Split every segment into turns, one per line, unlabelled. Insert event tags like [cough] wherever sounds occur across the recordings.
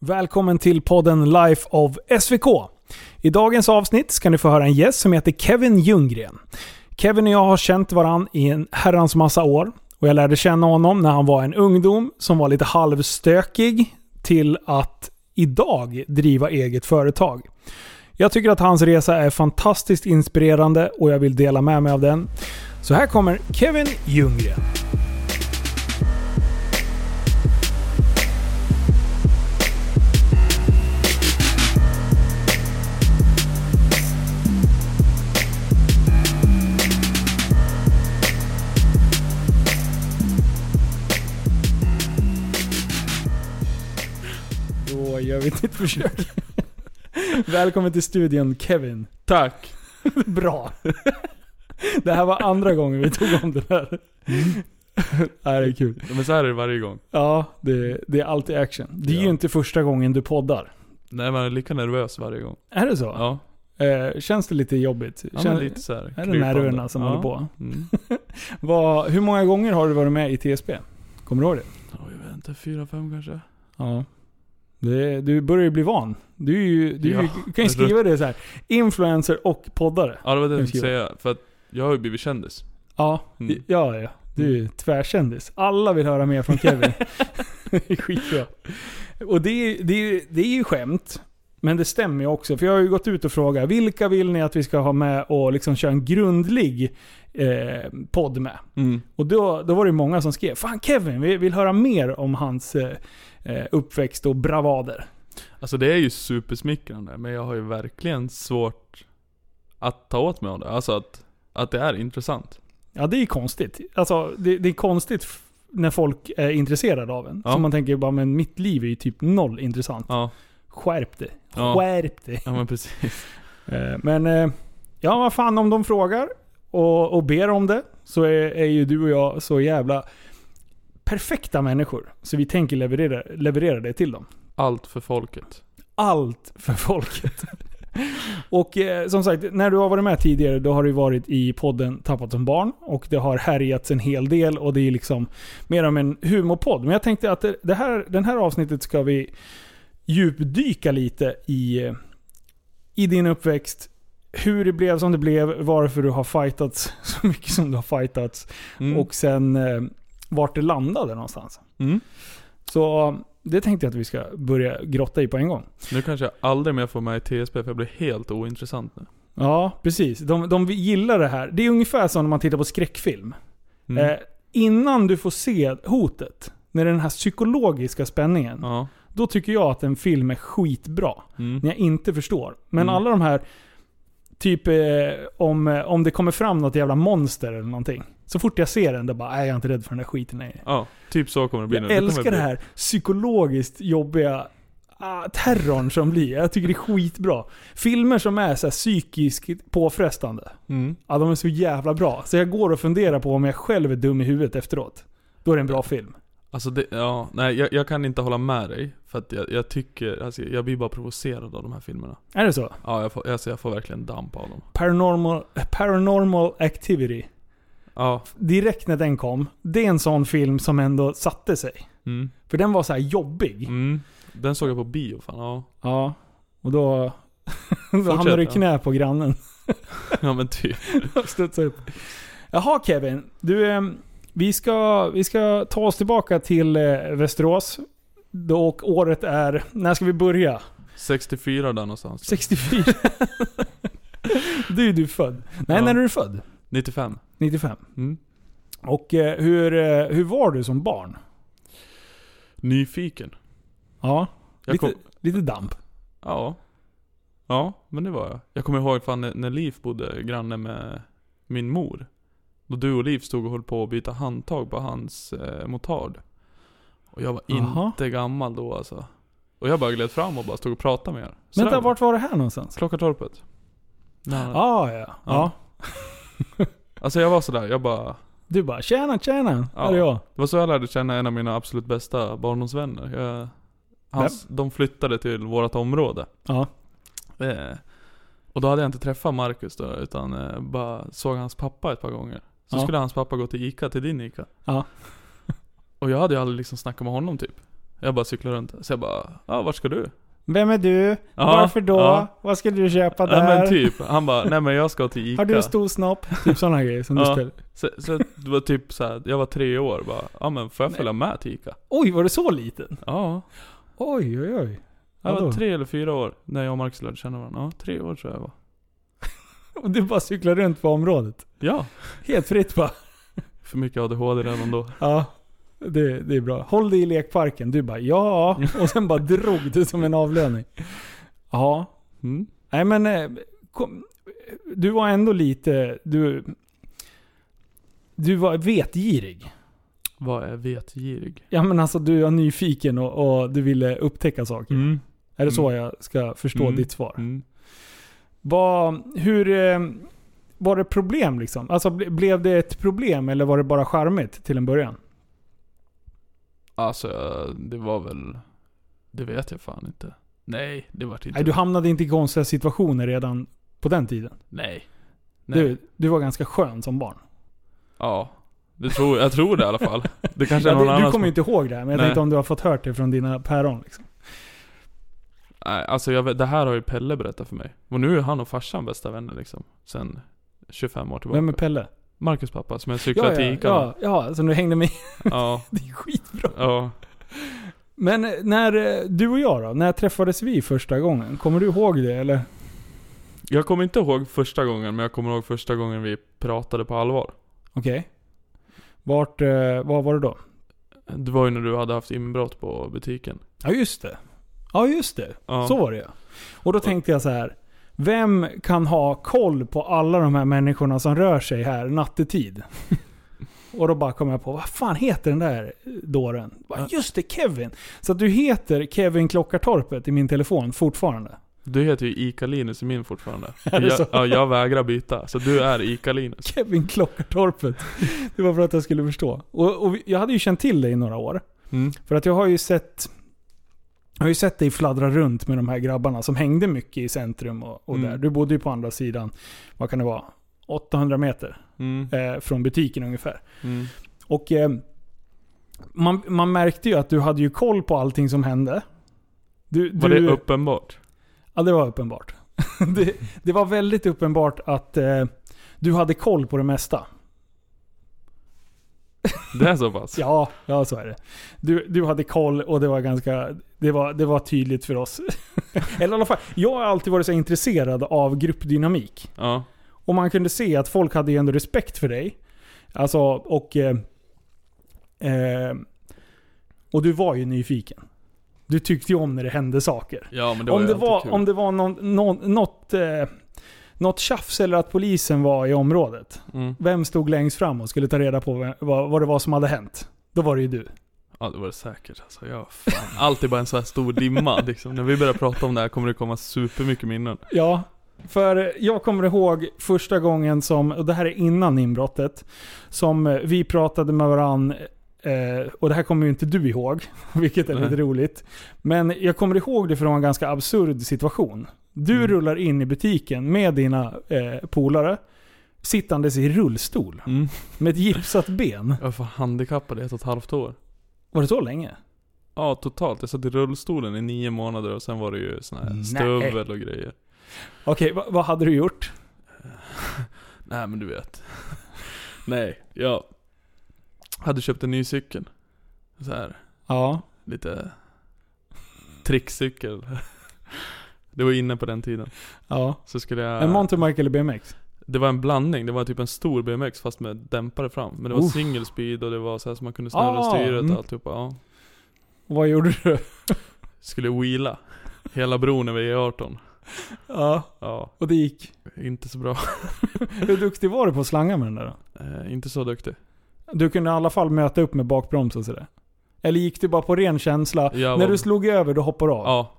Välkommen till podden Life of SVK. I dagens avsnitt ska ni få höra en gäst som heter Kevin Ljunggren. Kevin och jag har känt varann i en herrans massa år och jag lärde känna honom när han var en ungdom som var lite halvstökig till att idag driva eget företag. Jag tycker att hans resa är fantastiskt inspirerande och jag vill dela med mig av den. Så här kommer Kevin Ljunggren. Då gör vi ett nytt försök. [laughs] Välkommen till studion Kevin.
Tack.
Bra. Det här var andra gången vi tog om det där. Nej, Mm. det är kul.
Men så här är det varje gång.
Ja, det, det är alltid action. Det är ju
Ja.
inte första gången du poddar.
Nej man är lika nervös varje gång.
Är det så?
Ja.
Eh, känns det lite jobbigt?
ja
Känns-
men lite så här.
är det
krypande.
nerverna som håller på?
[laughs] Mm.
Vad- hur många gånger har du varit med i TSB? Kommer du ihåg det?
Oj, jag vet inte. Fyra, fem kanske?
Ja. Det, du börjar ju bli van. Du, är ju, du är ju-
Ja.
kan ju skriva det så här. Influencer och poddare.
Ja det var det
Hur
jag skulle säga. För att jag har ju blivit kändis.
Ja,
Mm.
ja, ja. Du är tvärkändis. Alla vill höra mer från
[laughs]
Kevin. Det är Skitbra. Och det är, det, är, det är ju skämt. Men det stämmer ju också. För jag har ju gått ut och frågat vilka vill ni att vi ska ha med och liksom köra en grundlig eh, podd med?
mm.
Och då, då var det ju många som skrev Fan Kevin, vi vill höra mer om hans eh, eh, uppväxt och bravader.
Alltså det är ju supersmickrande. Men jag har ju verkligen svårt att ta åt mig av det. Alltså att, att det är intressant.
Ja, det är ju konstigt. Alltså, det, det är konstigt f- när folk är intresserade av en.
Ja.
Så man tänker bara, men mitt liv är ju typ noll intressant.
Ja.
Skärp dig.
Ja.
Skärp dig.
Ja men precis. [laughs]
Eh, Men eh, ja, vad fan om de frågar och, och ber om det så är, är ju du och jag så jävla perfekta människor. Så vi tänker leverera, leverera det till dem.
Allt för folket.
Allt för folket. och eh, som sagt, när du har varit med tidigare då har du varit i podden Tappat som barn och det har härjats en hel del och det är liksom mer om en humorpodd. Men jag tänkte att det- det här, den här avsnittet ska vi djupdyka lite i, eh, i din uppväxt. Hur det blev som det blev, varför du har fightats [laughs] så mycket som du har fightats
Mm.
och sen eh, vart det landade någonstans.
Mm.
Så eh, det tänkte jag att vi ska börja grotta i på en gång.
Nu kanske jag aldrig mer får med i TSB för jag blir helt ointressant nu.
Ja, precis. De, de gillar det här. Det är ungefär som när man tittar på skräckfilm.
Mm.
Eh, innan du får se hotet, när det är den här psykologiska spänningen,
Ja.
då tycker jag att en film är skitbra.
Mm.
När jag inte förstår. Men
Mm.
alla de här, typ eh, om, eh, om det kommer fram något jävla monster eller någonting. Så fort jag ser den, då bara, nej jag är inte rädd för den där skiten längre.
Ja, typ så kommer det bli
Jag
nu.
älskar
kommer
det
bli-
här psykologiskt jobbiga ah, terrorn som blir. Jag tycker det är skitbra. Filmer som är så här psykiskt påfrestande.
Mm.
Ja, de är så jävla bra. Så jag går och funderar på om jag själv är dum i huvudet efteråt. Då är det en bra film.
Alltså det, ja, nej jag, jag kan inte hålla med dig. För att jag, jag tycker, alltså jag blir bara provocerad av de här filmerna.
Är det så?
Ja, jag får, alltså jag får verkligen damp av dem.
Paranormal, paranormal activity.
Ja,
Direkt när den kom, det är en sån film som ändå satte sig.
mm.
För den var så här jobbig.
Mm. Den såg jag på bio fan, ja. [laughs]
Ja. Och då, [laughs] då
Fortsätt,
hamnade du i
ja.
knä på grannen.
ja men typ.
[laughs] Studsa upp. Jaha Kevin, du, eh, vi, ska, vi ska ta oss tillbaka till eh, Västerås. Då, och året är, när ska vi börja?
64 där någonstans.
64? [laughs] du är du född. Nej,
Ja.
när är du född?
95.
95.
Mm.
Och eh, hur, eh, hur var du som barn?
Nyfiken.
Ja,
Jag
lite,
kom,
lite damp.
ja. Ja, men det var jag. Jag kommer ihåg fan när när Liv bodde granne med min mor. Då du och Liv stod och höll på att byta handtag på hans eh, motard. Och jag var
Jaha.
inte gammal då alltså. Och jag bara gled fram och bara stod och pratade med er. Så
Vänta,
där var det.
vart var det här någonstans?
Klockartorpet. Nej, nej.
Ah, ja, ja.
Ja. [laughs] Alltså jag var sådär, jag bara...
Du bara “Tjena, tjena,
Ja.
här är jag”.
Det var så jag lärde känna en av mina absolut bästa barndomsvänner. Jag, hans, de flyttade till vårt område.
Ja.
Eh, och då hade jag inte träffat Marcus då, utan eh, bara såg hans pappa ett par gånger. Så
Ja.
[laughs] skulle hans pappa gå till Ica, till din Ica.
Ja.
Och jag hade ju aldrig liksom snackat med honom typ. Jag bara cyklar runt. Så jag bara, ja ah, vart ska du?
Vem är du?
Ja,
Varför då?
ja.
Vad ska du köpa
Ja
där?
men typ. Han bara, nej men jag ska till
[laughs]
Ica.
Har du en stor
[laughs]
snopp? Typ sådana grejer som du
Ja.
spelar.
Så, så det var typ så här, jag var tre år bara, ja men får jag
Nej.
följa med till Ica?
Oj, var du så liten?
Ja.
Oj, oj, oj.
Jag
Vadå?
var tre eller fyra år när jag och Marcus lärde känna varandra. Ja, tre år tror jag jag var.
Och du bara cyklar runt på området.
Ja.
Helt fritt bara.
För mycket ADHD redan då.
Ja, det, det är bra. Håll dig i lekparken. Du bara ja. Och sen bara drog du som en avlöning. Ja.
Mm.
Nej men, eh, kom, du var ändå lite... Du, du var vetgirig.
Vad är vetgirig?
Ja men alltså du var nyfiken och, och du ville upptäcka saker.
Mm.
Är det så jag ska förstå
Mm.
ditt svar?
Mm.
Vad, hur... eh, Var det problem liksom? Alltså ble, blev det ett problem eller var det bara charmigt till en början?
Alltså, jag- det var väl... Det vet jag fan inte. Nej, det vart inte...
Nej, du hamnade inte i konstiga situationer redan på den tiden.
Nej. Nej.
Du, du var ganska skön som barn.
Ja. Det tror, jag tror det i alla fall. Det kanske är
Ja,
någon
det,
annan
du kommer
som-
ju inte ihåg det här, men jag
Nej.
tänkte om du har fått hört det från dina päron. Liksom.
Nej, alltså jag vet, det här har ju Pelle berättat för mig. Och nu är han och farsan bästa vänner liksom. Sen 25 år tillbaka.
Vem är Pelle?
Marcus pappa som jag cyklade
Ja,
till
ja,
Ica med.
ja, ja, så nu hängde med. [laughs]
ja,
Det är skitbra.
ja.
Men eh, när eh, du och jag då? När träffades vi första gången? Kommer du ihåg det eller?
Jag kommer inte ihåg första gången, men jag kommer ihåg första gången vi pratade på allvar.
Okej. Vart, eh, vad var det då?
Det var ju när du hade haft inbrott på butiken.
Ja just det. Ja just det.
Ja.
Så var det ja. Och då tänkte jag så här. Vem kan ha koll på alla de här människorna som rör sig här nattetid? Och då bara kom jag på, vad fan heter den där dåren? Bara,
Ja.
just det, Kevin! Så att du heter Kevin Klockartorpet i min telefon fortfarande. [laughs]
Du heter ju Ica-Linus i min fortfarande.
Är det så?
Jag, ja, jag vägrar byta. Så du är Ica-Linus.
Kevin Klockartorpet. Det var för att jag skulle förstå. Och, och vi- jag hade ju känt till dig i några år.
Mm.
För att jag har ju sett jag har ju sett dig fladdra runt med de här grabbarna som hängde mycket i centrum och, och
Mm.
där. Du bodde ju på andra sidan, vad kan det vara, 800 meter
Mm.
eh, från butiken ungefär.
Mm.
Och eh, man, man märkte ju att du hade ju koll på allting som hände. Du,
Var
du,
det uppenbart?
Ja, det var uppenbart. [laughs] det, det var väldigt uppenbart att eh, du hade koll på det mesta.
Det är så
[laughs]
pass?
Ja, ja så är det. Du, du hade koll och det var ganska... Det var, det var tydligt för oss. [laughs] Eller i alla fall, jag har alltid varit så intresserad av gruppdynamik.
Ja.
Och man kunde se att folk hade ju ändå respekt för dig. Alltså, och... Eh, eh, och du var ju nyfiken. Du tyckte ju om när det hände saker.
Ja, men det var
om,
ju
det
alltid
var,
kul.
om det var någon, någon, något, eh, något tjafs eller att polisen var i området.
Mm.
Vem stod längst fram och skulle ta reda på vem, vad, vad det var som hade hänt? Då var det ju du.
Ja det var det säkert alltså. Ja, fan. Allt är bara en så här stor dimma liksom. När vi börjar prata om det här kommer det komma supermycket minnen.
Ja, för jag kommer ihåg första gången som, och det här är innan inbrottet, som eh, vi pratade med varann eh, och det här kommer ju inte du ihåg, [laughs] vilket är lite
Nej.
roligt. Men jag kommer ihåg det från en ganska absurd situation. Du
Mm.
rullar in i butiken med dina eh, polare, sittandes i rullstol,
Mm.
med ett gipsat ben.
Jag var fan handikappad i ett och ett halvt år.
Var det så länge?
Ja totalt. Jag satt i rullstolen i nio månader och sen var det ju sån här
Nej.
stövel och grejer.
Okej, va- vad hade du gjort?
Nej men du vet. [laughs] Nej, jag hade köpt en ny cykel. Så här
Ja.
lite trickcykel. [laughs] Det var inne på den tiden.
ja.
Så skulle jag...
En mountainbike eller BMX?
Det var en blandning, det var typ en stor BMX fast med dämpare fram. Men det var
Uff.
single speed och det var så här som man kunde snurra
Ah,
styret och
mm.
alltihopa. Ja.
Vad gjorde du?
Skulle wheela. Hela bron över E18.
Ja,
Ja,
och det gick.
inte så bra.
Hur duktig var du på att slanga med den där då?
Eh, inte så duktig.
Du kunde i alla fall möta upp med bakbroms och sådär? Eller gick du bara på ren känsla?
Jag
när
var-
du slog över, då hoppar du av?
Ja,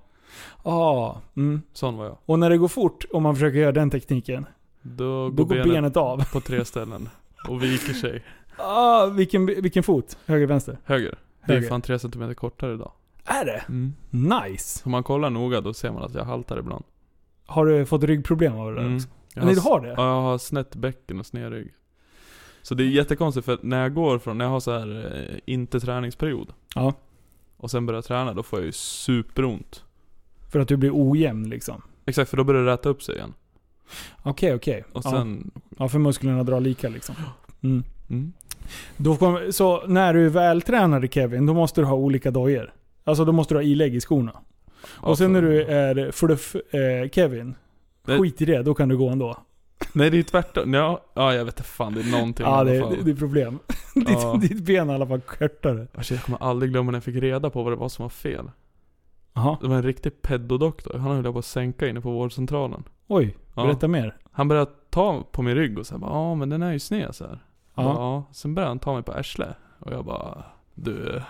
Ah, mm.
sån var jag.
Och när det går fort, om man försöker göra den tekniken,
Då,
då går benet, av.
på tre ställen. Och viker sig.
Ah, vilken, vilken fot? Höger, vänster?
Höger. Det är
Höger. Mm.
fan tre centimeter kortare idag.
Är det? Nice!
Så om man kollar noga då ser man att jag haltar ibland.
Har du fått ryggproblem av det där
Mm.
också?
Jag
Nej, du
s-
har det?
Ja, jag har snett bäcken och sned rygg. Så det är jättekonstigt för när jag går från, när jag har så här eh, inte träningsperiod.
Ja.
och sen börjar träna, då får jag ju superont.
För att du blir ojämn liksom.
Exakt, för då börjar det räta upp sig igen.
Okej, okej.
Och
Ja.
sen...
ja, för musklerna drar lika liksom. Mm.
Mm.
Då kommer, så när du är vältränad Kevin, då måste du ha olika dojor. Alltså då måste du ha ilägg i skorna.
Ja,
och sen
för-
när du är fluff-Kevin,
Nej.
skit i Alltså- det, då kan du gå ändå.
Nej det är tvärtom. Ja, ja jag vet inte fan, det är någonting
Ja,
i alla
det,
fall.
det, det är problem. [laughs]
Ja.
ditt, ditt ben är i alla fall kortare.
Alltså, jag kommer aldrig glömma när jag fick reda på vad det var som var fel.
Jaha.
Det var en riktig pedodoktor. Han höll jag på att sänka inne på vårdcentralen.
Oj,
Ja.
berätta mer.
Han började ta på min rygg och säga ja men den är ju sned så här.
Ja.
Jag bara, Ja. Sen började han ta mig på arslet. Och jag bara, du.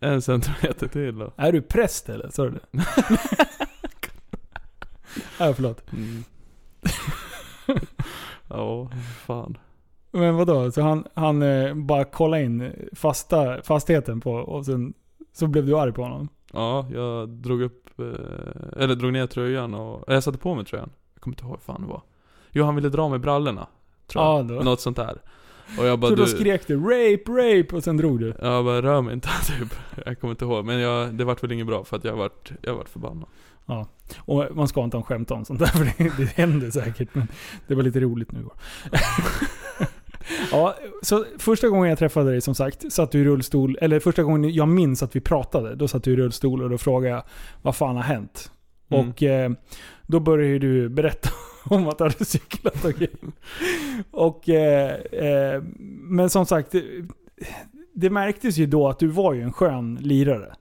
En centimeter till då.
Är du präst eller? Sa du [laughs] det? ja, förlåt.
Mm. [laughs] ja, fan.
Men vadå? Så han, han eh, bara kollade in fasta, fastigheten på och sen så blev du arg på honom?
Ja, jag drog upp, eh, eller drog ner tröjan och, eller jag satte på mig tröjan. Jag kommer inte ihåg vad fan det var. Jo, han ville dra mig brallorna. Tror jag.
Ja, då.
[laughs] Något sånt där. Och jag bara
så då
du.
skrek du 'rape, rape' och sen drog du?
Jag bara rör mig inte [laughs] typ. Jag kommer inte ihåg. Men jag, det vart väl inget bra för att jag vart, jag vart förbannad.
Och man ska inte skämta om sånt där [laughs] för det, det händer säkert. Men det var lite roligt nu. ja, så första gången jag träffade dig som sagt satt du i rullstol. Eller första gången jag minns att vi pratade, då satt du i rullstol och då frågade jag vad fan har hänt?
Mm.
Och eh, då började ju du berätta [laughs] om att du hade cyklat och grejer. Och, eh, eh, men som sagt, det- det märktes ju då att du var ju en skön lirare.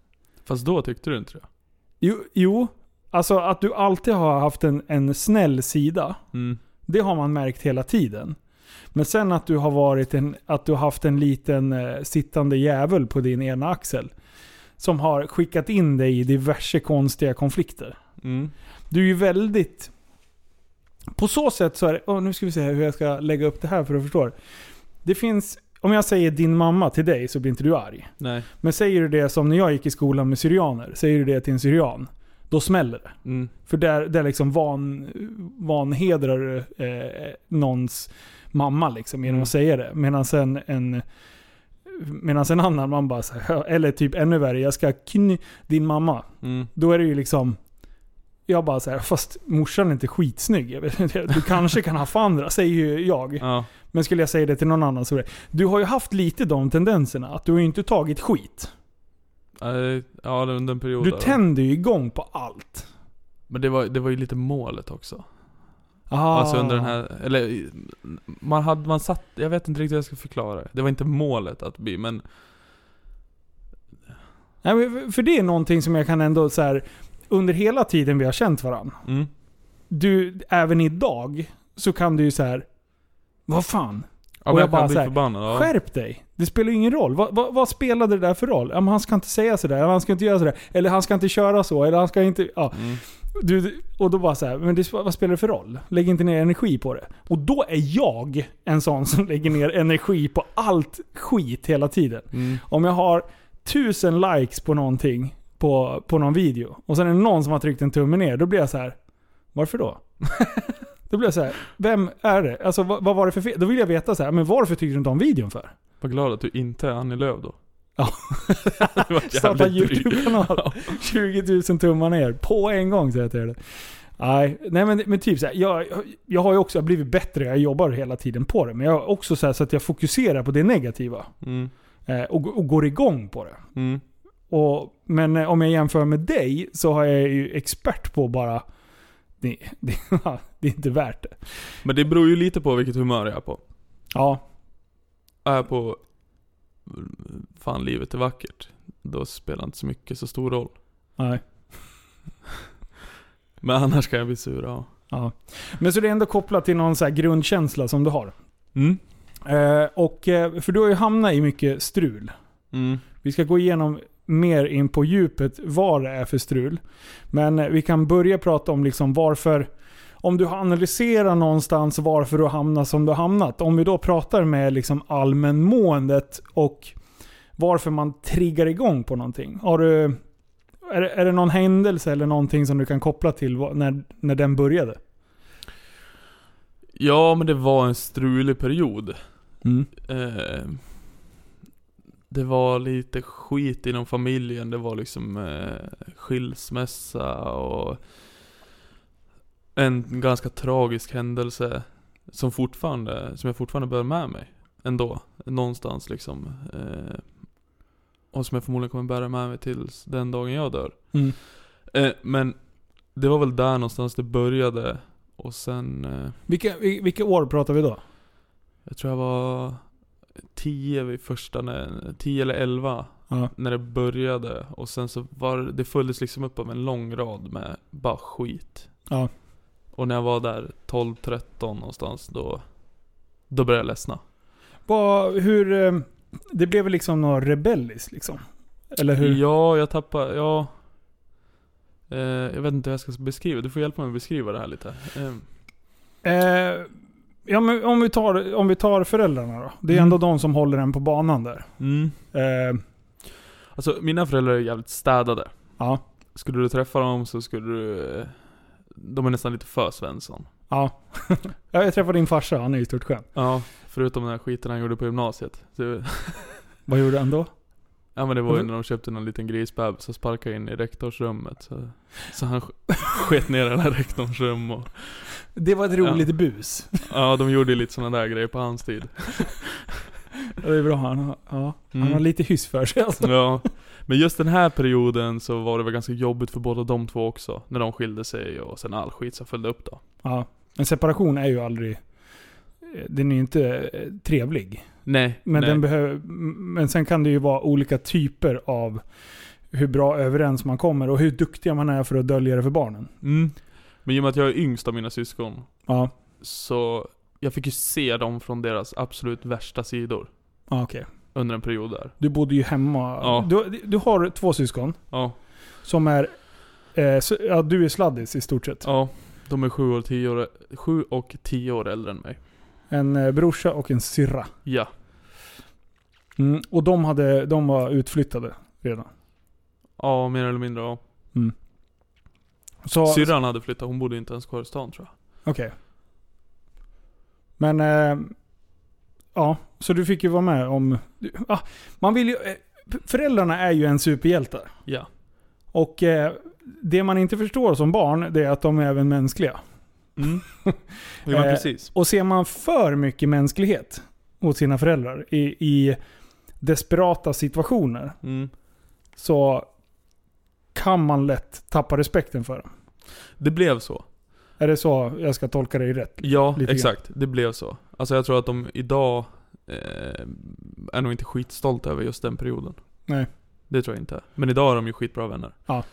Fast då tyckte du inte det?
Jo, jo alltså att du alltid har haft en, en snäll sida,
Mm.
det har man märkt hela tiden. Men sen att du har varit en, att du har haft en liten eh, sittande jävel på din ena axel. Som har skickat in dig i diverse konstiga konflikter.
Mm.
Du är ju väldigt... På så sätt så är det... åh, nu ska vi se här hur jag ska lägga upp det här för att förstå det. Det finns... Om jag säger din mamma till dig så blir inte du arg.
Nej.
Men säger du det som när jag gick i skolan med syrianer. Säger du det till en syrian. Då smäller det.
Mm.
För där, där liksom van, vanhedrar du, eh, någons mamma liksom genom
Mm.
att säga det. Medan en, en, medans en annan man bara så här, eller typ ännu värre, jag ska kny din mamma.
Mm.
Då är det ju liksom, jag bara så här, fast morsan är inte skitsnygg. Jag vet inte, Du kanske kan haffa andra, säger ju jag.
Ja.
Men skulle jag säga det till någon annan så är det. Du har ju haft lite de tendenserna, att du har ju inte tagit skit.
Eh, Ja, det var under en period
Du
där.
tänder ju igång på allt.
Men det var, det var ju lite målet också.
Ah.
Alltså under den här, eller i- man hade, man satt, jag vet inte riktigt hur jag ska förklara det. Det var inte målet att bli, men
Nej, men för- för det är någonting som jag kan ändå så här, under hela tiden vi har känt varandra.
mm.
Du, även idag, så kan du ju så här. Vad fan?
Ja,
Och
men
jag
jag,
bara
kan bli
så här,
förbannad. Ja.
Skärp dig! Det spelar ju ingen roll. Vad, vad, vad spelade det där för roll? Ja, men han ska inte säga sådär, eller han ska inte göra sådär, eller han ska inte köra så, eller han ska inte... Ja.
Mm.
Du- Du, och då bara så här, men det, vad spelar det för roll? Lägg inte ner energi på det. Och då är jag en sån som [laughs] lägger ner energi på allt skit hela tiden.
Mm.
Om jag har tusen likes på någonting, på, på någon video, och sen är det någon som har tryckt en tumme ner, då blir jag så här. Varför då? [laughs] då blir jag så här. vem är det? Alltså vad, vad var det för fel? Då vill jag veta så här, men varför tyckte du inte om videon för?
Vad glad att du inte är Annie Lööf då.
Ja.
[laughs] det var
Starta
jävligt dryg.
[laughs] YouTube-kanal. 20 000 tummar ner, på en gång säger jag till dig. Nej, nej men, men typ så här, jag, jag har ju också blivit bättre, jag jobbar hela tiden på det. Men jag är också så här så att jag fokuserar på det negativa.
Mm.
eh, Och, och går igång på det.
Mm.
Och, men eh, om jag jämför med dig så har jag ju expert på bara... Det, det, [laughs] det är inte värt det.
Men det beror ju lite på vilket humör jag är på.
Ja,
Är jag på fan livet är vackert, då spelar inte så mycket så stor roll.
nej.
[laughs] Men annars kan jag bli sur, ja.
Ja. Men så det är ändå kopplat till någon så här grundkänsla som du har.
Mm.
Eh, och, eh, för du har ju hamnat i mycket strul.
Mm.
Vi ska gå igenom mer in på djupet vad det är för strul. Men eh, vi kan börja prata om liksom varför... Om du har analyserat någonstans varför du hamnar som du har hamnat. Om vi då pratar med liksom allmänmåendet och varför man triggar igång på någonting. Har du, är, det- är det någon händelse eller någonting som du kan koppla till vad- när, när den började?
Ja, men det var en strulig period. Eh, Det var lite skit inom familjen, det var liksom eh, skilsmässa och en ganska tragisk händelse som fortfarande, som jag fortfarande bär med mig. Ändå, någonstans liksom. Eh, och som jag förmodligen kommer bära med mig tills den dagen jag dör.
Mm.
Eh, men det var väl där någonstans det började. Och sen, eh,
Vilka, vil- vilka år pratar vi då?
jag tror jag var 10 vid första, när- 10 eller 11
Ja.
när det började. Och sen så var det- det följdes liksom upp av en lång rad med bara skit.
Ja.
Och när jag var där 12-13 någonstans då, då började jag ledsna.
Vad, hur... eh, Det blev väl liksom något rebelliskt liksom? Eller hur?
Ja, jag tappade, ja. Eh, jag vet inte hur jag ska beskriva, du får hjälpa mig att beskriva det här lite. Eh,
Eh, ja, men om, vi tar, om vi tar föräldrarna då. Det är
Mm.
ändå de som håller en på banan där.
mm.
Eh,
Alltså mina föräldrar är jävligt städade.
ja,
Skulle du träffa dem så skulle du... eh, De är nästan lite för Svensson.
ja. Ja, jag träffade din farsa, han är ju stort skön.
Ja, förutom den här skiten han gjorde på gymnasiet. Så,
Vad gjorde han då?
ja men det var ju
Mm.
när de köpte någon liten grisbebis så sparkade in i rektorsrummet. Så, så han sk- [laughs] sket ner hela rektorns rum och...
Det var ett roligt bus.
Ja, de gjorde ju lite sådana där grejer på hans tid.
[laughs] Ja, Det är bra, han har, ja, han
Mm.
har lite hyss för sig alltså.
Ja. Men just den här perioden så var det väl ganska jobbigt för båda de två också. När de skilde sig och sen all skit som följde upp då.
Ja. En separation är ju aldrig... eh, Den är ju inte eh, trevlig.
Nej,
Men,
nej.
den behöver, m- men sen kan det ju vara olika typer av hur bra överens man kommer och hur duktiga man är för att dölja det för barnen.
Mm. Men i och med att jag är yngst av mina syskon
Ja,
så jag fick ju se dem från deras absolut värsta sidor
ja Ah, okej.
under en period där.
Du bodde ju hemma.
Ja.
Du, du har två syskon
Ja,
som är... Eh, så, ja, du är sladdis i stort sett.
ja. De är sju, år, tio år, sju och tio år äldre än mig.
En eh, brorsa och en syrra.
Ja.
Mm. Och de, hade, de var utflyttade redan.
Ja, mer eller mindre ja.
Så,
Syrran hade flyttat, hon bodde inte ens kvar i stan tror jag.
Okej. Men... Eh, ja, så du fick ju vara med om... du- Ah, man vill ju... eh, Föräldrarna är ju en superhjälte.
Ja.
Och eh, det man inte förstår som barn, det är att de är även mänskliga.
[laughs] Mm. ja,
Eh,
men precis.
Och ser man för mycket mänsklighet mot sina föräldrar i, i desperata situationer
Mm.
så kan man lätt tappa respekten för dem.
Det blev så.
Är det så jag ska tolka dig rätt?
Ja,
Lite grann.
exakt. Det blev så. Alltså jag tror att de idag eh, är nog inte skitstolta över just den perioden.
Nej.
Det tror jag inte. Men idag är de ju skitbra vänner.
Ja.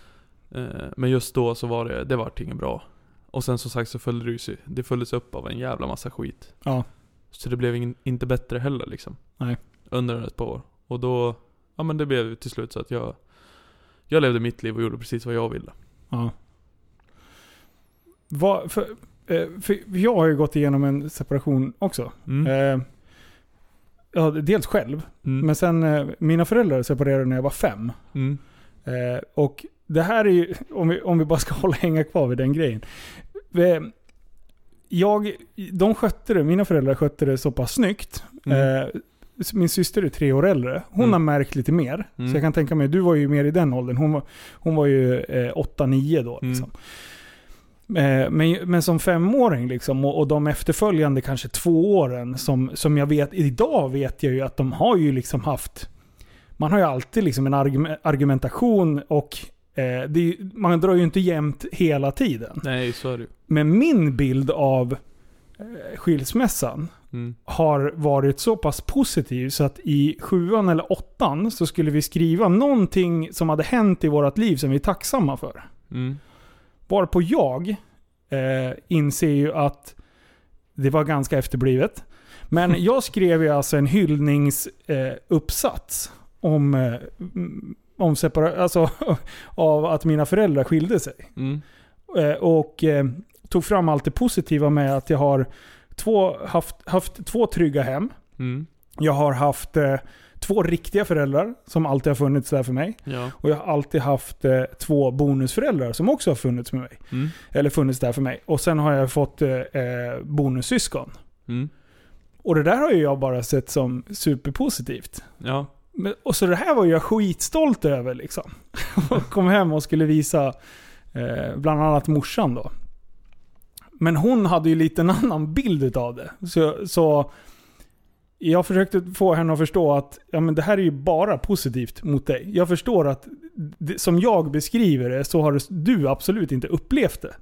Eh, men just då så var det, det vart inget bra. Och sen som sagt så följde det ju sig- det följdes upp av en jävla massa skit.
Ja.
Så det blev ingen, inte bättre heller liksom.
Nej.
Under ett par år. Och då, ja men det blev ju till slut så att jag, jag levde mitt liv och gjorde precis vad jag ville.
Ja. Vad, för, eh, för jag har ju gått igenom en separation också.
Mm.
Eh, ja, dels själv,
Mm.
men sen eh, mina föräldrar separerade när jag var fem.
Mm.
Eh, och det här är ju, om vi, om vi bara ska [laughs] hålla hänga kvar vid den grejen. Eh, Jag, de skötte det, mina föräldrar skötte det så pass snyggt.
Mm.
Eh, s- min syster är tre år äldre. Hon
Mm.
har märkt lite mer.
Mm.
Så jag kan tänka mig, du var ju mer i den åldern. Hon var, hon var ju eh, 8-9 då.
Mm.
Liksom. Eh, men, men som femåring liksom, och, och de efterföljande kanske två åren som, som jag vet, idag vet jag ju att de har ju liksom haft man har ju alltid liksom en argum- argumentation och eh, det är, ju- man drar ju inte jämnt hela tiden.
Nej, så är det ju.
Men min bild av eh, skilsmässan
Mm.
har varit så pass positiv så att i sjuan eller åttan så skulle vi skriva någonting som hade hänt i vårt liv som vi är tacksamma för.
Mm.
Varpå jag eh, inser ju att det var ganska efterblivet. Men jag skrev ju alltså en hyllningsuppsats eh, uppsats om, eh, mm, om separa- alltså, [laughs] av att mina föräldrar skilde sig.
Mm.
Eh, och eh, tog fram allt det positiva med att jag har två, haft, haft två trygga hem.
Mm.
Jag har haft eh, två riktiga föräldrar som alltid har funnits där för mig.
Ja.
Och jag har alltid haft eh, två bonusföräldrar som också har funnits med mig.
Mm.
Eller funnits där för mig. Och sen har jag fått eh, eh, bonussyskon.
Mm.
Och det där har ju jag bara sett som superpositivt.
Ja.
Men, och så det här var ju jag skitstolt över liksom. [laughs] Och kom hem och skulle visa eh, bland annat morsan då. Men hon hade ju lite en annan bild av det. Så, så jag försökte få henne att förstå att ja, men det här är ju bara positivt mot dig. Jag förstår att det, som jag beskriver det så har du absolut inte upplevt det.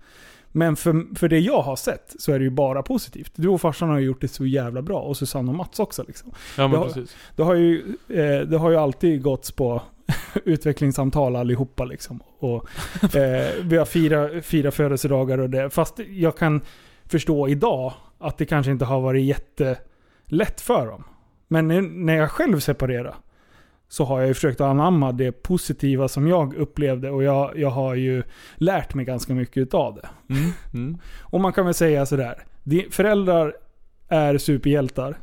Men för, för det jag har sett så är det ju bara positivt. Du och farsan har ju gjort det så jävla bra och Susanne och Mats också. Liksom.
Ja men
Ja.
precis.
Det har ju, eh, det har ju alltid gått på [laughs] utvecklingssamtal allihopa liksom. Och, eh, vi har fyra, fyra födelsedagar och det. Fast jag kan förstå idag att det kanske inte har varit jättelätt för dem. Men nu, när jag själv separerade så har jag ju försökt anamma det positiva som jag upplevde och jag, jag har ju lärt mig ganska mycket utav det.
Mm. Mm.
[laughs] Och man kan väl säga sådär. di- Föräldrar är superhjältar.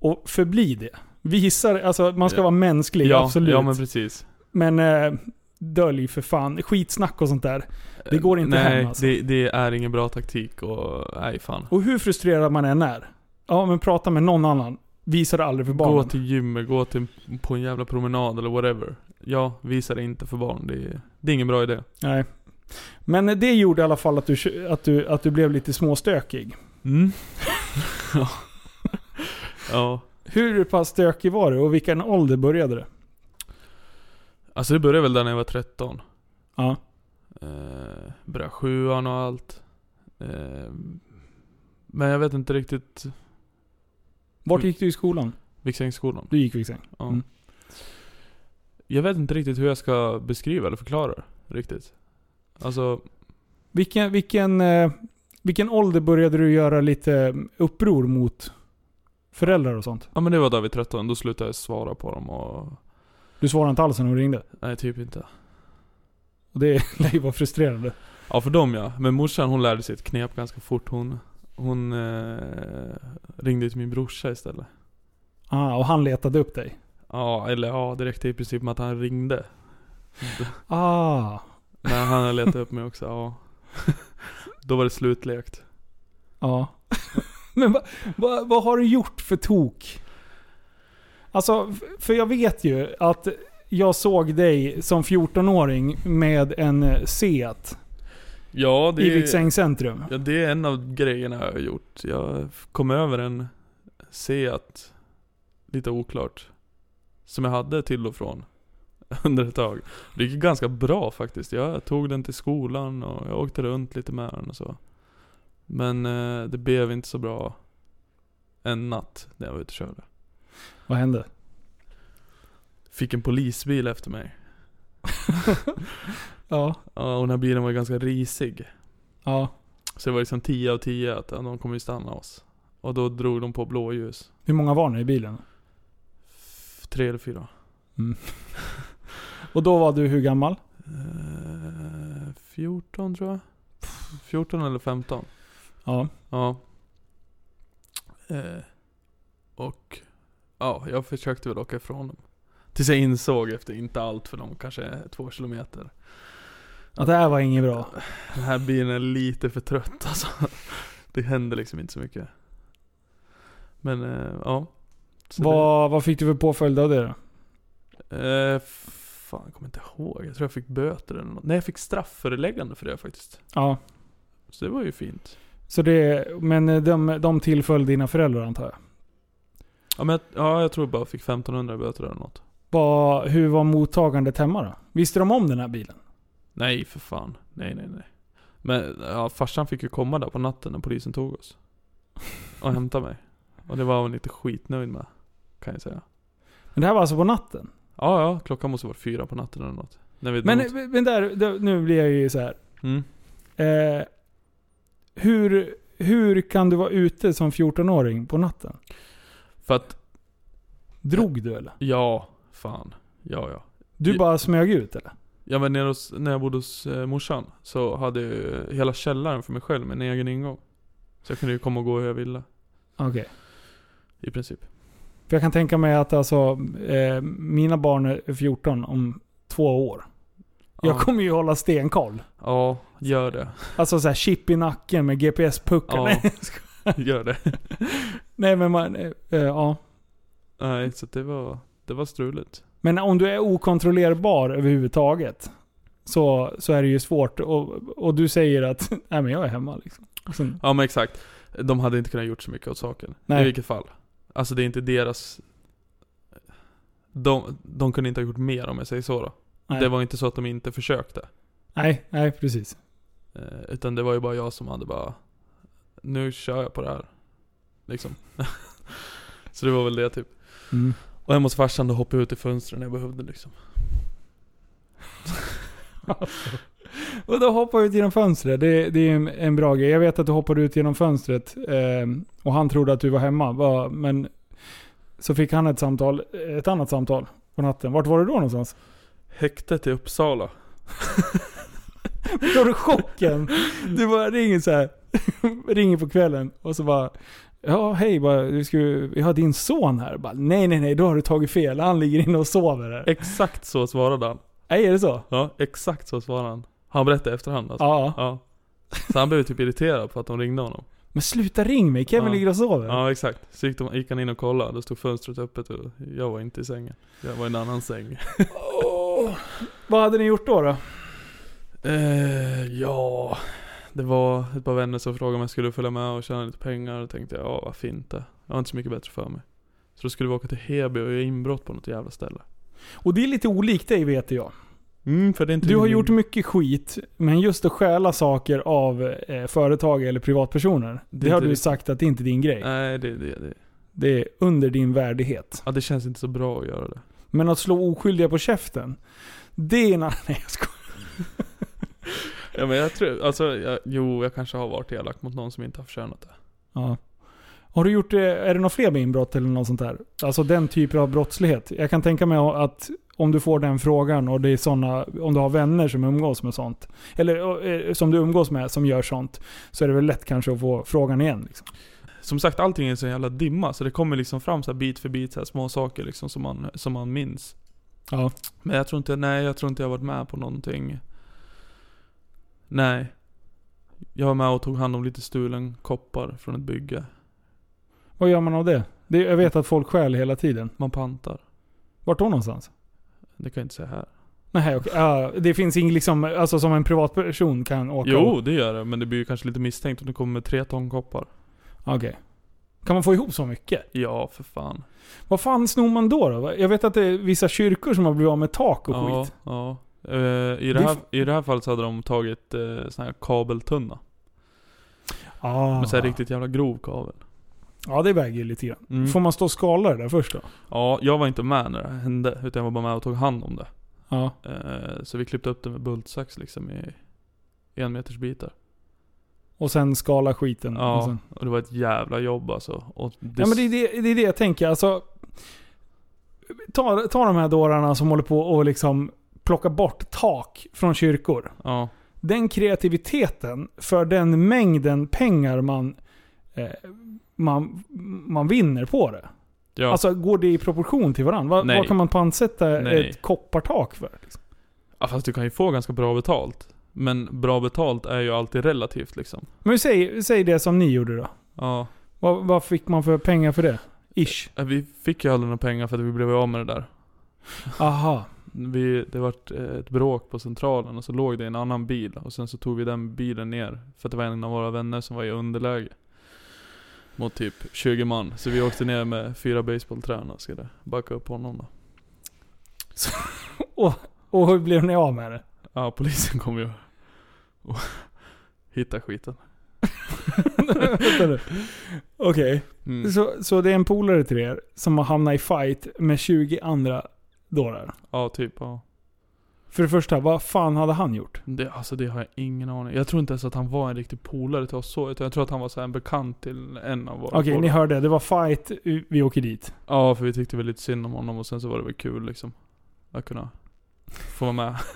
Och förbli det. Visar, alltså man ska
Ja.
vara mänsklig,
Ja,
absolut.
ja men
men
precis.
eh, dölj för fan. Skitsnack och sånt där. Det går inte
Nej,
hem, alltså.
det, det är ingen bra taktik och nej fan.
Och hur frustrerad man än är. Ja, men prata med någon annan. Visa det aldrig för
Gå
barnen.
till gymmet, gå till, på en jävla promenad eller whatever. Ja, visa det inte för barn. Det, är- det är ingen bra idé.
Nej. Men eh, det gjorde i alla fall att du, att du, att du blev lite småstökig.
Mm. [laughs] ja. ja.
Hur pass stökig var du och vilken ålder började det?
Alltså det började väl där när jag var 13.
Ja.
Eh, började sjuan och allt. Eh, men jag vet inte riktigt
Vart
Mm.
gick du i skolan?
Viksängsskolan.
Du gick Viksäng.
Ja.
Mm.
Jag vet inte riktigt hur jag ska beskriva eller förklara det, riktigt. Alltså,
Vilken, vilken, eh, vilken ålder började du göra lite uppror mot föräldrar och sånt?
ja men det var där vid 13, då slutade jag svara på dem och...
Du svarade inte alls när de ringde.
Nej, typ inte.
Och det [laughs] lär ju vara frustrerande.
Ja för dem ja. Men morsan hon lärde sig ett knep ganska fort. Hon, hon eh, ringde till min brorsa istället.
Ah, och han letade upp dig.
Ja, eller ja, det räckte i princip med att han ringde.
Ah,
När han letade upp mig också, ja. [laughs] Då var det slutlekt.
ja. [laughs] Men va, va, vad har du gjort för tok? Alltså, f- för jag vet ju att jag såg dig som 14-åring med en eh, Seat
Ja, det
i
är,
Viksäng centrum.
ja, det är en av grejerna jag har gjort. Jag kom över en Seat, lite oklart, som jag hade till och från. [laughs] Under ett tag. Det gick ganska bra faktiskt. Jag tog den till skolan och jag åkte runt lite med den och så. Men eh, det blev inte så bra en natt när jag var ute och körde.
Vad hände?
Fick en polisbil efter mig.
Ja,
Ja, och den här bilen var ganska risig.
ja.
Så det var liksom 10 av 10 att ja, de kommer ju stanna oss. Och då drog de på blåljus.
Hur många var ni i bilen?
F- Tre eller fyra.
Och då var du hur gammal?
Eh, 14 tror jag. 14 eller 15.
Ja.
Ja. Eh, och ja, jag försökte väl åka ifrån dem. Tills jag insåg efter inte allt för dem, kanske två kilometer.
Ja, det här var inget bra.
Den här bilen är lite för trött alltså. Det händer liksom inte så mycket. Men eh, ja. Så det-
Vad, vad fick du för påföljd av det då?
Eh, fan, jag kommer inte ihåg. Jag tror jag fick böter eller något. Nej, jag fick straffföreläggande för det faktiskt.
Ja.
Så det var ju fint.
Så det, men eh, de, de tillföll dina föräldrar antar jag?
Ja, men jag, ja, jag tror jag bara fick 1500 i böter eller något.
Vad- hur var mottagandet hemma då? Visste de om den här bilen?
Nej, för fan. Nej, nej, nej. Men ja, farsan fick ju komma där på natten när polisen tog oss. Och hämta mig. Och det var han lite skitnöjd med. Kan jag säga.
Men det här var alltså på natten?
Ja, ja. Klockan måste vara fyra på natten eller något. När vi
Men, men där, där, nu blir jag ju så här.
mm.
Eh, hur, hur kan du vara ute som 14-åring på natten?
För att,
Drog du eller?
ja, fan. Ja, ja.
Du
Ja.
bara smög ut eller?
Ja men nere hos, när jag bodde hos eh, morsan så hade jag ju hela källaren för mig själv med en egen ingång. Så jag kunde ju komma och gå hur jag ville.
Okej.
I princip.
För jag kan tänka mig att alltså, eh, mina barn är 14 om två år. Jag
Ja.
kommer ju hålla stenkoll.
Ja, gör det. [laughs]
Alltså så här chip i nacken med GPS-puckar.
Ja,
Nej,
gör det.
Nej men man, eh, eh, ja.
Nej, så det var, det var struligt.
Men om du är okontrollerbar överhuvudtaget så, så är det ju svårt. Och, och du säger att [laughs] Nej, men jag är hemma. Liksom. Och sen,
Ja men exakt. De hade inte kunnat gjort så mycket åt saken.
Nej.
I vilket fall. Alltså det är inte deras... De, de kunde inte ha gjort mer om jag säger så då.
nej.
Det var inte så att de inte försökte.
nej, nej, precis.
Eh, utan det var ju bara jag som hade bara Nu kör jag på det här. Liksom. [laughs] så det var väl det typ.
Mm.
Och hemma hos farsan då hoppade jag ut i fönstren när jag behövde liksom.
Och då hoppar jag ut genom fönstret. Det, det är en, en bra grej. Jag vet att du hoppade ut genom fönstret ehm, och han trodde att du var hemma. Va, men så fick han ett samtal, ett annat samtal på natten. Vart var du då någonstans?
Häktet i Uppsala.
Förstår du chocken? Du bara ringer så här. [laughs] ringer på kvällen och så bara Ja, hej, bara, vi, ska, ju- vi har din son här. Bara, nej, nej, nej, då har du tagit fel. Han ligger inne och sover här.
Exakt så svarade han.
Nej, är det så?
Ja, exakt så svarade han. Han berättade i efterhand alltså.
Ja.
Ja. Så han blev typ irriterad på att de ringde honom.
Men sluta ring mig, Kevin
Ja.
ligger och sover.
Ja exakt. Så gick, de, gick han in och kollade, då stod fönstret öppet och jag var inte i sängen. Jag var i en annan säng.
Åh. Vad hade ni gjort då? då?
Eh, ja, det var ett par vänner som frågade om jag skulle följa med och tjäna lite pengar. Då tänkte jag, ja varför inte? Jag har inte så mycket bättre för mig. Så då skulle vi åka till Heby och göra inbrott på något jävla ställe.
Och det är lite olikt dig vet jag.
Mm, för det är inte
Du har
min-
gjort mycket skit, men just att stjäla saker av eh, företag eller privatpersoner. Det,
Det är
har
inte
du
riktigt-
sagt att det är inte är din grej.
Nej, det, det, det.
Det är under din värdighet.
Ja, det känns inte så bra att göra det.
Men att slå oskyldiga på käften, det är en annan... [laughs] Nej jag skojar.
Ja men jag tror, alltså, jag, jo jag kanske har varit elak mot någon som inte har förtjänat det.
Ja. Har du gjort, eh, är det några fler med inbrott eller något sånt där? Alltså den typen av brottslighet. Jag kan tänka mig att om du får den frågan och det är såna, om du har vänner som umgås med sånt. Eller eh, som du umgås med som gör sånt. Så är det väl lätt kanske att få frågan igen. Liksom.
Som sagt, allting är en sån jävla dimma, så det kommer liksom fram så här bit för bit, så här små saker liksom som man, som man minns.
Ja.
Men jag tror inte, nej jag tror inte jag har varit med på någonting. Nej. Jag var med och tog hand om lite stulen koppar från ett bygge.
Vad gör man av det? det? Jag vet att folk stjäl hela tiden.
Man pantar.
Vart då någonstans?
Det kan jag inte säga här.
Nej, okej. Ja, det finns inget liksom, alltså som en privatperson kan åka och-
Jo, det gör det. Men det blir ju kanske lite misstänkt om du kommer med tre ton koppar.
Okej. Kan man få ihop så mycket?
Ja, för fan.
Vad fan snor man då? då? Jag vet att det är vissa kyrkor som har blivit av med tak och
ja,
skit.
ja. Eh, i, det
Det
här,
f-
I det här fallet så hade de tagit uh, sån här kabeltunna.
Ah.
Med så här riktigt jävla grov kabel.
Ja, det väger ju lite grann.
Mm.
Får man stå och skala det där först då?
Ja, jag var inte med när det här hände. Utan jag var bara med och tog hand om det.
Ja.
Eh, så vi klippte upp det med bultsax liksom i en meters bitar.
Och sen skala skiten. Och
Ja,
sen.
och det var ett jävla jobb alltså. Och det,
ja men det är det, det är det jag tänker. Alltså, ta, ta de här dårarna som håller på och liksom plocka bort tak från kyrkor.
ja,
den kreativiteten för den mängden pengar man, eh, man, man vinner på det.
ja.
Alltså går det i proportion till varandra? Vad,
Nej.
vad kan man pantsätta
Nej.
ett koppartak för? Liksom?
ja, fast du kan ju få ganska bra betalt. Men bra betalt är ju alltid relativt liksom.
Men säg, säg det som ni gjorde då.
Ja,
Vad, vad fick man för pengar för det? Ish.
Eh, vi fick ju aldrig några pengar för att vi blev av med det där.
Aha.
Vi, det vart eh, ett bråk på centralen och så låg det en annan bil och sen så tog vi den bilen ner. För att det var en av våra vänner som var i underläge. Mot typ 20 man. Så vi åkte ner med fyra basebollträn och skulle backa upp honom då.
Och hur blev ni av med det? [laughs]
Ja, polisen kom ju och [laughs] hittade skiten.
Vänta nu. Okej.
Mm.
Så, så det är en polare till er som har hamnat i fight med 20 andra dårar.
Ja, typ. Ja.
För det första, vad fan hade han gjort?
Det, alltså det har jag ingen aning Jag tror inte ens att han var en riktig polare till oss så. Utan jag tror att han var så här en bekant till en av våra
Okej,
polare.
ni hörde. Det var fight. Vi åker dit.
Ja, för vi tyckte väl lite synd om honom och sen så var det väl kul liksom. Att kunna få vara med. [laughs]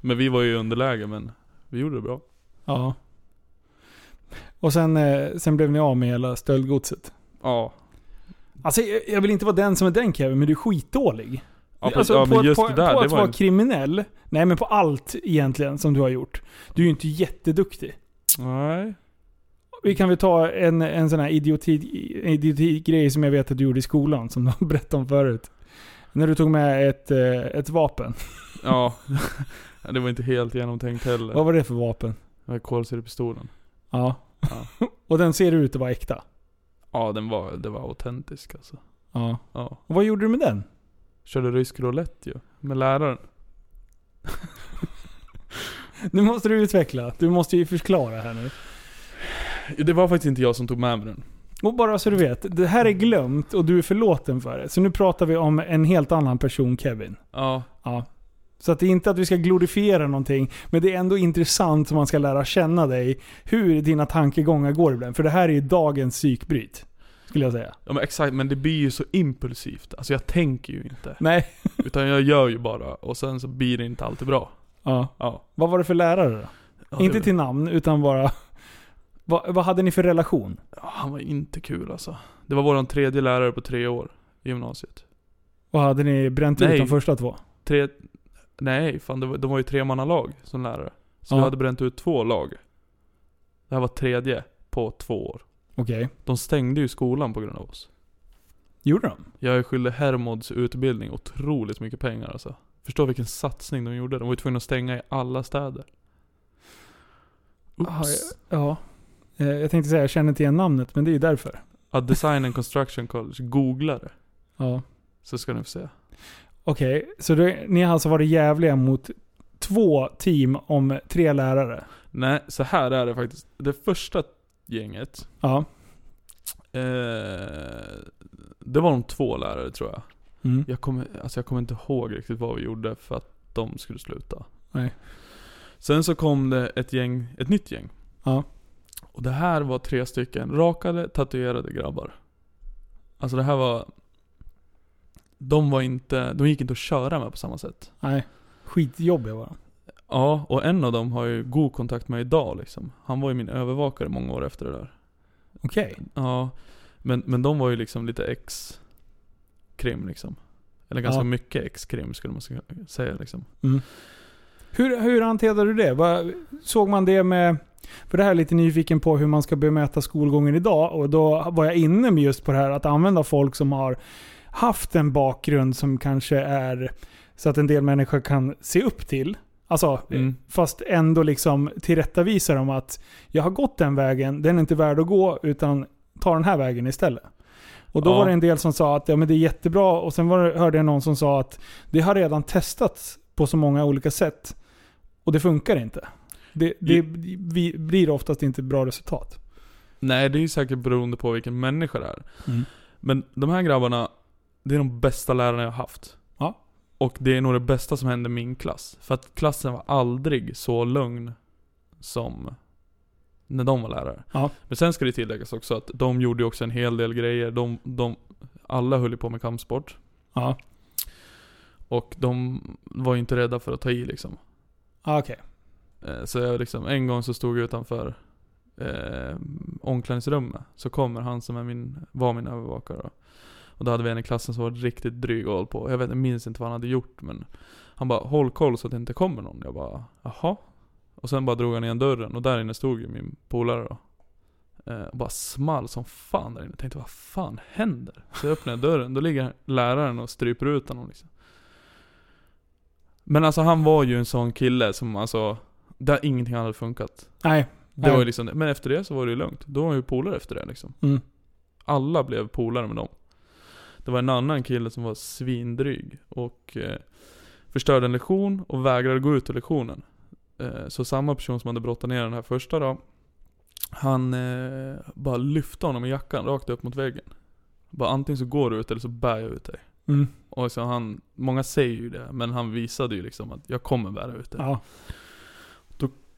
men vi var ju i underläge men vi gjorde det bra.
Ja. Och sen, eh, sen blev ni av med hela stöldgodset.
Ja.
Alltså jag, jag vill inte vara den som är den Kevin, men du är skitdålig.
Ja, precis.
alltså,
ja
på,
men just
på,
det där,
på
det
att
var
vara
en...
kriminell, nej men på allt egentligen som du har gjort. Du är ju inte jätteduktig.
Nej.
vi kan väl ta en, en sån här idioti, idioti-grej som jag vet att du gjorde i skolan, som [laughs] du berättade om förut. När du tog med ett, eh, ett vapen.
Ja. [laughs] Det var inte helt genomtänkt heller.
Vad var det för vapen?
Den här kolsyrepistolen.
Ja.
Ja.
[laughs] Och den ser ut att vara äkta.
Ja, den var, det var autentisk alltså.
Ja.
Ja.
Och vad gjorde du med den?
Körde rysk roulette ju. Med läraren.
Nu måste du utveckla. Du måste ju förklara här nu.
Det var faktiskt inte jag som tog med mig den.
Och bara så du vet, det här är glömt och du är förlåten för det. Så nu pratar vi om en helt annan person, Kevin.
Ja.
Ja. Så att det är inte att vi ska glorifiera någonting, men det är ändå intressant om man ska lära känna dig, hur dina tankegångar går ibland. För det här är ju dagens psykbryt, skulle jag säga.
ja men exakt, men det blir ju så impulsivt. Alltså jag tänker ju inte.
Nej.
Utan jag gör ju bara och sen så blir det inte alltid bra.
Ja.
Ja.
Vad var det för lärare då?
ja
inte
det,
till namn, utan bara... Vad, vad hade ni för relation?
ja, Han var inte kul alltså. Det var våran tredje lärare på tre år i gymnasiet.
Vad hade ni bränt ut
Nej.
de första två?
Tre... Nej, fan det var, de var ju tremannalag som lärare. Så
Ja.
vi hade bränt ut två lag. Det här var tredje på två år.
Okej.
De stängde ju skolan på grund av oss.
Gjorde de?
Jag är skyldig Hermods utbildning otroligt mycket pengar alltså. Förstå vilken satsning de gjorde. De var ju tvungna att stänga i alla städer.
Aha,
Oops.
Ja. Eh, Jag tänkte säga, jag känner inte igen namnet, men det är ju därför.
A Design and Construction College. Googla det.
Ja.
Så ska ni få se.
Okej, så du, ni har alltså varit jävliga mot två team om tre lärare?
Nej, så här är det faktiskt. Det första gänget.
Ja.
Eh, det var de två lärare tror jag.
Mm.
Jag kommer, alltså jag kommer inte ihåg riktigt vad vi gjorde för att de skulle sluta.
Nej.
Sen så kom det ett gäng, ett nytt gäng.
Ja.
Och det här var tre stycken rakade, tatuerade grabbar. Alltså det här var... De var inte, de gick inte att köra med på samma sätt.
Nej. Skitjobbiga var de.
Ja, och en av dem har jag ju god kontakt med idag liksom. Han var ju min övervakare många år efter det där.
Okej.
Ja, men, men de var ju liksom lite ex-krim liksom. Eller ganska
Ja.
mycket ex-krim skulle man ska- säga liksom.
Hur, hur hanterade du det? Vad- såg man det med... För det här är lite nyfiken på hur man ska bemöta skolgången idag. Och då var jag inne med just på det här att använda folk som har haft en bakgrund som kanske är så att en del människor kan se upp till. Alltså,
Mm.
fast ändå liksom tillrättavisa dem att jag har gått den vägen, den är inte värd att gå utan ta den här vägen istället. Och då
Ja.
var det en del som sa att ja, men det är jättebra och sen var det, hörde jag någon som sa att det har redan testats på så många olika sätt och det funkar inte. Det, det vi, blir oftast inte bra resultat.
Nej, det är ju säkert beroende på vilken människa det är.
Mm.
Men de här grabbarna, det är de bästa lärarna jag har haft.
Ja.
Och det är nog det bästa som hände i min klass. För att klassen var aldrig så lugn som när de var lärare.
Ja.
Men sen ska det tilläggas också att de gjorde ju också en hel del grejer. De, de, alla höll ju på med kampsport.
Ja,
Och de var ju inte rädda för att ta i liksom.
ah, okej.
Eh, Så jag liksom, en gång så stod jag utanför eh, omklädningsrummet. Så kommer han som är min, var min övervakare. Då. Och då hade vi en i klassen som var riktigt dryg och håll på. Jag vet, jag minns inte vad han hade gjort men han bara 'Håll koll så att det inte kommer någon' Jag bara 'Jaha?' Och sen bara drog han igen dörren och där inne stod ju min polare då. Eh, och bara small som fan där inne. Jag tänkte vad fan händer? Så jag öppnade dörren, då ligger läraren och stryper ut honom liksom. Men alltså han var ju en sån kille som alltså, där ingenting hade funkat.
Nej.
Det var
Nej.
ju liksom, men efter det så var det ju lugnt. Då var jag ju polare efter det liksom.
Mm.
Alla blev polare med dem. Det var en annan kille som var svindryg och eh, förstörde en lektion och vägrade gå ut ur lektionen. Eh, så samma person som hade brottat ner den här första då, han eh, bara lyfte honom i jackan rakt upp mot väggen. Bara antingen så går du ut eller så bär jag ut dig.
Mm.
Och så han, många säger ju det, men han visade ju liksom att jag kommer bära ut dig.
Ja.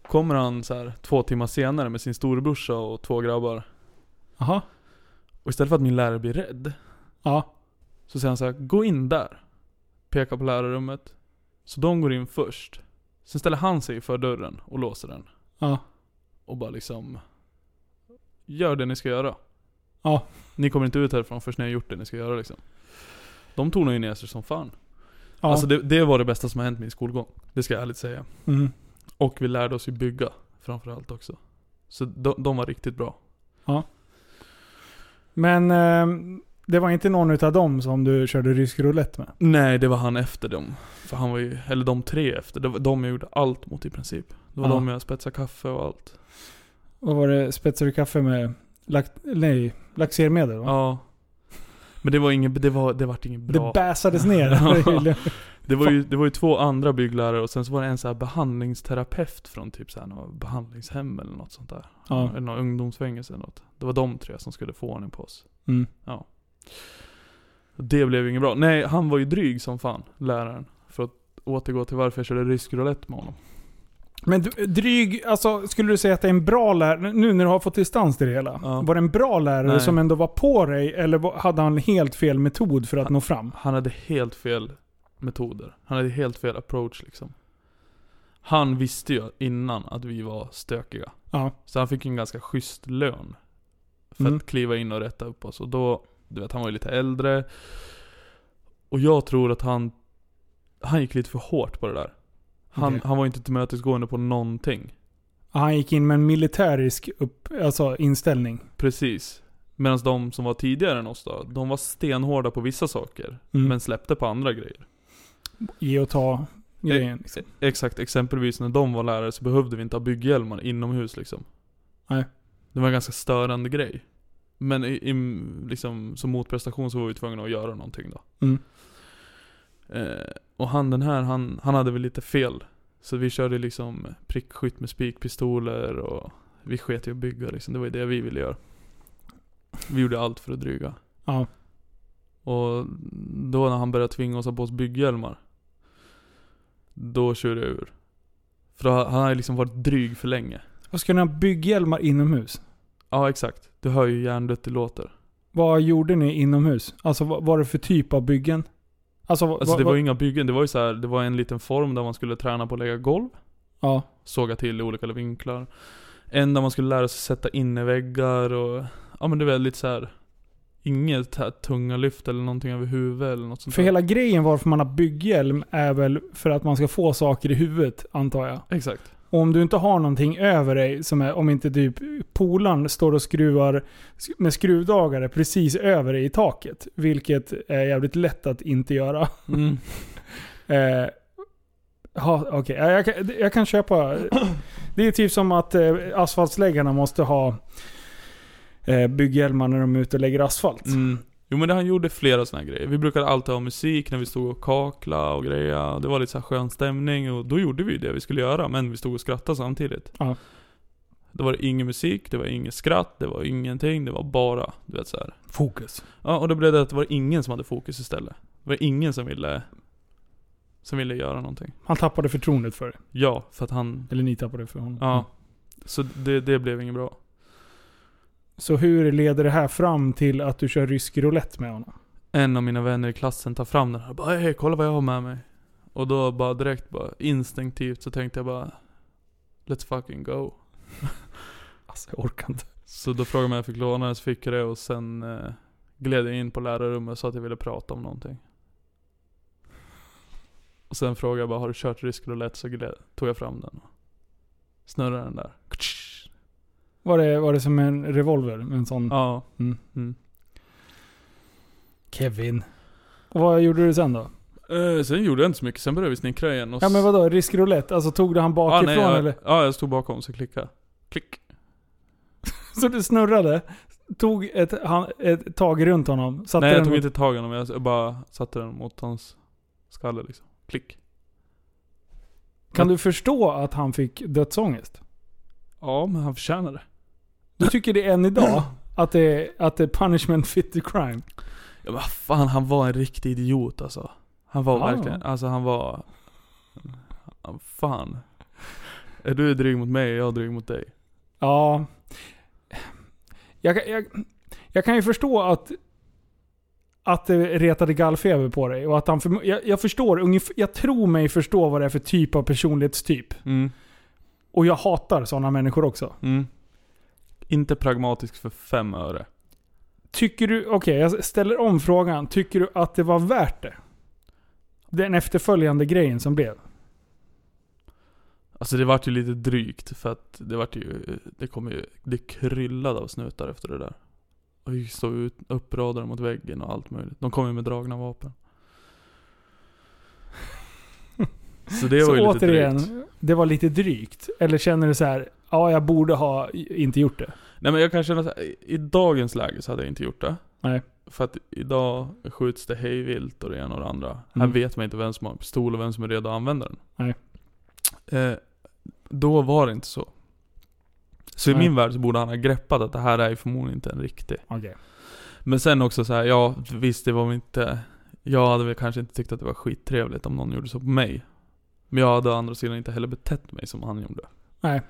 Kommer han så här två timmar senare med sin storebrorsa och två grabbar.
Aha.
Och istället för att min lärare blir rädd,
Ja.
Så säger han så här, gå in där. Pekar på lärarrummet. Så de går in först. Sen ställer han sig för dörren och låser den.
Ja.
Och bara liksom, gör det ni ska göra.
Ja.
Ni kommer inte ut härifrån först när ni har gjort det ni ska göra liksom. De tog nog ju ner sig som fan.
ja.
Alltså det, det var det bästa som har hänt min skolgång. Det ska jag ärligt säga.
mm.
Och vi lärde oss ju bygga framförallt också. Så de, de var riktigt bra.
Men eh, det var inte någon utav dem som du körde rysk roulette med?
Nej, det var han efter dem. För han var ju, eller de tre efter. Det var de jag gjorde allt mot i princip. Det var
Ja.
de jag spetsade kaffe och allt.
Vad var det? Spetsade du kaffe med lak- nej, laxermedel? Va?
Ja. Men det var inget, det var, det vart inget bra.
det bäsades [laughs] ner.
Ja. Det var, ju, det var ju två andra bygglärare och sen så var det en så här behandlingsterapeut från typ så här något behandlingshem eller något sånt där.
Ja.
Eller något ungdomsfängelse eller något. Det var de tre som skulle få ordning på oss.
Mm.
Det blev ju inget bra. Nej, han var ju dryg som fan, läraren. För att återgå till varför jag körde rysk roulette med honom.
Men du- dryg, alltså skulle du säga att det är en bra lärare, nu när du har fått distans till det hela.
Ja.
Var det en bra lärare
Nej.
som ändå var på dig eller var- hade han helt fel metod för att
Han-
nå fram?
Han hade helt fel metoder. Han hade helt fel approach liksom. Han visste ju innan att vi var stökiga.
Ja.
Så han fick ju en ganska schysst lön. För
Mm.
att kliva in och rätta upp oss. Och då, du vet han var ju lite äldre. Och jag tror att han, han gick lite för hårt på det där. Han,
Okej.
han var inte tillmötesgående på någonting.
Han gick in med en militärisk upp, alltså inställning.
Precis. Medan de som var tidigare än oss då, de var stenhårda på vissa saker.
Mm.
Men släppte på andra grejer.
Ge och ta grejen. Liksom.
Exakt, exempelvis när de var lärare så behövde vi inte ha bygghjälmar inomhus liksom.
Nej.
Det var en ganska störande grej. Men i, i, liksom, som motprestation så var vi tvungna att göra någonting då.
Mm.
Eh, och han den här, han, han hade väl lite fel. Så vi körde liksom prickskytt med spikpistoler och vi sket i att bygga liksom. Det var ju det vi ville göra. Vi gjorde allt för att dryga.
Ja.
Och då när han började tvinga oss att ha på oss bygghjälmar. Då körde jag ur. För då- han hade liksom varit dryg för länge.
Vad skulle ni ha bygghjälmar inomhus?
Ja exakt. Du hör ju hjärndött det låter.
Vad gjorde ni inomhus? Alltså vad var det för typ av byggen? Alltså, vad,
Alltså det
vad,
var ju inga byggen. Det var ju så här, det var en liten form där man skulle träna på att lägga golv.
Ja,
Såga till i olika vinklar. En där man skulle lära sig sätta inneväggar och... Ja men det var lite så här. Inget här tunga lyft eller någonting över huvudet eller något sånt
för
där.
hela grejen varför man har bygghjälm är väl för att man ska få saker i huvudet, antar jag.
Exakt.
Och om du inte har någonting över dig, som är, om inte typ polan står och skruvar sk- med skruvdragare precis över dig i taket, vilket är jävligt lätt att inte göra. [laughs]
Mm.
Eh, ha, okej. Ja, jag, kan- jag kan köpa... [clears throat] Det är typ som att eh, asfaltsläggarna måste ha eh, bygghjälmar när de är ute och lägger asfalt.
Mm. Jo men det, han gjorde flera såna här grejer. Vi brukade alltid ha musik när vi stod och kakla och grejer. Det var lite så här skön stämning och då gjorde vi ju det vi skulle göra men vi stod och skrattade samtidigt.
Ja.
Då var det ingen musik, det var ingen skratt, det var ingenting, det var bara du vet så här.
Fokus.
Ja och då blev det att det var ingen som hade fokus istället. Det var ingen som ville som ville göra någonting.
Han tappade förtroendet för det.
Ja, för att han...
Eller ni tappade det för honom.
Ja. Så det, det blev inget bra.
Så hur leder det här fram till att du kör rysk roulette med honom?
en av mina vänner i klassen tar fram den här och bara hej kolla vad jag har med mig. Och då bara direkt bara instinktivt så tänkte jag bara Let's fucking go.
Alltså jag orkar inte.
Så då frågade jag om jag fick låna den, så fick jag det och sen eh, gled jag in på lärarrummet och sa att jag ville prata om någonting. Och sen frågade jag bara har du kört rysk roulette så gled, tog jag fram den och snurrade den där.
Var det, var det som en revolver med en sån?
Ja.
Mm.
Mm.
Kevin. Och vad gjorde du sen då?
Eh, sen gjorde jag inte så mycket, sen började vi snickra igen. Och
Ja men
s-
vadå, risk roulette? Alltså tog du han
ah,
bakifrån
nej, jag,
eller?
Ja, jag stod bakom så klickade. Klick.
Så du snurrade, tog ett, han, ett tag runt honom, satte
Nej jag
den
tog
mot-
inte tag i honom, jag s- jag bara satte den mot hans skalle liksom. Klick.
Kan du förstå att han fick dödsångest?
Ja, men han förtjänar det.
Du tycker det än
[laughs]
idag, att det, att det är punishment fit the crime?
Ja, men fan, han var en riktig idiot alltså. Han var
Ja.
verkligen, alltså han var... han- Fan. Är du dryg mot mig, är jag dryg mot dig.
Ja. Jag, kan- jag, jag kan ju förstå att, att det retade gallfeber på dig. Och att han för, jag, jag förstår, ungef- jag tror mig förstå vad det är för typ av personlighetstyp.
Mm.
Och jag hatar sådana människor också.
Mm. Inte pragmatisk för fem öre.
Tycker du, okej jag ställer om frågan. Tycker du att det var värt det? Den efterföljande grejen som blev.
Alltså det vart ju lite drygt för att det vart ju, det kom ju, det kryllade av snutar efter det där. Och vi stod ut, uppradade mot väggen och allt möjligt. De kom ju med
[laughs]
dragna vapen. Så det
så
var ju lite
återigen,
drygt.
det var lite drygt. Eller känner du så här, ja jag borde ha inte gjort det.
Nej men jag kan känna så här, i- i dagens läge så hade jag inte gjort det.
Nej.
För att idag skjuts det hejvilt och det ena och det andra. Här
Mm.
vet man inte vem som har en pistol och vem som är redo att använda den.
Nej.
Eh, då var det inte så. Så i
Nej.
min värld så borde han ha greppat att det här är ju förmodligen inte en riktig.
Okej.
Men sen också så här, ja visst det var väl inte... Jag hade väl kanske inte tyckt att det var skittrevligt om någon gjorde så på mig. Men jag hade å andra sidan inte heller betett mig som han gjorde.
Nej.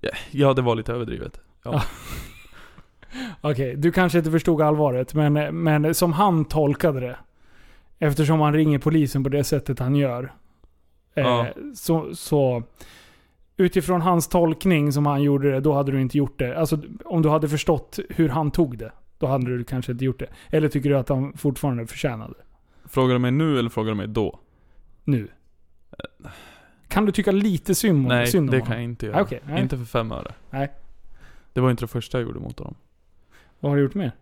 Ja, Ja, det var lite överdrivet.
Okej, du kanske inte förstod allvaret, men, men som han tolkade det. Eftersom han ringer polisen på det sättet han gör.
Ja.
Eh, så, så utifrån hans tolkning som han gjorde det, då hade du inte gjort det. Alltså om du hade förstått hur han tog det, då hade du kanske inte gjort det. Eller tycker du att han fortfarande förtjänade det?
Frågar du mig nu eller frågar du mig då?
Nu. Kan du tycka lite synd om
Nej,
Mm. synd om
det
honom?
kan jag inte göra.
Ah, okej, nej.
Inte för fem öre.
Nej.
Det var inte det första jag gjorde mot honom.
Vad har du gjort mer?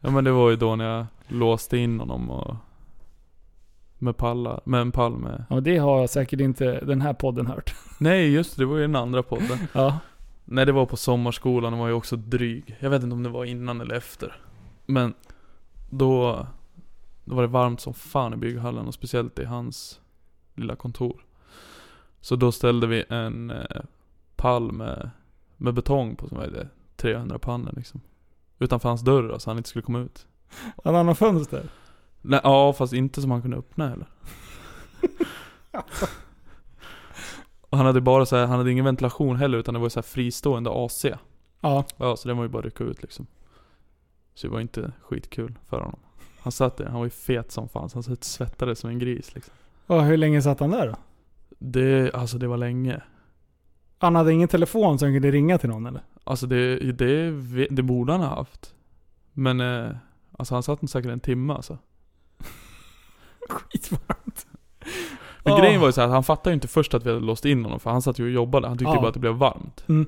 Ja men det var ju då när jag låste in honom och... Med pallar, med en pall med...
Ja, det har säkert inte den här podden hört.
Nej just det, det var ju den andra podden.
Ja.
Nej det var på sommarskolan, den var ju också dryg. Jag vet inte om det var innan eller efter. Men då, då var det varmt som fan i bygghallen och speciellt i hans lilla kontor. Så då ställde vi en eh, pall med, med betong på som vägde 300 pannor liksom. Utanför hans dörr så han inte skulle komma ut.
En annan fönster?
Nej, ja fast inte som han kunde öppna heller. och han hade bara så här, han hade ingen ventilation heller utan det var så här fristående AC.
Ja.
Ja, så den var ju bara att rycka ut liksom. Så det var inte skitkul för honom. Han satt där, han var ju fet som fan, så han satt svettades som en gris liksom.
Och hur länge satt han där då?
Det, alltså det var länge.
Han hade ingen telefon som kunde ringa till någon eller?
Alltså det, det, ve- det borde han ha haft. Men, eh, alltså han satt nog säkert en timme alltså.
Skitvarmt.
Men
Ah.
grejen var ju så här, han fattade ju inte först att vi hade låst in honom, för han satt ju och jobbade. Han tyckte ju
Ah.
bara att det blev varmt.
Mm.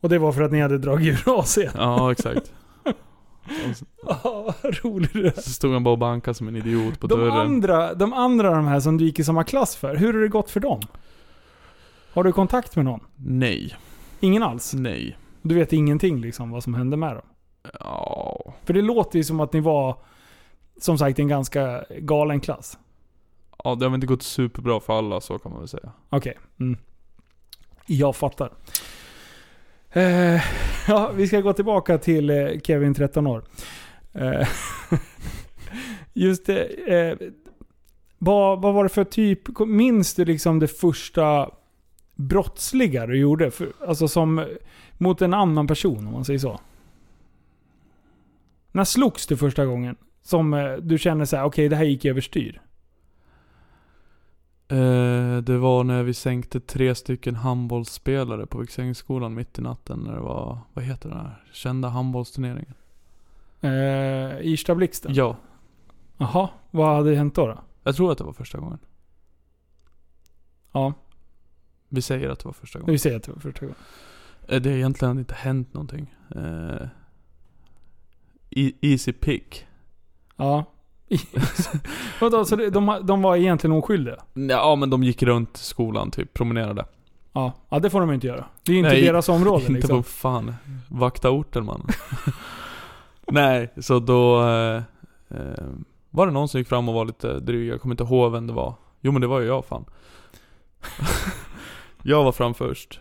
Och det var för att ni hade dragit ur AC'n.
Ja, exakt. Och så-
[laughs] Ja, vad rolig du är.
så stod han bara och bankade som en idiot på
De
dörren.
andra, de andra de här som du gick i samma klass för, hur har det gått för dem? Har du kontakt med någon?
Nej,
Ingen alls?
nej.
Du vet ingenting liksom vad som hände med dem?
Ja,
För det låter ju som att ni var, som sagt, en ganska galen klass.
ja det har väl inte gått superbra för alla, så kan man väl säga.
Okej. Mm. Jag fattar. Eh, [laughs] ja, vi ska gå tillbaka till eh, Kevin 13 år. Eh, [laughs] just det. Eh, vad, vad var det för typ? Minns du liksom det första brottsliga du gjorde? För, alltså som eh, mot en annan person om man säger så. När slogs du första gången? Som eh, du känner så här, okej det här gick överstyr.
Eh, det var när vi sänkte tre stycken handbollsspelare på Viksängsskolan mitt i natten när det var, vad heter den här, kända handbollsturneringen?
Eh, Irsta blixten?
Ja,
Jaha, vad hade hänt då? då?
jag tror att det var första gången.
Ja,
Vi säger att det var första gången.
nu ser jag till första gången.
Eh, det har egentligen inte hänt någonting. Eh, e- easy pick.
Ja. [laughs] Vadå, så det, de, de var egentligen oskyldiga?
Ja men de gick runt skolan typ, promenerade.
Ja. ja, det får de inte göra. Det är inte
Nej,
deras område
Inte
liksom.
vad fan. Vakta orten man. [laughs] Nej, så då... Eh, eh, var det någon som gick fram och var lite dryg? Jag kommer inte ihåg vem det var. Jo men det var ju jag fan. [laughs] jag var fram först.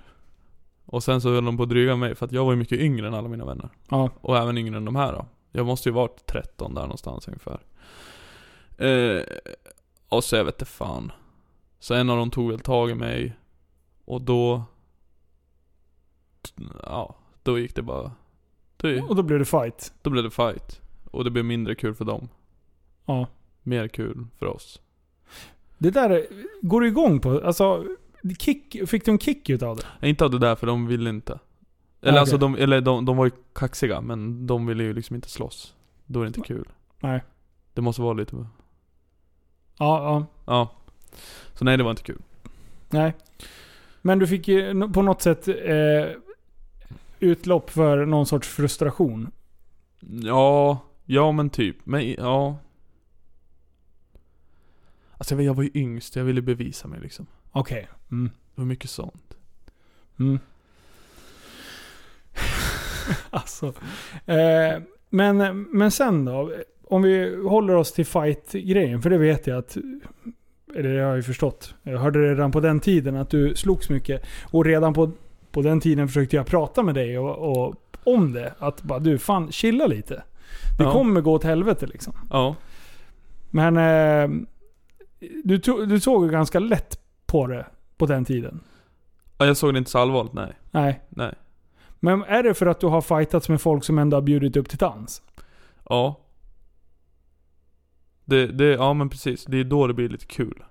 Och sen så höll de på att dryga mig för att jag var ju mycket yngre än alla mina vänner.
Ja.
Och även yngre än de här då. Jag måste ju varit 13 där någonstans ungefär. Eh, och så jag vet inte fan. Så en av dem tog väl tag i mig. Och då... Ja, då gick det bara... Då,
Och då blev det fight.
då blev det fight. Och det blev mindre kul för dem.
Ja.
Mer kul för oss.
Det där går du igång på. Alltså, kick, fick du en kick utav det?
Nej, Inte av det där för de ville inte. Eller
Okej.
alltså de, eller de, de var ju kaxiga men de ville ju liksom inte slåss. Då är det inte kul.
Nej.
Det måste vara lite...
Ja, ja.
Ja. Så nej det var inte kul.
Nej. Men du fick ju no- på något sätt eh, utlopp för någon sorts frustration.
Ja, ja men typ. Men i- ja. Alltså jag, vet, jag var ju yngst, jag ville bevisa mig liksom.
Okej. Mm.
Det var mycket sånt.
Mm. alltså. Eh, men, men sen då? Om vi håller oss till fight-grejen, för det vet jag att... Eller det har jag ju förstått. Jag hörde det redan på den tiden att du slogs mycket. Och redan på, på den tiden försökte jag prata med dig och, och om det. Att bara du, fan chilla lite. Det
Ja.
kommer gå åt helvete liksom.
Ja.
Men eh, du, to- du såg ju ganska lätt på det på den tiden.
ja. Jag såg det inte så allvarligt, nej.
Nej.
Nej.
Men är det för att du har fightats med folk som ändå har bjudit upp till dans?
Ja. Det, det, ja men precis. Det är då det blir lite kul.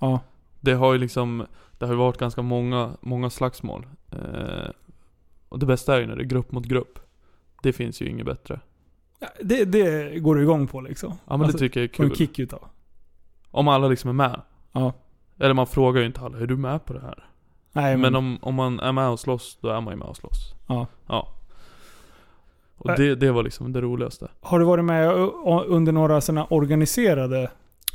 Ja.
Det har ju liksom, det har ju varit ganska många, många slagsmål. Eh, och det bästa är ju när det är grupp mot grupp. Det finns ju inget bättre.
Det, det går du igång på liksom.
Ja men
Alltså,
det tycker jag är
Får en
kul.
kick utav.
Om alla liksom är med.
Ja.
Eller man frågar ju inte alla, är du med på det här?
Nej,
Men om, om man är med och slåss, då är man ju med och slåss.
Ja.
ja. Och
Ä-
det, det var liksom det roligaste.
Har du varit med ö- ö- under några sådana organiserade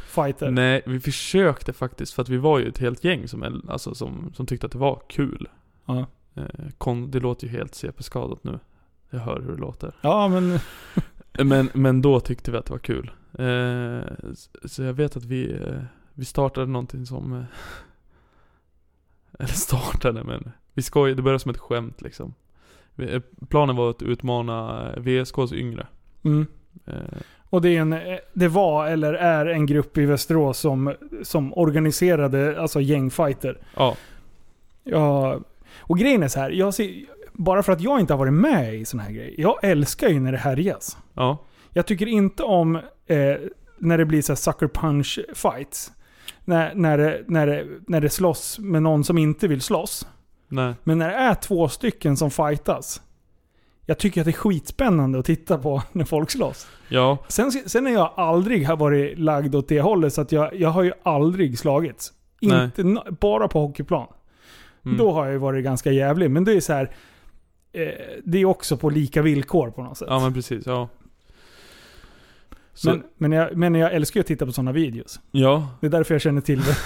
fighter?
Nej, vi försökte faktiskt för att vi var ju ett helt gäng som, äl- alltså, som, som tyckte att det var kul.
Ja.
Eh, kon, det låter ju helt CP-skadat nu. Jag hör hur det låter.
Ja, men...
Men, men då tyckte vi att det var kul. Eh, s- så jag vet att vi, eh, vi startade någonting som... Eh, [laughs] eller startade, men vi skojade. Det började som ett skämt liksom. Vi, eh, planen var att utmana eh, VSKs yngre.
Mm.
Eh,
Och det, är en, eh, det var eller är en grupp i Västerås som, som organiserade alltså gängfighter.
ja,
Ja, och grejen är så här, jag ser, bara för att jag inte har varit med i sådana här grejer. Jag älskar ju när det härjas.
ja,
Jag tycker inte om eh, när det blir så här sucker punch fights. När, när, det, när, det, när det slåss med någon som inte vill slåss.
nej,
Men när det är två stycken som fightas. Jag tycker att det är skitspännande att titta på [laughs] när folk slåss.
ja,
Sen, sen har jag aldrig har varit lagd åt det hållet så att jag, jag har ju aldrig slagits.
Nej.
Inte, nå- bara på hockeyplan.
mm,
Då har jag ju varit ganska jävlig. Men det är så här. Eh, det är också på lika villkor på något sätt.
ja men precis, ja. Så,
men, men, jag, men jag älskar ju att titta på sådana videos.
ja,
Det är därför jag känner
[laughs]
till det.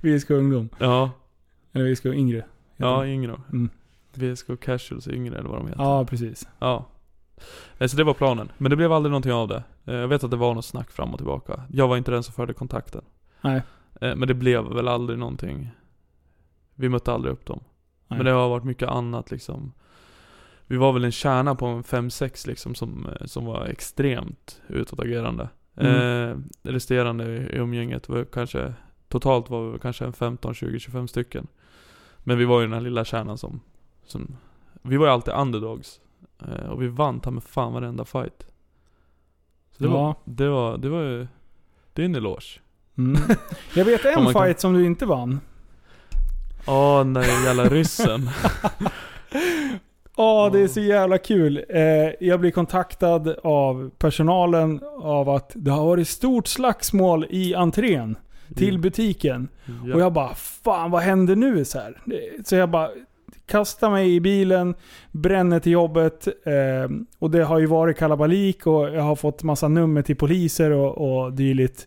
VSK Ungdom.
ja,
Eller VSK Yngre. heter
ja,
det.
yngre.
Mm.
VSK Casuals yngre eller vad de heter.
ja, precis.
Ja. Nej, Så det var planen. Men det blev aldrig någonting av det. Eh, Jag vet att det var något snack fram och tillbaka. Jag var inte den som förde kontakten.
Nej.
Eh, Men det blev väl aldrig någonting. Vi mötte aldrig upp dem.
Nej.
Men det har varit mycket annat liksom. Vi var väl en kärna på en 5-6 liksom som, eh, som var extremt utåtagerande.
Mm.
Eh, resterande i i umgänget var kanske, totalt var vi kanske en 15, 20, 25 stycken. Men vi var ju den här lilla kärnan som, som vi var ju alltid underdogs. Eh, och vi vann ta med fan varenda fight. Så det,
Ja.
var, det var, det var ju, det är en eloge.
Mm. Jag vet en
Om man kan-
fight som du inte vann.
Åh den där jävla [laughs] ryssen.
Ja, det är så jävla kul. Eh, jag blir kontaktad av personalen av att det har varit stort slagsmål i entrén
Mm.
till butiken.
ja.
Och jag bara, fan vad händer nu? Så, här? Det- så jag bara kastar mig i bilen, bränner till jobbet. Eh, och det har ju varit kalabalik och jag har fått massa nummer till poliser och, och dylikt.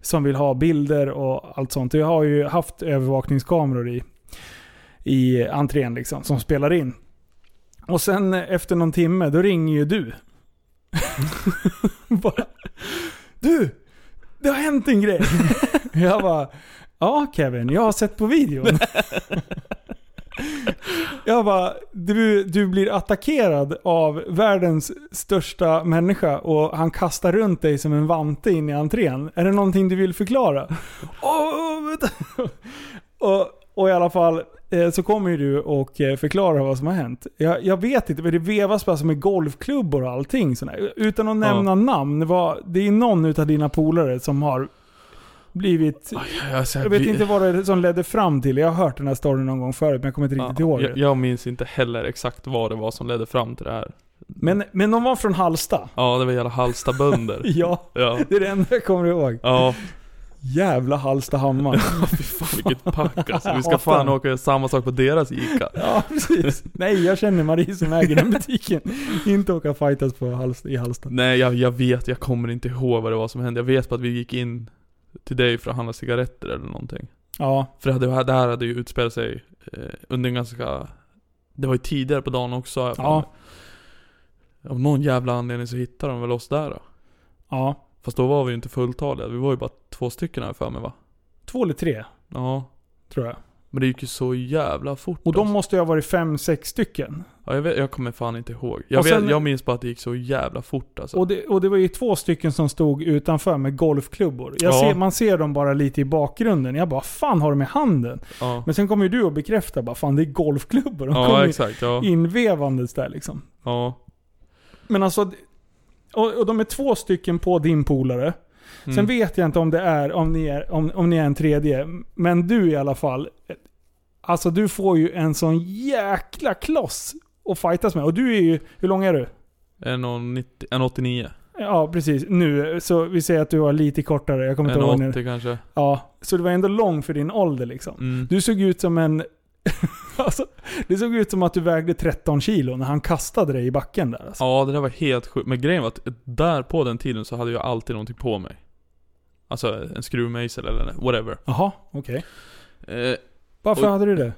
Som vill ha bilder och allt sånt. Och jag har ju haft övervakningskameror i, i entrén liksom, som spelar in. Och sen eh, efter någon timme, då ringer ju du. [laughs] bara, du! Det har hänt en grej! [laughs] jag bara, Ja Kevin, jag har sett på [laughs] videon. jag bara, du, du blir attackerad av världens största människa och han kastar runt dig som en vante in i entrén. Är det någonting du vill förklara? Åh, åh, vänta. [laughs] och, och i alla fall eh, så kommer ju du och eh, förklarar vad som har hänt. Jag, jag vet inte, men det vevas bara som med golfklubbor och allting. sån här. Utan att
Ja.
nämna namn, vad, det är någon utav dina polare som har blivit
Alltså,
jag vet
vi-
inte vad det som ledde fram till Jag har hört den här storyn någon gång förut, men jag kommer inte riktigt ihåg
jag,
det.
jag minns inte heller exakt vad det var som ledde fram till det här.
Men, men de var från Halsta.
[laughs] Ja, det var jävla Hallstabönder.
[laughs] Ja,
ja.
det är det enda jag kommer ihåg.
Ja.
Jävla
[laughs]
Hallstahammar.
Ja, fy fan vilket
[laughs]
pack alltså. Vi ska
Ja, fan.
fan åka och göra samma sak på deras ICA.
Ja, precis. Nej, jag känner Marie som äger den
[laughs]
butiken. Inte åka fightas på Hallst- i Hallsta.
Nej, jag, jag vet, jag kommer inte ihåg vad det var som hände. Jag vet bara att vi gick in till dig för att handla cigaretter eller någonting.
Ja,
För det hade- det här hade ju utspelat sig eh, under en ganska... Det var ju tidigare på dagen också. har jag för
Ja.
mig. Av någon jävla anledning så hittade de väl oss där då.
ja.
Fast då var vi ju inte fulltaliga. Vi var ju bara två stycken här för mig va?
Två eller tre,
Ja.
tror jag.
Men det gick ju så jävla fort
Och de
alltså.
måste ju ha varit fem, sex stycken.
ja, jag, vet, jag kommer fan inte ihåg. Jag,
Och sen-
vet, jag minns bara att det gick så jävla fort alltså.
Och det, och det var ju två stycken som stod utanför med golfklubbor. Jag
Ja.
ser, man ser dem bara lite i bakgrunden. Jag bara, fan har de i handen?
ja.
Men sen kommer ju du och bekräftar bara, fan det är golfklubbor. De kommer
ja,
ju
exakt. Ja.
invevandes där liksom.
ja.
Men alltså, och, och de är två stycken på din polare.
Mm.
Sen vet jag inte om det är, om ni är, om, om ni är en tredje. Men du i alla fall. Alltså du får ju en sån jäkla kloss att fightas med. Och du är ju, hur lång är du?
1,90 1,89.
Ja, precis. Nu. Så vi säger att du var lite kortare. Jag kommer inte ihåg nu.
1,80 kanske.
Ja, så du var ändå lång för din ålder liksom.
Mm.
Du såg ut som en... [laughs] alltså, det såg ut som att du vägde 13 kilo när han kastade dig i backen där. Alltså.
Ja, det där var helt sjukt. Men grejen var att där på den tiden så hade jag alltid någonting på mig. Alltså en skruvmejsel eller whatever.
Jaha, okej.
Eh,
Varför
Oj.
hade du det?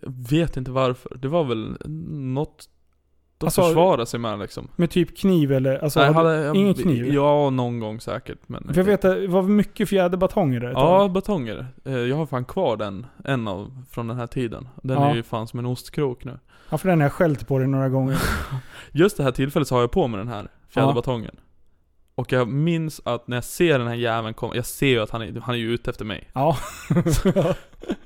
jag vet inte varför. Det var väl något att
Alltså,
försvara sig med liksom.
Med typ kniv eller? Alltså,
Nej,
hade-
hade jag-
ingen kniv?
Ja, någon gång säkert. Men
För jag vet att det var mycket fjäderbatonger där ett
Ja,
tag.
batonger. Eh, Jag har fan kvar den. En av, från den här tiden. Den
Ja.
är ju fan som en ostkrok nu.
ja. För den har jag skällt på dig några
[laughs]
gånger.
Just det här tillfället så har jag på mig den här fjäderbatongen. Och jag minns att när jag ser den här jäveln komma, jag ser ju att han är, han är ju ute efter mig.
Ja.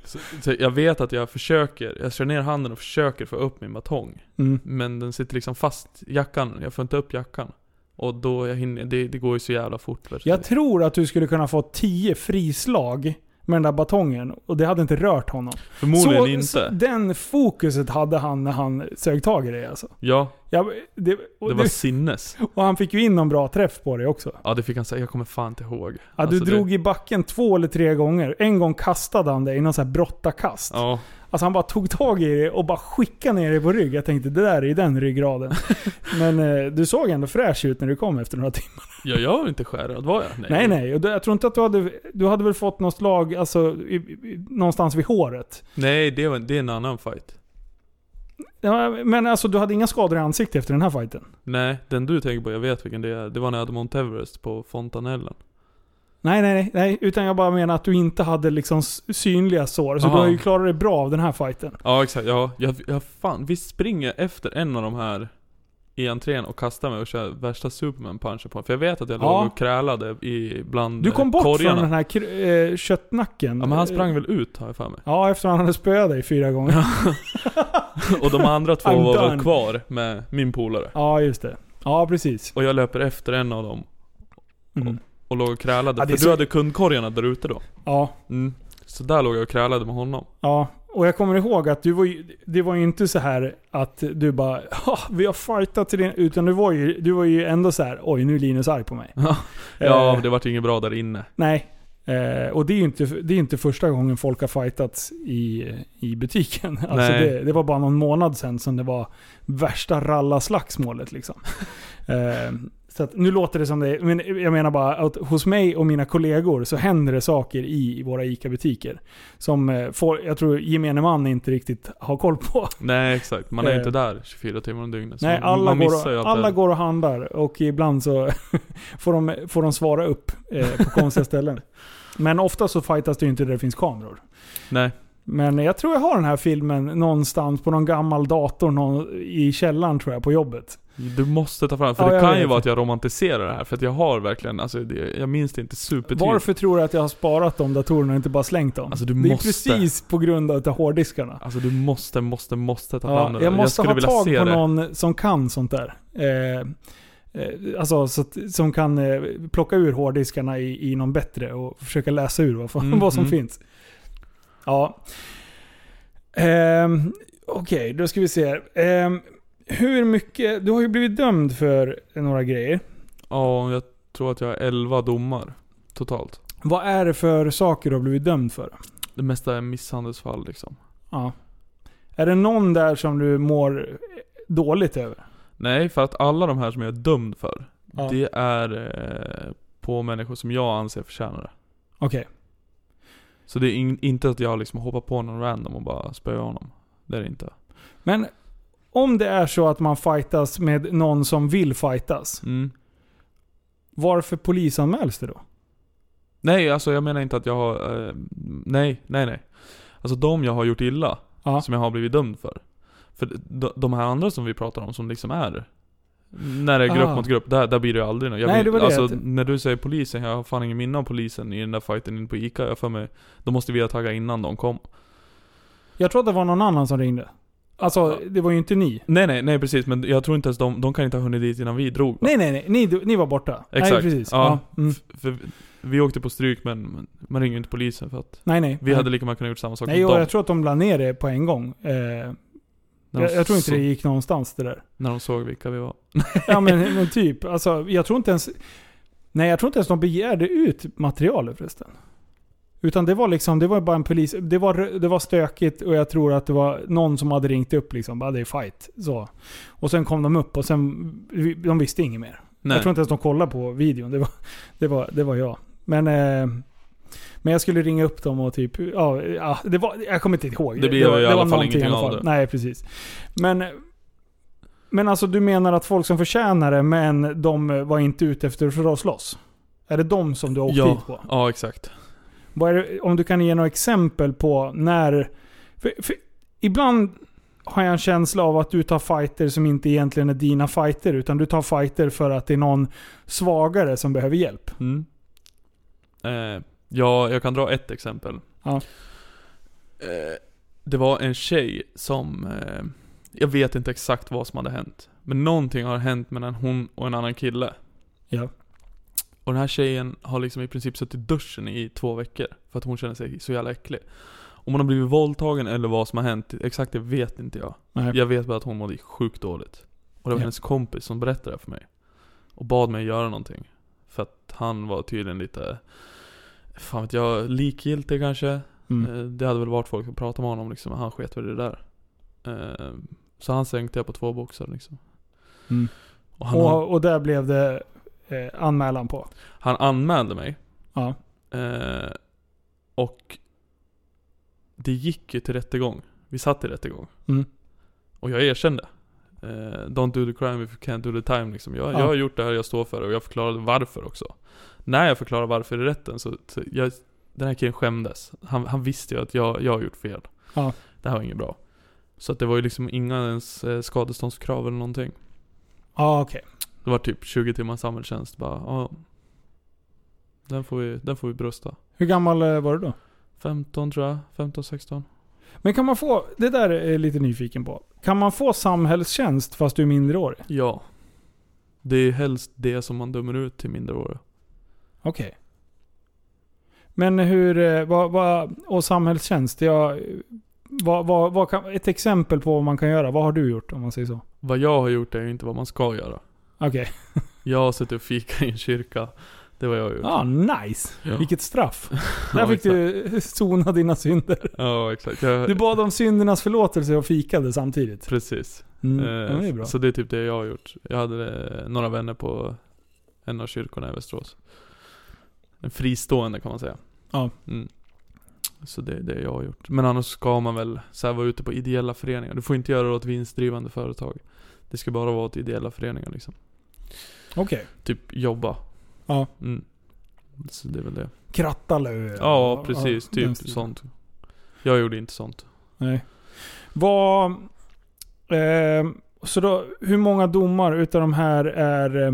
Så, så jag vet att jag försöker, jag kör ner handen och försöker få upp min batong.
mm.
Men den sitter liksom fast i jackan, jag får inte upp jackan. Och då, jag hinner, det, det går ju så jävla fort. vet du.
Jag tror att du skulle kunna få 10 frislag med den där batongen och det hade inte rört honom.
Förmodligen inte.
Så den fokuset hade han när han sög tag i dig alltså.
ja,
Ja, det, och, det
det var sinnes.
och han fick ju in någon bra träff på dig också.
Ja, det fick han säga. Jag kommer fan inte ihåg.
Ja, du
Alltså, det-
drog i backen två eller tre gånger. En gång kastade han dig i någon sån här brottakast.
Ja,
Alltså han bara tog tag i dig och bara skickade ner dig på rygg. Jag tänkte det där är ju den
[laughs]
ryggraden. Men eh, du såg ändå fräsch ut när du kom efter några timmar.
jag, jag var inte skärrad var jag?
Nej
Nej.
nej, och du, jag tror inte att du hade... Du hade väl fått något slag alltså, i, i, någonstans vid håret?
Nej, det, var, det är en annan fight.
Ja, men alltså du hade inga skador i ansiktet efter den här fighten?
Nej, den du tänker på, jag vet vilken det är. Det var när jag hade Mount Everest på Fontanellen.
Nej, nej, nej, nej. Utan jag bara menar att du inte hade liksom s- synliga sår. Så
Aha.
du har ju klarat dig bra av den här fighten.
Ja exakt, ja. Jag, jag fan, vi springer efter en av de här i entrén och kastar mig och kör värsta superman punchen på honom. För jag vet att jag
Ja.
låg och krälade i bland
Du kom bort
korgarna.
från den här kr- eh, köttnacken. Eh,
Ja men han sprang väl ut har jag
[laughs]
för mig.
Ja, efter han hade spöat dig fyra gånger.
Och de andra två
I'm
var väl
done.
kvar med min polare.
Ja, just det. Ja, precis.
Och jag löper efter en av dem
Mm.
och låg och krälade.
Ja, det är
för
så-
du hade kundkorgarna där ute då.
Ja,
Mm. Så där låg jag och krälade med honom.
ja. Och jag kommer ihåg att du var ju, det var ju inte så här att du bara "Ha, vi har fightat till din... Utan du var ju, du var ju ändå så här oj nu är Linus arg på mig.
Ja,
Eh,
det vart inget bra där inne.
Nej. Eh, och det är ju inte, det är inte första gången folk har fightats i, i butiken. [laughs] Alltså
Nej.
det, det var bara någon månad sedan som det var värsta rallarslagsmålet. Liksom. eh, så att, nu låter det som det är, men jag menar bara att hos mig och mina kollegor så händer det saker i våra ICA-butiker. Som eh, får, jag tror gemene man inte riktigt har koll på.
Nej exakt, man är
Eh.
inte där 24 timmar om dygnet. Så
Nej, alla,
man
går
missar ju
och,
allt
alla
det.
går och handlar och ibland så [laughs] får, de, får de svara upp eh, på
[laughs]
konstiga ställen. Men ofta så fightas det ju inte där det finns kameror.
Nej.
Men jag tror jag har den här filmen någonstans på någon gammal dator någon, i källaren tror jag på jobbet.
Du måste ta fram, för
Ja,
det
jag
kan
vet
ju vara
det.
att jag romantiserar det här, för att jag har verkligen, alltså det, jag minns det inte supertydligt.
Varför tror du att jag har sparat de datorerna och inte bara slängt dem?
Alltså, du
det är
måste.
precis på grund av hårddiskarna.
Alltså du måste, måste, måste ta fram
Ja,
det där.
jag måste
skulle
ha
vilja
tag
se
på
det.
någon som kan sånt där. Eh, eh, Alltså så att, som kan eh, plocka ur hårddiskarna i, i någon bättre och försöka läsa ur vad, [laughs]
Mm,
vad som
mm.
finns. Ja. Ehm, Okej, då ska vi se. Ehm, hur mycket... Du har ju blivit dömd för några grejer.
Ja, jag tror att jag har 11 domar totalt.
Vad är det för saker du har blivit dömd för?
Det mesta är misshandelsfall liksom.
Ja. Är det någon där som du mår dåligt över?
Nej, för att alla de här som jag är dömd för,
Ja.
det är eh, på människor som jag anser förtjänar det.
Okej.
Så det är in, inte att jag liksom hoppar på någon random och bara spöar honom. Det är det inte.
Men om det är så att man fightas med någon som vill fightas,
Mm.
varför polisanmäls det då?
Nej, alltså jag menar inte att jag har... Eh, nej, nej, nej. Alltså de jag har gjort illa,
Ja.
som jag har blivit dömd för. För de, de här andra som vi pratar om, som liksom är... När det är grupp
Ah.
mot grupp, där, där blir det ju aldrig något. Jag
Nej,
vet-
det var det
alltså,
att-
när du säger polisen, jag har fan ingen minne av polisen i den där fighten inne på Ica. Jag har för mig, då måste vi ha taggat innan de kom.
Jag tror att det var någon annan som ringde. Alltså,
Ja.
det var ju inte ni.
Nej nej, nej precis, men jag tror inte ens de, de kan inte ha hunnit dit innan vi drog. va?
Nej, nej, nej. Ni, ni var borta. Nej,
Exakt.
precis.
Ja.
Ja. Mm.
F- För vi- vi åkte på stryk men men man ringer ju inte polisen för att
Nej, nej.
vi hade lika gärna kunnat gjort samma sak
Nej,
mot
och
dem.
jag tror att de la ner det på en gång. Eh, jag,
när de
jag tror inte
så-
det gick någonstans det där.
När de såg vilka vi var.
Ja men, men typ. Alltså, jag tror inte ens... Nej, jag tror inte ens de begärde ut materialet förresten. Utan det var liksom, det var bara en polis... Det var, det var stökigt och jag tror att det var någon som hade ringt upp liksom. Bara, det är fight. Så. Och sen kom de upp och sen... De visste inget mer.
Nej.
Jag tror inte ens de kollade på videon. Det var, det var, det var jag. Men... Eh, men jag skulle ringa upp dem och typ... Ja, ja, det var, jag kommer inte ihåg.
Det blev
var,
ju i alla
var
fall
någonting
ingenting av
Nej, precis. Men... Men alltså du menar att folk som förtjänar det, men de var inte ute efter för att slåss? Är det de som du har åkt
Ja.
dit på?
Ja, exakt.
Vad är det, om du kan ge några exempel på när... För, för ibland har jag en känsla av att du tar fighter som inte egentligen är dina fighter, utan du tar fighter för att det är någon svagare som behöver hjälp.
Mm. Eh, ja, jag kan dra ett exempel.
Ja.
Eh, det var en tjej som... Eh, jag vet inte exakt vad som hade hänt. Men någonting har hänt mellan hon och en annan kille.
Ja.
Och den här tjejen har liksom i princip suttit i duschen i två veckor. För att hon känner sig så jävla äcklig. Om hon har blivit våldtagen eller vad som har hänt, exakt det vet inte jag.
Nej.
Jag vet bara att hon mådde sjukt dåligt. Och det var
Ja.
hennes kompis som berättade det för mig. Och bad mig göra någonting. För att han var tydligen lite, fan vet jag, likgiltig kanske.
Mm.
Eh, Det hade väl varit folk som pratade med honom liksom, men han sket väl i det där. Eh, Så han sänkte jag på två boxar liksom.
Mm.
Och han,
Och, och där blev det eh, anmälan på.
han anmälde mig.
Ja.
Eh, Och det gick ju till rättegång. Vi satt i rättegång.
Mm.
Och jag erkände. Eh, don't do the crime if you can't do the time liksom. jag,
Ja.
jag har gjort det här jag står för det och jag förklarade varför också. När jag förklarade varför i rätten så, så jag, den här killen skämdes. Han, han visste ju att jag, jag har gjort fel.
Ja.
Det här var inget bra. Så att det var ju liksom inga ens eh, skadeståndskrav eller någonting.
Ja, okej.
Det var typ 20 timmars samhällstjänst bara. Ja, den, får vi, den får vi brösta.
Hur gammal eh, var du då?
15 tror jag. 15, 16.
Men kan man få, det där är jag lite nyfiken på. Kan man få samhällstjänst fast du är minderårig?
Ja. Det är helst det som man dömer ut till minderåriga.
Okej. Men hur, eh, vad, vad, och samhällstjänst, jag, eh, vad, vad, vad kan, ett exempel på vad man kan göra. Vad har du gjort om man säger så?
Vad jag har gjort är ju inte vad man ska göra.
Okej.
Jag har suttit och fika i en kyrka. Det var jag gjort.
Ah, nice!
Ja.
Vilket straff.
[laughs] Ja,
Där fick du [laughs] sona dina synder.
Ja, exakt. Jag,
Du bad om syndernas förlåtelse och fikade samtidigt.
Precis.
Mm.
Eh,
ja, men det är bra.
Så det är typ det jag har gjort. Jag hade eh, några vänner på en av kyrkorna i Västerås. En fristående kan man säga.
Ja.
Mm. Så det är det jag har gjort. Men annars ska man väl så här, vara ute på ideella föreningar. Du får inte göra det åt vinstdrivande företag. Det ska bara vara åt ideella föreningar liksom.
Okej.
Typ jobba.
Ja.
Mm. Så det är väl det.
Krattalö.
Ja, precis.
den
typ
stilen.
sånt. Jag gjorde inte sånt.
Nej. Vad... Eh, så då, hur många domar utav de här är, eh,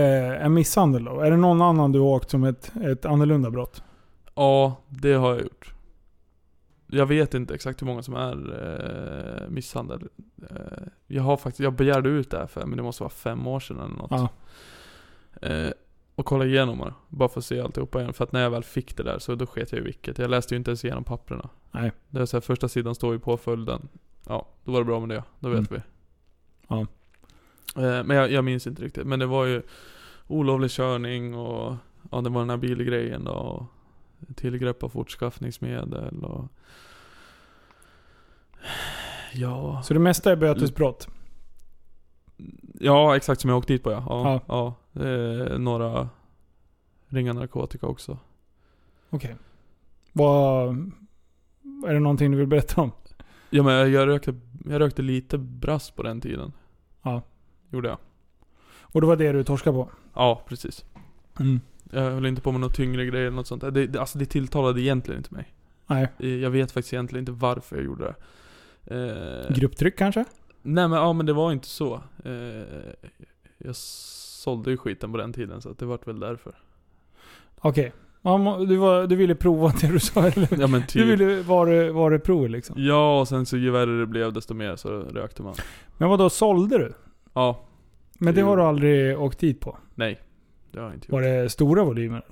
eh, är misshandel då? Är det någon annan du har åkt som ett, ett annorlunda brott?
Ja, det har jag gjort. Jag vet inte exakt hur många som är eh, misshandel. Eh, jag har faktiskt, jag begärde ut det här för, men det måste vara fem år sedan eller något.
Ja.
Eh, och kolla igenom det. Bara för att se alltihopa igen. För att när jag väl fick det där så då sket jag i vilket. Jag läste ju inte ens igenom papperna.
Nej.
Det är så här, första sidan står ju påföljden. Ja, då var det bra med det. Då vet vi.
Mm. Ja.
Eh, men jag, jag minns inte riktigt. Men det var ju olovlig körning och ja, det var den här bilgrejen då. Och tillgrepp av fortskaffningsmedel och... Ja...
Så det mesta är bötesbrott?
Ja, exakt som jag åkte dit på ja. Ja. ja. Eh, några... Ringa narkotika också.
Okej. Vad... Är det någonting du vill berätta om?
Ja men jag, jag, rökte, jag rökte lite brass på den tiden.
Ja.
Gjorde jag.
Och det var det du torskade på?
Ja, precis. Mm. Jag höll inte på med några tyngre grejer eller något sånt. Det, det, alltså det tilltalade egentligen inte mig.
Nej.
Eh, Jag vet faktiskt egentligen inte varför jag gjorde det. Eh,
Grupptryck kanske?
Nej men ja men det var inte så. Eh, jag sålde ju skiten på den tiden så att det vart väl därför.
Okej. Ja, må- Du, var- du ville prova det du sa eller?
Ja men
[laughs]
typ.
Du ville vara, vara prov liksom.
Ja och sen så ju värre det blev desto mer så rökte man.
Men vad då sålde du?
Ja,
Men det
Jo.
har du aldrig åkt dit på?
nej. Det har jag inte
Var
gjort.
det stora volymer?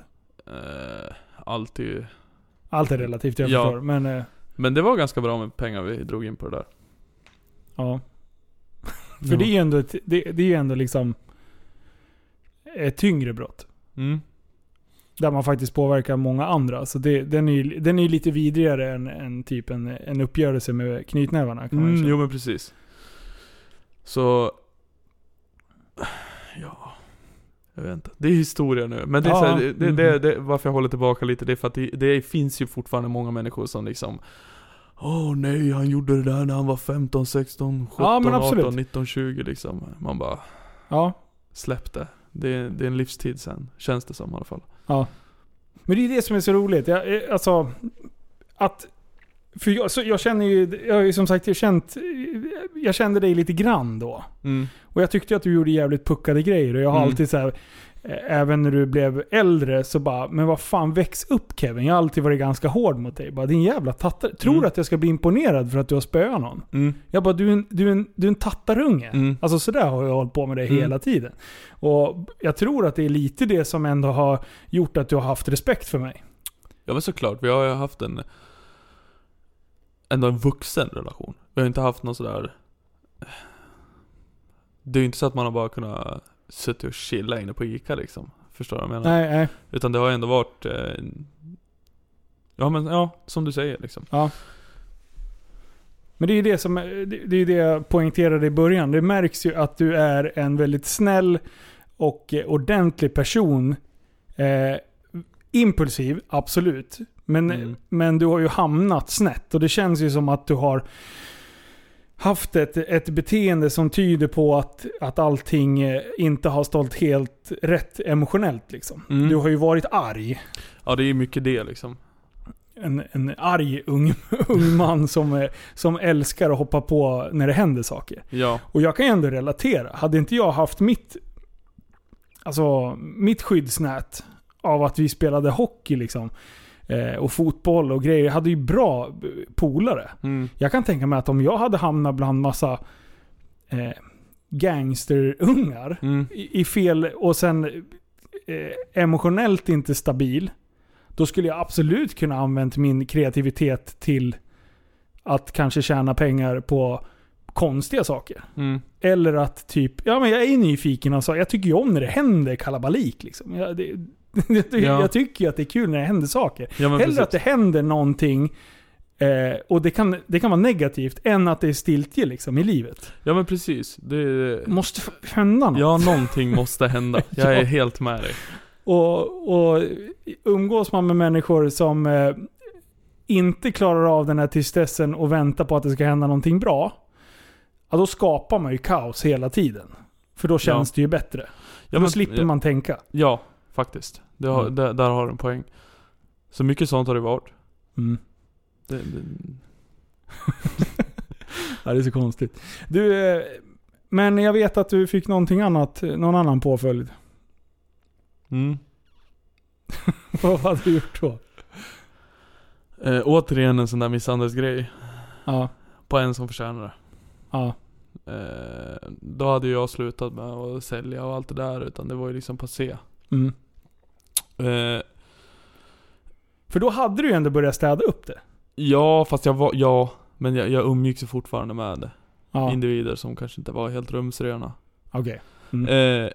Eh, alltid.
Allt är relativt, jag
Ja.
förstår. Men eh,
Men det var ganska bra med pengar vi drog in på det där.
ja. [laughs] För det är ju ändå, ett- det, det är ju ändå liksom ett tyngre brott.
Mm.
Där man faktiskt påverkar många andra. Så det, den är ju den är ju lite vidrigare än, än typ en, en uppgörelse med knytnävarna. Kan man ju
Mm,
säga.
jo men precis. Så... Ja... Jag vet inte. Det är historia nu. Men det är
Ja,
så här, det, det,
mm.
det, det, varför jag håller tillbaka lite, det är för att det, det finns ju fortfarande många människor som liksom Åh nej, han gjorde det där när han var 15, 16, 17,
Ja, men absolut.
18, 19, 20 liksom. Man bara,
ja.
släpp det. Det är, det är en livstid sen, känns det som i alla fall.
Men det är det som är så roligt. Jag, eh, alltså, att... För jag, så jag känner ju, jag har ju som sagt jag känt, jag kände dig lite grann då.
Mm.
Och jag tyckte att du gjorde jävligt puckade grejer och jag har
Mm.
alltid så här, eh, även när du blev äldre så bara, men vad fan väx upp Kevin. Jag har alltid varit ganska hård mot dig. Bara, din jävla tattare. Tror
Mm.
du att jag ska bli imponerad för att du har spöat någon?
Mm.
Jag bara, du är en, du är en, du är en tattarunge.
Mm.
Alltså sådär har jag hållit på med det
Mm.
hela tiden. Och jag tror att det är lite det som ändå har gjort att du har haft respekt för mig.
Ja men såklart, vi har ju haft en Ändå en vuxen relation. Vi har inte haft någon sådär Det är ju inte så att man har bara kunnat suttit och chilla inne på Ica liksom. Förstår du vad jag menar?
Nej, nej.
Utan det har ju ändå varit eh, Ja men ja, som du säger liksom.
Men det är ju det som eh, det, det, är ju det jag poängterade i början. Det märks ju att du är en väldigt snäll och eh, ordentlig person. Eh, impulsiv, absolut. Men,
Mm.
men du har ju hamnat snett och det känns ju som att du har haft ett, ett beteende som tyder på att, att allting eh, inte har stått helt rätt emotionellt. Liksom.
Mm.
Du har ju varit arg
Ja det är ju mycket det liksom.
en, en arg ung, [laughs] ung man som, eh, som älskar att hoppa på när det händer saker.
Ja.
Och jag kan ju ändå relatera. Hade inte jag haft mitt, alltså, mitt skyddsnät av att vi spelade hockey liksom, eh, och fotboll och grejer. Jag hade ju bra eh, polare.
Mm.
Jag kan tänka mig att om jag hade hamnat bland massa eh, gangsterungar
Mm.
i i fel och sen eh, emotionellt inte stabil. Då skulle jag absolut kunna använt min kreativitet till att kanske tjäna pengar på konstiga saker.
Mm.
Eller att typ, ja men jag är nyfiken alltså. Jag tycker ju om när det händer kalabalik liksom. Jag, det, [laughs] jag,
Ja.
jag tycker ju att det är kul när det händer saker.
Ja men
Hellre
precis.
att det händer någonting eh, och det kan, det kan vara negativt än att det är stiltje liksom i livet.
Ja men precis. Det...
Måste f- hända något.
Ja någonting måste hända. Jag
Ja.
är helt med dig.
Och, och umgås man med människor som eh, inte klarar av den här tristessen och väntar på att det ska hända någonting bra. Ja, då skapar man ju kaos hela tiden. För då känns det ju bättre.
Ja,
då
men-
slipper
ja.
man tänka.
Ja, faktiskt. Det har,
Mm.
där, där har du en poäng. Så mycket sånt har det varit.
Mm.
Det, det,
Ja, det är så konstigt. Du, eh, men jag vet att du fick någonting annat, någon annan påföljd. [laughs]
mm.
Vad hade du gjort då?
eh, återigen en sån där misshandelsgrej.
Ja,
På en som förtjänar det.
ja,
Eh, då hade ju jag slutat med att sälja och allt det där. Utan det var ju liksom passé.
mm.
Eh,
För då hade du ju ändå börjat städa upp det.
ja, fast jag var... Ja. Men jag, jag umgicks ju fortfarande med
Ja,
individer som kanske inte var helt rumsrena.
okej. Mm.
Eh,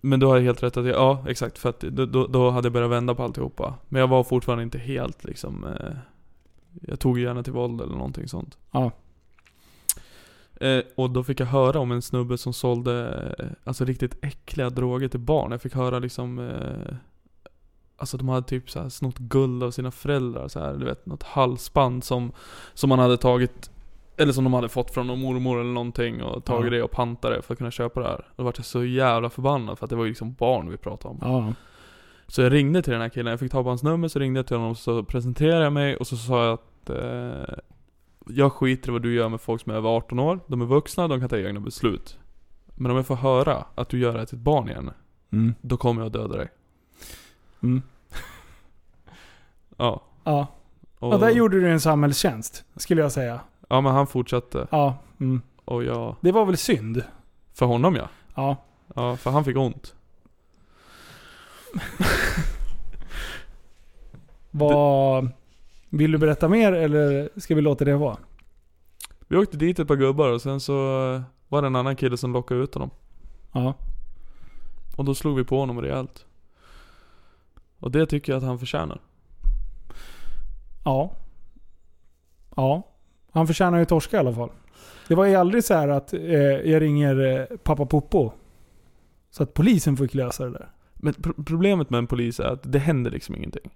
Men du har helt rätt att jag, ja exakt för att då- då, då hade jag börjat vända på alltihopa. Men jag var fortfarande inte helt liksom, eh, jag tog ju gärna till våld eller någonting sånt.
Ja.
Eh, och då fick jag höra om en snubbe som sålde, eh, alltså riktigt äckliga droger till barn. Jag fick höra liksom, eh, alltså de hade typ så här snott guld av sina föräldrar så här, du vet något halsband som, som man hade tagit eller som de hade fått från någon mormor eller någonting och tagit
Ja.
det och pantat det för att kunna köpa det här. Då vart jag så jävla förbannad för att det var ju liksom barn vi pratade om.
Ja.
Så jag ringde till den här killen, jag fick tag på hans nummer, så ringde jag till honom, så presenterade jag mig och så sa jag att eh, Jag skiter i vad du gör med folk som är över 18 år, de är vuxna, de kan ta egna beslut. Men om jag får höra att du gör det här till ett barn igen,
Mm.
då kommer jag döda dig.
Mm.
[laughs] Ja.
Ja.
Och,
ja, där gjorde du en samhällstjänst skulle jag säga.
ja men han fortsatte.
Ja. Mm.
Och jag...
Det var väl synd.
För honom ja.
Ja.
Ja, för han fick ont.
Vad... Vill du berätta mer eller ska vi låta det vara?
Vi åkte dit ett par gubbar och sen så eh, var det en annan kille som lockade ut honom.
Ja.
Och då slog vi på honom rejält. Och det tycker jag att han förtjänar.
Ja. Ja. Han förtjänar ju torska i alla fall. Det var ju aldrig så här att eh, jag ringer eh, pappa Poppo. Så att polisen fick lösa det där.
Men pro- problemet med en polis är att det händer liksom ingenting.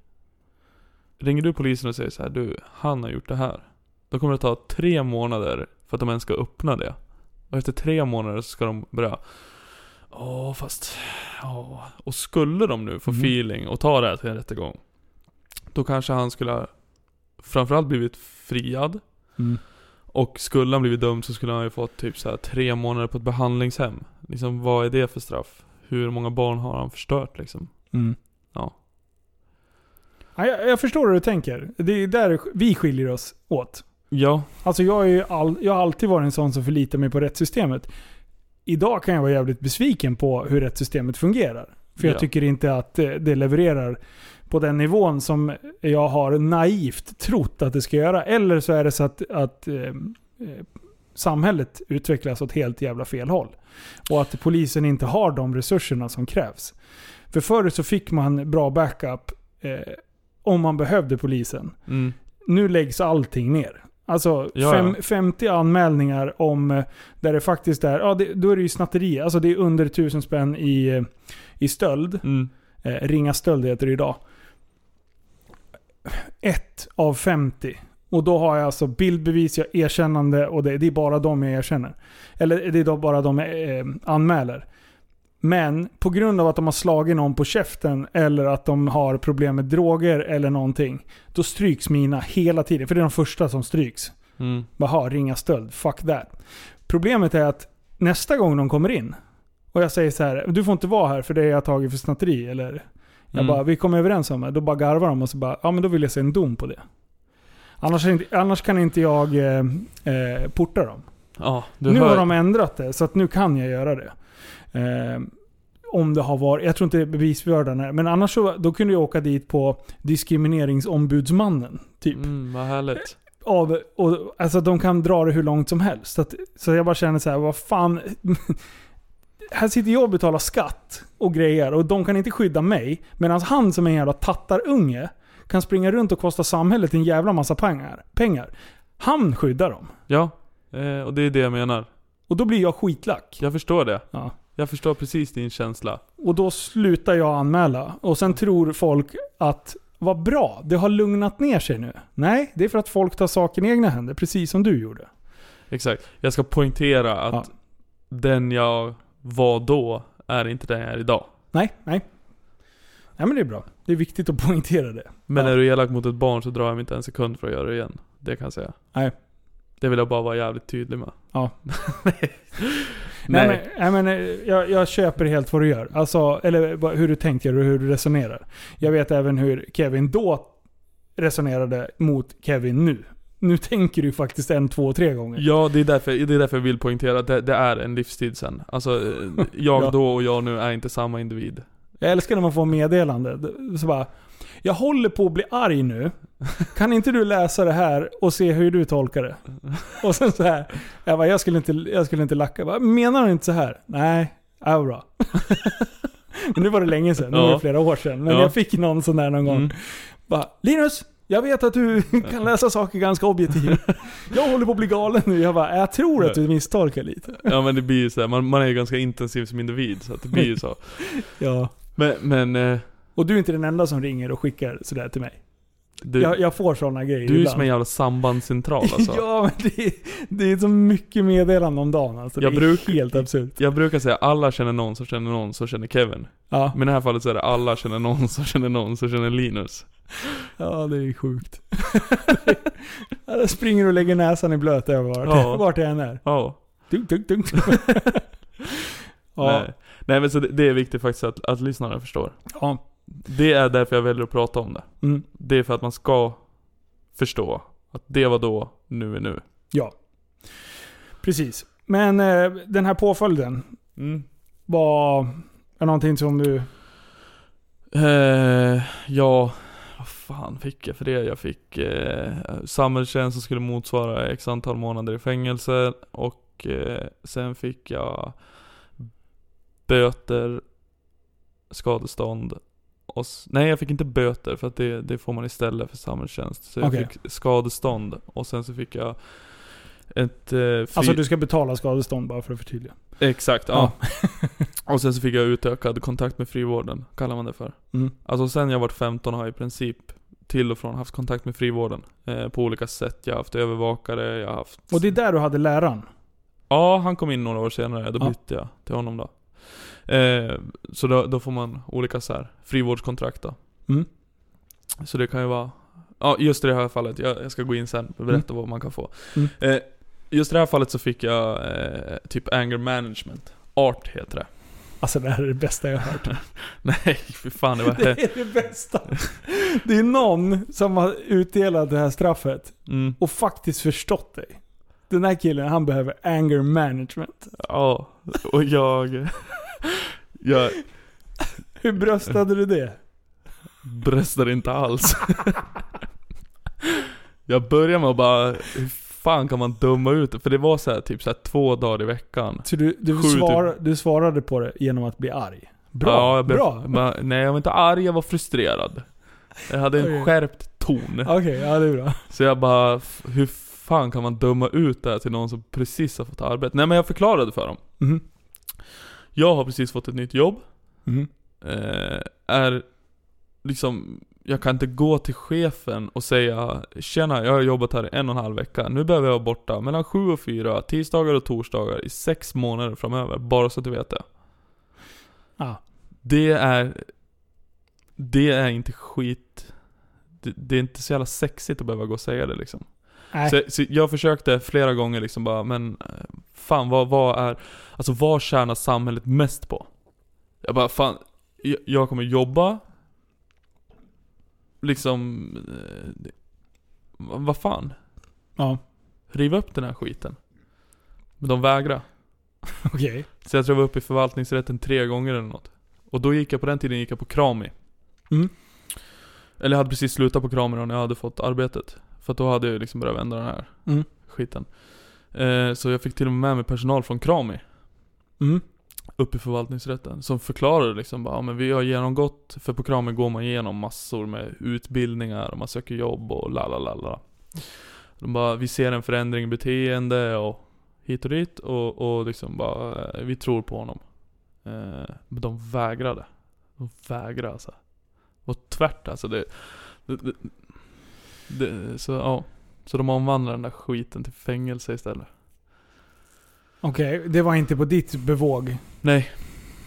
Ringer du polisen och säger så här, du, han har gjort det här. Då kommer det ta tre månader för att de ens ska öppna det. Och efter tre månader så ska de börja Åh, fast... Åh. Och skulle de nu få
Mhm.
feeling och ta det här till en rättegång. Då kanske han skulle ha framförallt blivit friad. Och skulle han blivit dömd så skulle han ju fått typ så här tre månader på ett behandlingshem. Liksom vad är det för straff? Hur många barn har han förstört liksom? Ja.
Mm. Ja, jag, jag förstår hur du tänker. Det är där vi skiljer oss åt.
Ja,
Alltså jag, är ju all, jag har alltid varit en sån som förlitar mig på rättssystemet. Idag kan jag vara jävligt besviken på hur rättssystemet fungerar. För jag
Ja.
tycker inte att eh, det levererar på den nivån som jag har naivt trott att det ska göra. Eller så är det så att, att eh, eh, samhället utvecklas åt helt jävla fel håll. Och att polisen inte har de resurserna som krävs. För förr så fick man bra backup eh, om man behövde polisen
mm,
nu läggs allting ner. Alltså
Ja,
fem,
ja.
50 anmälningar om eh, där det faktiskt är, ja det, då är det ju snatteri. Alltså det är under 1000 spänn i, eh, i stöld.
mm,
Eh, ringa stöld heter det idag. Ett av 50. Och då har jag alltså bildbevis, jag har erkännande och det, det är bara de jag erkänner. Eller det är då bara de jag eh, anmäler. Men på grund av att de har slagit någon på käften eller att de har problem med droger eller någonting. Då stryks mina hela tiden. För det är de första som stryks.
mm.
Jaha, ringa stöld. Fuck that. Problemet är att nästa gång de kommer in och jag säger så här, du får inte vara här för det har jag tagit för snatteri. Eller jag
Mm.
bara, vi kommer överens om det. Då bara garvar de och så bara, ja men då vill jag se en dom på det. Annars, är inte- annars kan inte jag eh, eh, porta dem.
Ja, du
nu har
hör.
de ändrat det så att nu kan jag göra det. Eh, om det har varit, jag tror inte bevisbördan är, men annars så, då kunde jag åka dit på diskrimineringsombudsmannen. Typ
Mm, vad härligt.
av, och, alltså de kan dra det hur långt som helst. Så, att, så jag bara känner så här, vad fan. [laughs] här sitter jag och betalar skatt och grejer och de kan inte skydda mig. Medan han som är en jävla tattarunge kan springa runt och kosta samhället en jävla massa pengar. pengar. Han skyddar dem.
Ja, eh, och det är det jag menar.
Och då blir jag skitlack.
Jag förstår det.
Ja.
Jag förstår precis din känsla.
Och då slutar jag anmäla. Och sen tror folk att vad bra, det har lugnat ner sig nu. Nej, det är för att folk tar saken i egna händer, precis som du gjorde.
Exakt. Jag ska poängtera att
Ja.
den jag var då är inte den jag är idag.
Nej, nej. Nej men det är bra. Det är viktigt att poängtera det.
Men
Ja.
är du elak mot ett barn så drar jag mig inte en sekund för att göra det igen. Det kan jag säga.
Nej.
Det vill jag bara vara jävligt tydlig med. [laughs]
Ja.
Nej.
Nej,
Nej.
men, nej, men eh, jag, jag köper helt vad du gör. Alltså, eller vad- hur du tänker och hur du resonerar. Jag vet även hur Kevin då resonerade mot Kevin nu. Nu tänker du faktiskt en, två, tre gånger.
Ja, det är därför, det är därför jag vill poängtera att det, det är en livstid sen. Alltså, eh,
[laughs]
jag
Ja.
då och jag nu är inte samma individ.
Jag älskar när man får meddelande. Så bara, jag håller på att bli arg nu. Kan inte du läsa det här och se hur du tolkar det? Och sen så här. Jag bara, jag skulle inte, jag skulle inte lacka. Jag bara, Menar du inte så här? Nej, ja, bra. [laughs] Men nu var det länge sedan, nu
Ja.
var det flera år sedan. Men
Ja.
jag fick någon sån där någon gång.
Mm.
Bara, Linus, jag vet att du kan läsa saker ganska objektivt. Jag håller på att bli galen nu. Jag bara, jag tror att du misstolkar lite.
Ja men det blir ju så här, man, man är ju ganska intensiv som individ så att det blir ju så.
Ja.
Men, men eh,
Och du är inte den enda som ringer och skickar sådär till mig.
du,
jag, jag får sådana grejer
du är ju
ibland.
som en jävla sambandscentral alltså.
[laughs] Ja, men det, är- det är så mycket meddelanden om dagen alltså.
Jag
det är
bruk-
helt absurt.
Jag brukar säga alla känner någon som känner någon som känner Kevin.
Ja.
Men i det här fallet så är det alla känner någon som känner någon som känner Linus.
ja, det är sjukt. [laughs] ja, jag springer och lägger näsan i blöt överallt.
Ja.
[laughs] Vart jag än är.
Ja.
Dunk, dunk, [laughs] dunk. ja.
Nej. Nej men så det, det är viktigt faktiskt att, att lyssnarna förstår.
ja.
Det är därför jag väljer att prata om det.
Mm.
Det är för att man ska förstå att det var då, nu är nu.
Precis. Men eh, den här påföljden Mm. var var någonting som du...
Eh, ja, vad fan fick jag för det? Jag fick eh, samhällstjänst som skulle motsvara x antal månader i fängelse och eh, sen fick jag böter, skadestånd och, s- nej jag fick inte böter för att det, det får man istället för samhällstjänst. Så jag
Okej.
fick skadestånd och sen så fick jag ett... Eh, fri-
Alltså du ska betala skadestånd bara för att förtydliga.
Exakt, ja.
[laughs]
och sen så fick jag utökad kontakt med frivården, kallar man det för.
Mm.
Alltså sen jag varit 15 har jag i princip till och från haft kontakt med frivården. Eh, på olika sätt. Jag har haft övervakare, jag har haft...
Och det är där du hade läraren.
Ja, han kom in några år senare. Då
Ja.
bytte jag till honom då. Eh, så då, då får man olika så här, frivårdskontrakt då.
Mm.
Så det kan ju vara... Ja, just i det här fallet. Jag, jag ska gå in sen och berätta vad man kan få.
Mm.
Eh, just i det här fallet så fick jag eh, typ anger management. Art heter det.
Alltså det här är det bästa jag har
[laughs]
hört.
Nej, fy fan. Det var...
Det är det bästa. Det är någon som har utdelat det här straffet
Mm,
och faktiskt förstått dig. Den här killen, han behöver anger management. [laughs]
ja, och jag... jag
Hur bröstade du det?
bröstar inte alls. [laughs] jag börjar med att bara, hur fan kan man döma ut det? För det var så här, typ så här, två dagar i veckan.
Så du, du,
Sju, typ.
svar, du svarade på det genom att bli arg? Bra.
Ja, jag blev-
bra.
Men, nej jag var inte arg, jag var frustrerad. Jag hade en
Okej.
skärpt ton.
Okej, ja det är bra.
Så jag bara, f- hur fan kan man döma ut det här till någon som precis har fått arbete? Nej men jag förklarade för dem.
Mhm.
Jag har precis fått ett nytt jobb.
Mhm.
eh, är liksom, jag kan inte gå till chefen och säga Tjena, jag har jobbat här i en och en halv vecka, nu behöver jag vara borta mellan 7 och 4, tisdagar och torsdagar i sex månader framöver, bara så att du vet det.
Ah.
Det är, det är inte skit, det, det är inte så jävla sexigt att behöva gå och säga det liksom.
Nej.
Så, så jag försökte flera gånger liksom bara, men eh, fan vad, vad är, alltså vad tjänar samhället mest på? Jag bara, fan, jag, jag kommer jobba, liksom, eh, det- vad vad fan?
Ja,
Riv upp den här skiten. Men de vägrade.
okej.
Så jag tror jag var uppe i förvaltningsrätten tre gånger eller något. Och då gick jag på den tiden gick jag på Krami.
Mm.
Eller jag hade precis slutat på Krami då när jag hade fått arbetet. För att då hade jag liksom börjat vända den här
Mm.
skiten. Eh, så jag fick till och med med mig personal från Krami
Mm.
upp i förvaltningsrätten. Som förklarade liksom bara, ja, men vi har genomgått, för på Krami går man igenom massor med utbildningar och man söker jobb och la la la la. De bara, vi ser en förändring i beteende och hit och dit och, och liksom bara, eh, vi tror på honom. Eh, men de vägrade. De vägrade alltså. Och tvärt alltså. Det, det, det, det, så ja. Så de omvandlade den där skiten till fängelse istället.
Okej, det var inte på ditt bevåg.
Nej.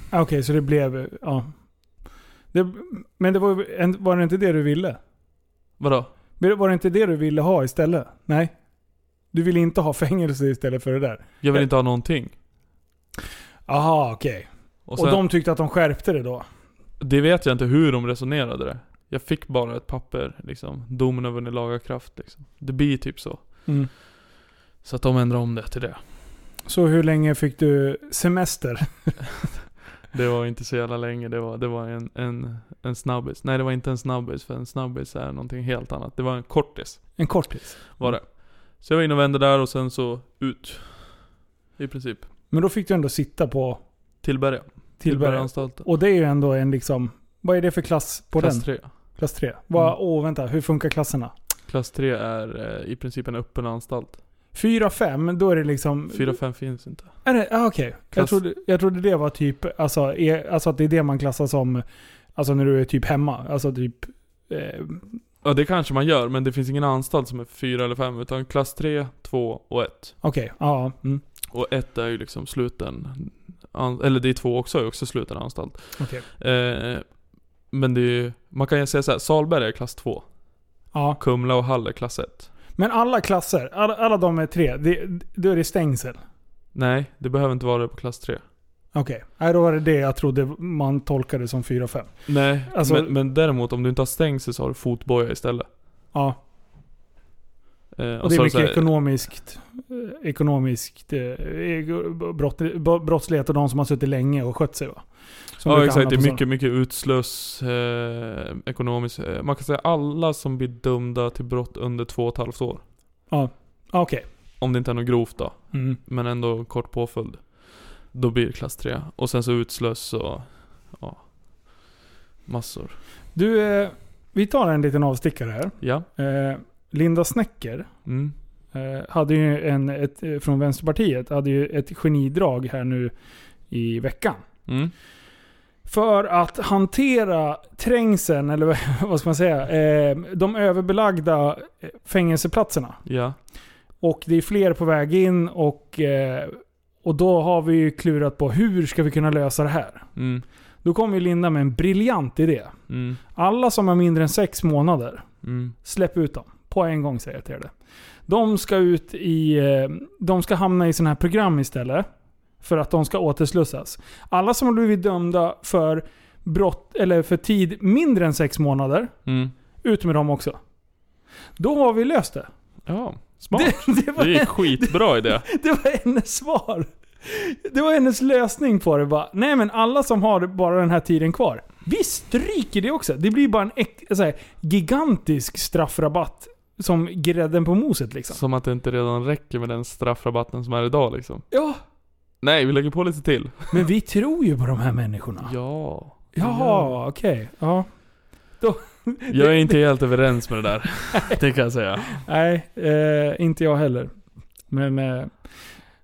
Ah, Okej, så det blev... Ja. Det, men det var, en- var det inte det du ville?
Vadå?
Men det- Var det inte det du ville ha istället? Nej. Du ville inte ha fängelse istället för det där?
Jag vill inte ha någonting.
Aha, okej. Och,
sen-
de tyckte att de skärpte det då?
Det vet jag inte hur de resonerade det. Jag fick bara ett papper liksom. Domen har vunnit laga kraft liksom. Det blir typ så.
Mm.
Så att de ändrar om det till det.
Så hur länge fick du semester?
Det var inte så jävla länge. Det var, det var en, en, en snabbis. Nej det var inte en snabbis. För en snabbis är någonting helt annat. Det var en kortis.
En kortis?
Var det. Så jag var inne och vände där och sen så ut. I princip.
Men då fick du ändå sitta på...
Tillberga.
Tillberga.
Tillbergaanstalten.
Och det är ju ändå en liksom... Vad är det för klass på
Klass
den?
3.
Klass 3. Vad,
Mm.
Åh, vänta. Hur funkar klasserna?
Klass 3 är eh, i princip en öppen anstalt.
4-5, då är det liksom...
4-5 finns inte.
Är det? Ah, okej. Jag,
Klass-
trodde, jag trodde det var typ, alltså, är, alltså att det är det man klassar som, alltså när du är typ hemma. Alltså typ, eh,
Ja det kanske man gör, men det finns ingen anstalt som är 4 eller 5 utan klass 3, 2 och 1.
okej, ja. Mm,
Och 1 är ju liksom sluten, an, eller det är 2 också, är också sluten anstalt.
okej.
Eh, men det är ju, man kan ju säga så här, Salberg är klass 2.
Ja.
Kumla och Hall är klass 1.
Men alla klasser, alla, alla de är tre, det, då är det stängsel.
Nej, det behöver inte vara det på klass 3.
Okej, Nej, då var det det jag trodde man tolkade som 4-5.
Nej,
Alltså-
men, men däremot om du inte har stängsel så har du fotboja istället.
Ja,
Eh,
och det är
så
mycket
så här-
ekonomiskt, eh, ekonomiskt eh, ego- brott, bo- brottslighet och de som har suttit länge och skött sig va? Som
Ja
brukar
exakt,
hamna
det
på
är
sådana.
mycket, mycket utsluss, eh, ekonomiskt. Eh, man kan säga alla som blir dömda till brott under två och ett halvt år.
Ah, Okej.
Om det inte är något grovt då,
Mm.
men ändå kort påföljd. Då blir det klass 3. Och sen så utsluss och ja, massor.
Du, eh, vi tar en liten avstickare här.
Ja.
Eh, Linda Snecker
Mm.
eh, hade ju en, ett, eh, från Vänsterpartiet hade ju ett genidrag här nu i veckan.
Mm.
För att hantera trängseln, eller [laughs] vad- vad ska man säga, eh, de överbelagda eh, fängelseplatserna.
Ja.
Och det är fler på väg in och, eh, och då har vi ju klurat på hur ska vi kunna lösa det här?
Mm.
Då kom ju Linda med en briljant idé.
Mm.
Alla som är mindre än sex månader
Mm.
Släpp ut dem. På en gång säger jag till er det. De ska ut i... eh, De ska hamna i sådana här program istället. För att de ska återslussas. Alla som har blivit dömda för brott, eller för tid mindre än sex månader.
Mm.
Ut med dem också. Då har vi löst det.
Ja, smart. Det,
Det, det, var,
är skitbra [laughs] idé.
det var hennes svar. Det var hennes lösning på det. Bara, nej men alla som har bara den här tiden kvar. Vi stryker det också. Det blir bara en äk, så här, gigantisk straffrabatt. Som grädden på moset liksom.
Som att det inte redan räcker med den straffrabatten som är idag liksom.
Ja,
Nej, vi lägger på lite till.
men vi tror ju på de här människorna.
Ja.
Jaha, okej. Ja.
Jag är inte helt överens med det [laughs] där. Det kan jag säga.
Nej, eh, inte jag heller. Men, eh,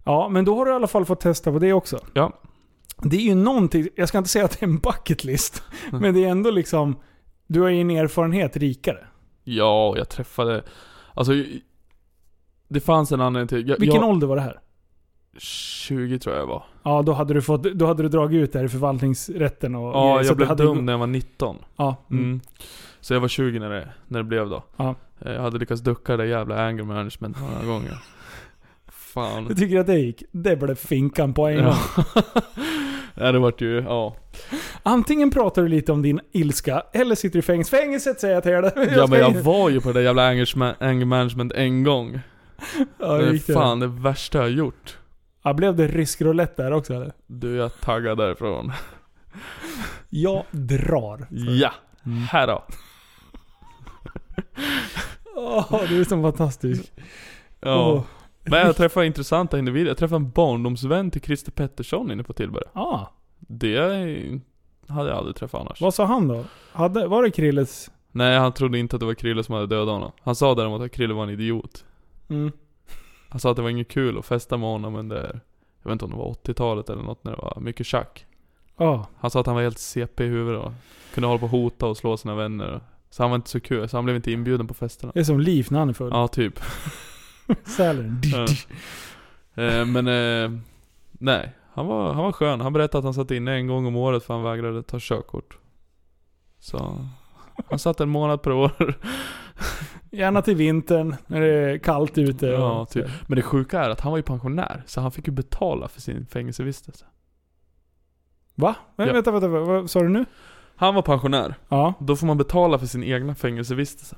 ja, men då har du i alla fall fått testa på det också.
Ja.
Det är ju någonting, jag ska inte säga att det är en bucket list,
Mm.
men det är ändå liksom, du har ju en erfarenhet rikare.
Ja, och jag träffade... Alltså... Det fanns en anledning till... Jag,
Vilken
jag,
ålder var det här?
20 tror jag jag var.
Ja, då hade du, fått, då hade du dragit ut det här i förvaltningsrätten och
Ja,
så
jag
det
blev
hade-
dum när jag var 19.
Ja,
Mm.
mm.
Så jag var 20 när det, när det blev då.
Ja.
Eh, Jag hade lyckats ducka det jävla anger management några gånger. Fan.
Jag tycker att det gick. Det blev finkan på en gång.
Ja. Nej, det vart ju... [laughs] Ja.
Antingen pratar du lite om din ilska, eller sitter du i fängelse. Fängelset säger jag till dig.
ja, men jag var ju på det där jävla anger, ma- anger management en gång.
Ja,
det
hur
är
gick det?
fan det värsta jag har gjort.
Ja, blev det rysk roulette där också eller?
Du, jag taggar därifrån.
Jag drar.
Ja, här då.
Åh, du är så fantastisk.
Ja.
Åh.
Men jag träffade intressanta individer. Jag träffade en barndomsvän till Christer Pettersson inne på Tillberga.
Ah,
Det är- hade jag aldrig träffat annars.
vad sa han då? Hade, var det Krilles?
Nej, han trodde inte att det var Krille som hade dödat honom. Han sa däremot att Krille var en idiot.
Mm.
Han sa att det var inget kul att festa med honom under, jag vet inte om det var 80-talet eller något när det var mycket tjack.
Ja.
Han sa att han var helt CP i huvudet och kunde hålla på och hota och slå sina vänner. Så han var inte så kul, så han blev inte inbjuden på festerna.
Det är som Liv när han är full.
Ja, typ.
Sälen.
Ja. Eh, Men, eh, nej. Han var, han var skön. Han berättade att han satt inne en gång om året för han vägrade ta körkort. Så... Han satt en månad per år.
Gärna till vintern, när det är kallt ute. och-
Ja, typ. Men det sjuka är att han var ju pensionär, så han fick ju betala för sin fängelsevistelse.
Va? Men,
Ja.
Vänta, vänta, vad- vad sa du nu?
Han var pensionär.
Ja.
Då får man betala för sin egna fängelsevistelse.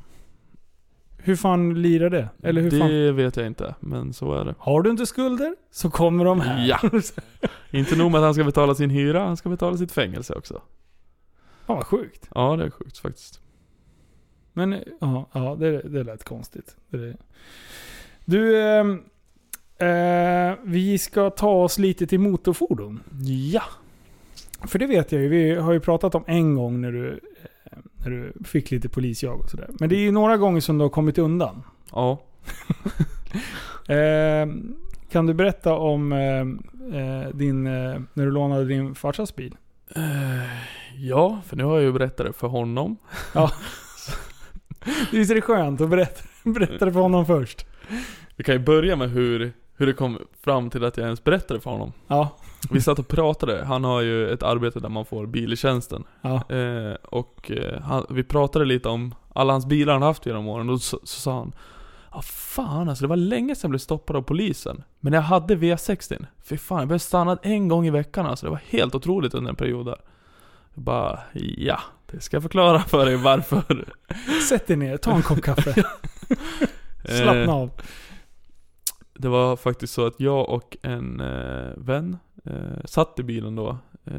Hur fan lirar det? Eller hur
det
fan?
vet jag inte, men så är det.
[laughs] Har du inte skulder, så kommer de här.
Ja. Inte nog med att han ska betala sin hyra, han ska betala sitt fängelse också.
Fan vad sjukt.
Ja, det är sjukt faktiskt.
Men eh, ja, ja det, det lät konstigt. Det, du, ehm, eh, vi ska ta oss lite till motorfordon.
Ja.
För det vet jag ju, vi har ju pratat om en gång när du, eh, när du fick lite polisjag och sådär. Men det är ju några gånger som du har kommit undan.
Ja.
Eh, kan du berätta om eh, eh, din, eh, när du lånade din farsas bil?
Eh, Ja, för nu har jag ju berättat det för honom.
Visst är det skönt att berätta, [laughs] berätta det för honom först?
Vi kan ju börja med hur, hur det kom fram till att jag ens berättade för honom.
Ja.
Vi satt och pratade, han har ju ett arbete där man får bil i tjänsten.
ja.
Eh, och eh, han, vi pratade lite om alla hans bilar han haft genom åren, och då så, så sa han Ja ah, fan alltså, det var länge sedan jag blev stoppad av polisen. Men jag hade V60. Fy fan, jag blev stannad en gång i veckan alltså. Det var helt otroligt under en period där. Jag bara, ja. Det ska jag förklara för dig varför. [laughs]
Sätt dig ner, ta en kopp kaffe. Slappna
Eh,
av.
Det var faktiskt så att jag och en eh, vän eh, satt i bilen då. Eh,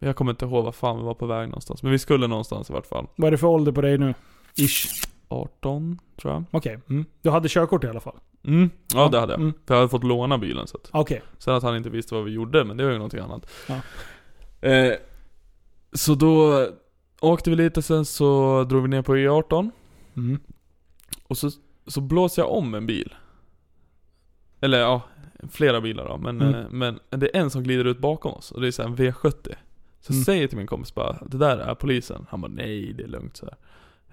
jag kommer inte ihåg var fan vi var på väg någonstans. Men vi skulle någonstans i vart fall.
Vad är det för ålder på dig nu? Ish.
18, tror jag.
Okej. Mm. Du hade körkort i alla fall?
Mm, ja det hade jag.
Mm.
För jag hade fått låna bilen så att.
Okej.
Sen att han inte visste vad vi gjorde, men det var ju någonting annat.
Ja.
Eh, så då åkte vi lite, sen så drog vi ner på E E18.
Mm.
Och så, så blåser jag om en bil. Eller ja, flera bilar då. Men,
Mm.
eh, men det är en som glider ut bakom oss. Och det är så här en V70. Så
Mm.
jag säger till min kompis bara, det där är polisen. Han bara, nej det är lugnt så här.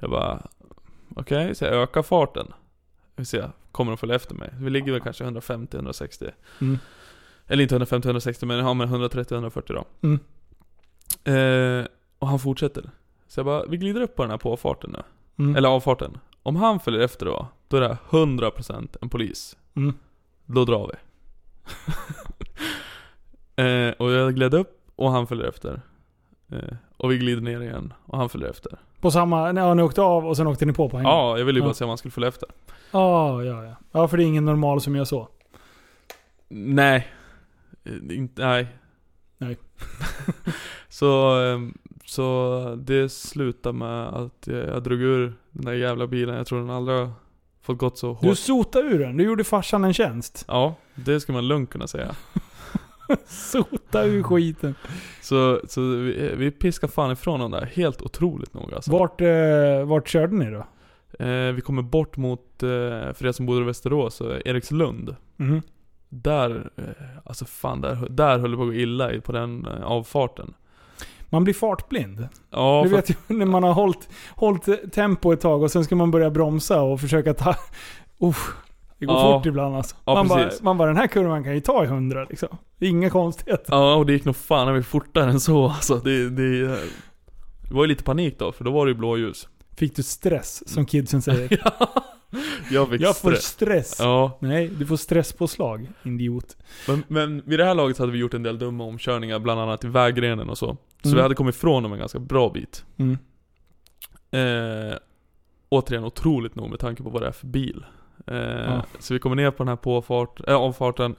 Jag bara, okej. Så jag ökar farten. Vi ser, kommer de följa efter mig? Vi ligger väl kanske 150-160.
Mm.
Eller inte 150-160 men ja men 130-140 då.
Mm.
Eh, och han fortsätter. Så jag bara, vi glider upp på den här påfarten nu.
Mm.
Eller avfarten. Om han följer efter då, då är det 100% en polis.
Mm.
Då drar vi. [laughs] eh, och jag gled upp och han följer efter. Eh, och vi glider ner igen och han följer efter.
På samma... Nej, ja, ni åkte av och sen åkte ni på på en gång?
Ja, jag ville ju bara
Ja.
se om han skulle följa efter.
Ja, ja, ja. Ja, för det är ingen normal som gör så.
Nej. Eh, Inte, nej.
Nej.
[laughs] så, ehm, så det slutade med att jag, jag drog ur den där jävla bilen. Jag tror den aldrig har fått gått så hårt.
Du sotade ur den. Du gjorde farsan en tjänst.
Ja, det skulle man lugnt kunna säga.
Sota ur skiten.
Så, så vi, vi piskar fan ifrån dem där, helt otroligt nog alltså.
Vart, eh, vart körde ni då?
eh, Vi kommer bort mot, eh, för er som bor i Västerås, så Erikslund.
Mhm.
Där, eh, alltså fan, där, där höll det på att gå illa i- på den eh, avfarten.
Man blir fartblind.
Ja,
du
för,
vet ju när man har hållit, hållit tempo ett tag och sen ska man börja bromsa och försöka ta... Uff, det går
Ja.
fort ibland alltså.
Ja,
man, bara,
precis.
man bara, den här kurvan kan ju ta i hundra liksom. Det är inga konstigheter.
ja och det gick nog fan över fortare än så alltså. Det, det, eh, det var ju lite panik då, för då var det ju
[laughs]
blåljus.
Fick du stress, som kidsen
[laughs]
säger?
Jag fick
Jag får
stress.
stress.
Ja,
Nej, du får stresspåslag, idiot.
Men, men vid det här laget så hade vi gjort en del dumma omkörningar, bland annat i vägrenen och så. Så
Mm.
vi hade kommit ifrån dem en ganska bra bit.
Mm.
Eh, återigen otroligt nog med tanke på vad det är för bil. Eh,
Ja.
Så vi kommer ner på den här påfart, äh, avfarten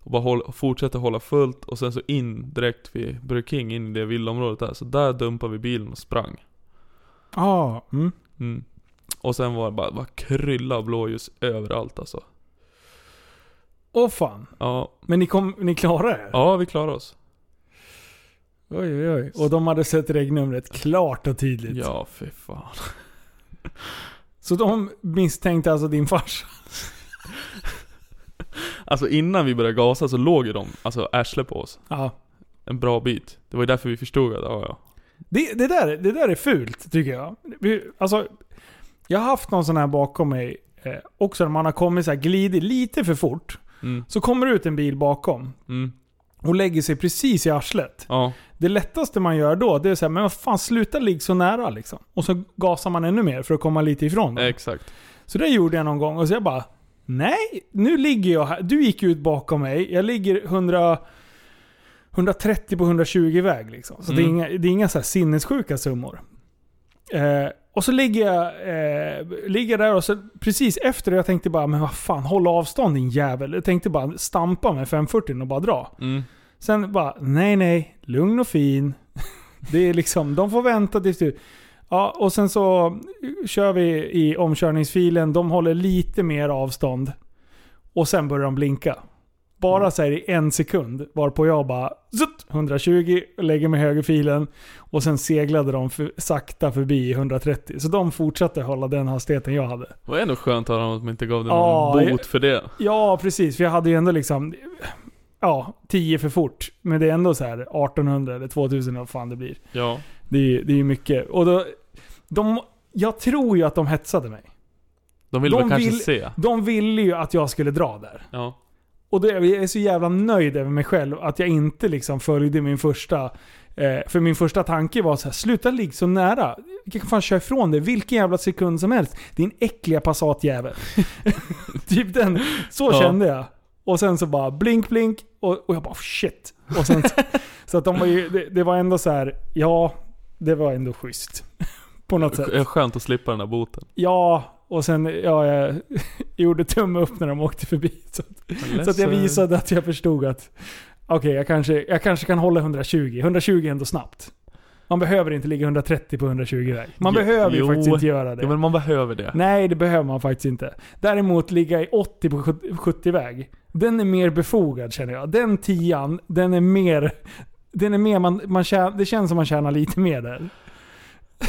och bara håll, fortsätter hålla fullt och sen så in direkt vid Burger King, in i det villaområdet där. Så där dumpade vi bilen och sprang.
Ah, mm.
Mm. Och sen var det bara, bara krylla av blåljus överallt alltså.
Åh fan.
Ja,
Men ni, kom, ni klarade det?
ja vi klarade oss.
Oj, oj, oj. Och de hade sett regnumret klart och tydligt.
Ja, fy fan.
Så de misstänkte alltså din farsa?
Alltså innan vi började gasa så låg ju de, alltså arslet på oss.
Ja.
En bra bit. Det var ju därför vi förstod att, ja ja.
Det, det, där, det där är fult, tycker jag. Vi- Alltså, jag har haft någon sån här bakom mig eh, också när man har kommit så här, glidit lite för fort.
Mm,
Så kommer det ut en bil bakom
mm,
och lägger sig precis i arslet.
ja.
Det lättaste man gör då, det är så här, men vad fan, sluta ligga så nära liksom. Och så gasar man ännu mer för att komma lite ifrån. dem.
Exakt.
Så det gjorde jag någon gång och så jag bara Nej, nu ligger jag här. Du gick ut bakom mig. Jag ligger 100, 130 på 120 väg liksom. Så det är
Mm.
inga, det är inga så här sinnessjuka summor. Eh, och så ligger jag eh, ligger där och så precis efter jag tänkte bara men vad fan håll avstånd din jävel. Jag tänkte bara stampa med 540 och bara dra.
Mm,
Sen bara, nej nej, lugn och fin. [laughs] Det är liksom, de får vänta tills du... Ja, och sen så eh, kör vi i omkörningsfilen, de håller lite mer avstånd. Och sen börjar de blinka. Bara så här i en sekund. Varpå jag bara zutt, 120 och lägger mig i högerfilen. Och sen seglade de för, sakta förbi i 130. Så de fortsatte hålla den hastigheten jag hade.
Det var ändå skönt att höra att de inte gav dig
Ja,
någon
jag-
bot för det.
Ja, precis. För jag hade ju ändå liksom... Ja, 10 för fort. Men det är ändå så här 1800 eller 2000 eller vad fan det blir.
Ja.
Det är ju det är ju mycket. Och då, de, jag tror ju att de hetsade mig.
De vill
De
väl kanske
vill-
se.
De ville ju att jag skulle dra där.
Ja.
Och då är jag jag är så jävla nöjd över mig själv att jag inte liksom följde min första... Eh, för min första tanke var så här, sluta ligga så nära. Jag kan fan köra ifrån dig vilken jävla sekund som helst. Din äckliga Passatjävel. [laughs] typ den. Så
Ja.
kände jag. Och sen så bara blink blink och, och jag bara shit. Och sen, så att de var ju, det, det var ändå så här, ja, det var ändå schysst. På något sätt.
Det är skönt att slippa den där boten.
Ja, och sen ja, jag [laughs] gjorde tumme upp när de åkte förbi. [laughs] Så så att jag
Alltså-
visade att jag förstod att okej, jag, kanske, jag kanske kan hålla 120. 120 är ändå snabbt. Man behöver inte ligga 130 på 120 väg. Man
Jo,
behöver ju
jo.
faktiskt inte göra det.
Ja men man behöver det.
Nej, det behöver man faktiskt inte. Däremot ligga i 80 på 70 väg. Den är mer befogad känner jag. Den tian, den är mer... Den är mer man, man tjä, det känns som man tjänar lite mer där.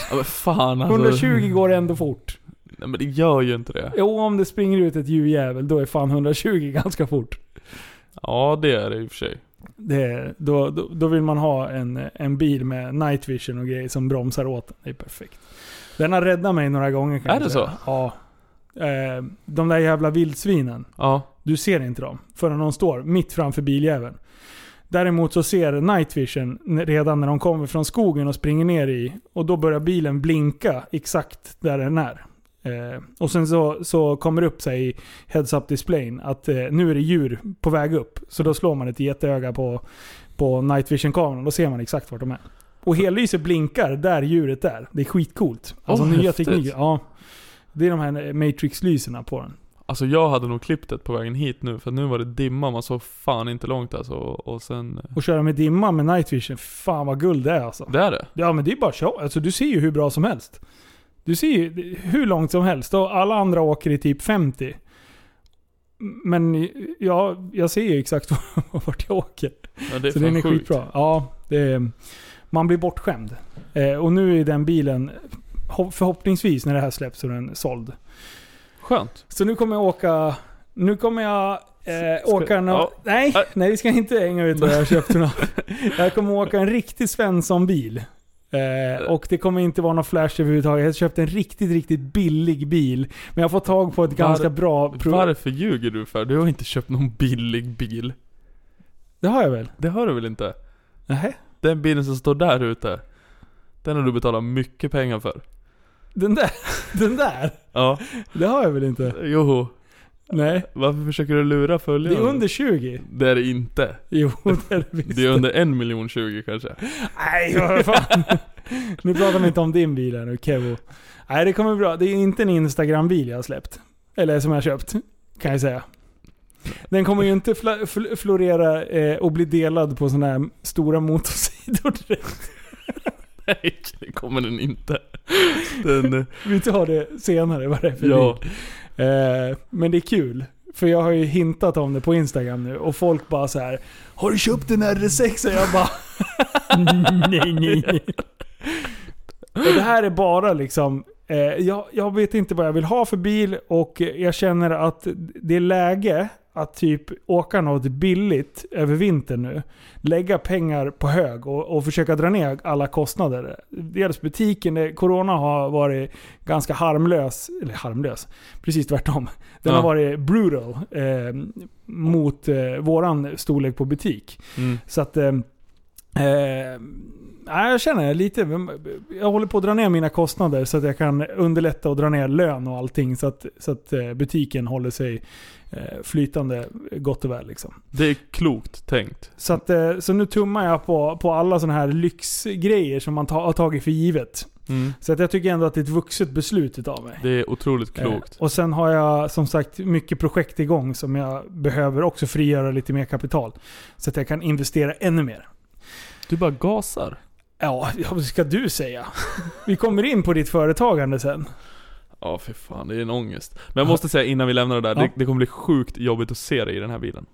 Ja, men fan alltså.
120 går ändå fort.
Nej men det gör ju inte det.
Jo, om det springer ut ett djurjävel, då är fan 120 [laughs] ganska fort.
Ja det är det i och för sig.
Det, då, då, då vill man ha en, en bil med night vision och grejer som bromsar åt. Det är perfekt. Den har räddat mig några gånger kan
Är
jag
det
säga. Ja. Eh, de där jävla vildsvinen.
Ja.
Du ser inte dem förrän de står mitt framför biljäveln. Däremot så ser night vision n- redan när de kommer från skogen och springer ner i. Och då börjar bilen blinka exakt där den är. Eh, och sen så, så kommer det upp sig i heads-up displayen att eh, nu är det djur på väg upp. Så då slår man ett jätteöga på, på night vision-kameran. Då ser man exakt vart de är. Och hellyset blinkar där djuret är. Det är skitcoolt. Alltså
Åh,
nya
häftigt.
tekniker. Ja. Det är de här matrix-lyserna på den.
Alltså jag hade nog klippt det på vägen hit nu för nu var det dimma, man såg fan inte långt alltså och, och sen...
Och köra med dimma med night vision, fan vad guld det är alltså.
Det är det?
Ja men det är bara show. Alltså du ser ju hur bra som helst. Du ser ju hur långt som helst och alla andra åker i typ 50. Men ja, jag ser ju exakt [laughs] vart jag åker.
Ja, det är
Så
fan
den är
sjukt.
skitbra. Ja, det är, man blir bortskämd. Eh, och nu är den bilen ho- förhoppningsvis när det här släpps så är den såld.
Skönt.
Så nu kommer jag åka... Nu kommer jag eh,
Ska-
åka en...
ja.
Nej,
Nej.
nej, vi ska inte hänga ut
[laughs]
vad jag har köpt för något. Jag kommer åka en riktig Svensson-bil. Eh, och det kommer inte vara någon flash överhuvudtaget. Jag köpte en riktigt, riktigt billig bil. Men jag får tag på ett ganska bra... Pro-
Varför ljuger du för? Du har inte köpt någon billig bil.
Det har jag väl?
Det har du väl inte?
Nähä?
Den bilen som står där ute. Den har du betalat mycket pengar för.
Den där? Den där?
Ja.
Det har jag väl inte?
Joho.
Nej.
Varför försöker du lura
Det är
följarna?
under 20.
Det är det inte.
Jo, det är det visst.
Det är under en miljon tjugo kanske. [laughs]
Nej, vad fan. [laughs] nu pratar vi inte om din bil här nu, Kevo. Nej, det kommer bra. Det är inte en Instagram-bil jag har släppt. Eller som jag har köpt, kan jag säga. Den kommer ju inte fla- fl- florera eh, och bli delad på sådana här stora motorsidor direkt.
Nej, det kommer den inte. Den... eh,
Vi tar det senare, vad det är [laughs] för
Ja.
bil. Eh, men det är kul. För jag har ju hintat om det på Instagram nu och folk bara så här Har du köpt en RS6? Och jag bara [laughs] Nej, nej, nej. Och det här är bara liksom eh, jag, jag vet inte vad jag vill ha för bil och jag känner att det är läge att typ åka något billigt över vintern nu. Lägga pengar på hög och, och försöka dra ner alla kostnader. Dels butiken, eh, corona har varit ganska harmlös. Eller harmlös? Precis tvärtom. Den
Ja.
har varit brutal eh, mot eh, våran storlek på butik.
Mm.
Så att... Eh, eh, nej, jag känner lite... Jag håller på att dra ner mina kostnader så att jag kan underlätta och dra ner lön och allting. Så att, så att eh, butiken håller sig eh, flytande gott och väl. Liksom.
Det är klokt tänkt.
Så, att, eh, så nu tummar jag på, på alla sådana här lyxgrejer som man ta, har tagit för givet.
Mm.
Så att jag tycker ändå att det är ett vuxet beslut utav mig.
Det är otroligt klokt.
Eh, Och sen har jag som sagt mycket projekt igång som jag behöver också frigöra lite mer kapital. Så att jag kan investera ännu mer.
Du bara gasar.
Ja, ja, vad ska du säga? Vi kommer in på ditt företagande sen.
Ja för fan, det är en ångest. Men jag måste säga innan vi lämnar det där,
Ja.
det, det kommer bli sjukt jobbigt att se dig i den här bilen.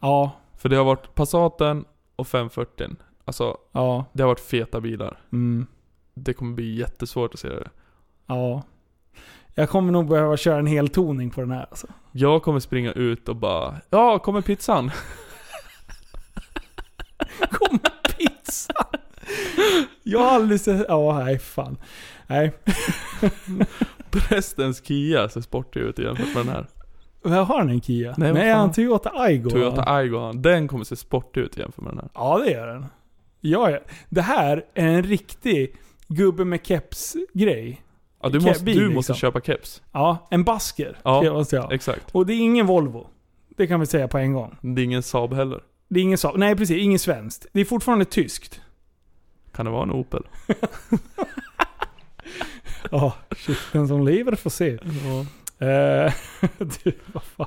Ja,
För det har varit Passaten och 540. Alltså,
ja,
det har varit feta bilar.
mm,
Det kommer bli jättesvårt att se det.
ja. Jag kommer nog behöva köra en hel toning på den här alltså.
Jag kommer springa ut och bara Ja, kommer pizzan?
[laughs]
[laughs]
Pizza! Jag har aldrig sett... Ja, nej fan. Nej.
Prästens Kia ser sportig ut jämfört med den här.
Men Jag har en Kia.
Nej,
Nej,
vad
Nej jag har en
fan.
Toyota Aygo.
Toyota Aygo har han. Den kommer se sportig ut jämfört med den här.
Ja, det gör den. Ja, ja. Det här är en riktig gubbe med keps-grej.
Ja, du
Ke-
måste,
bil,
du måste
liksom.
köpa keps.
Ja, en basker.
Ja.
ska jag säga.
Exakt.
Och det är ingen Volvo. Det kan vi säga på en gång.
Det är ingen Saab heller.
Det är ingen Saab. Nej, precis. Ingen svenskt. Det är fortfarande tyskt.
Kan det vara en Opel?
Ja, shit. Den som lever får se.
Ja.
Eh, [laughs] du, vad fan.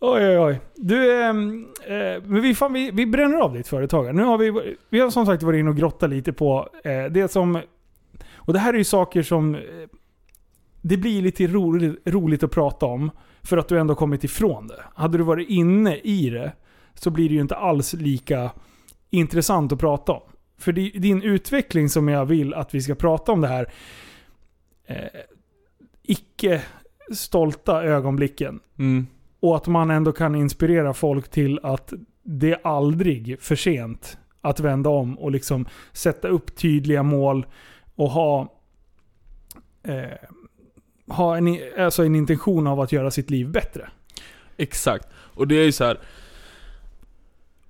Oj, oj, oj. Du, ehm, eh, men vi, fan, vi, vi bränner av ditt företag. här. Nu har vi, vi har som sagt varit inne och grottat lite på eh, det som... Och det här är ju saker som... eh, Det blir lite roligt, roligt att prata om för att du ändå kommit ifrån det. Hade du varit inne i det så blir det ju inte alls lika intressant att prata om. För det är din utveckling som jag vill att vi ska prata om det här. Eh, icke stolta ögonblicken.
Mm.
Och att man ändå kan inspirera folk till att det är aldrig för sent att vända om och liksom sätta upp tydliga mål och ha, eh, ha en, i- alltså en intention av att göra sitt liv bättre.
Exakt. Och det är ju så här.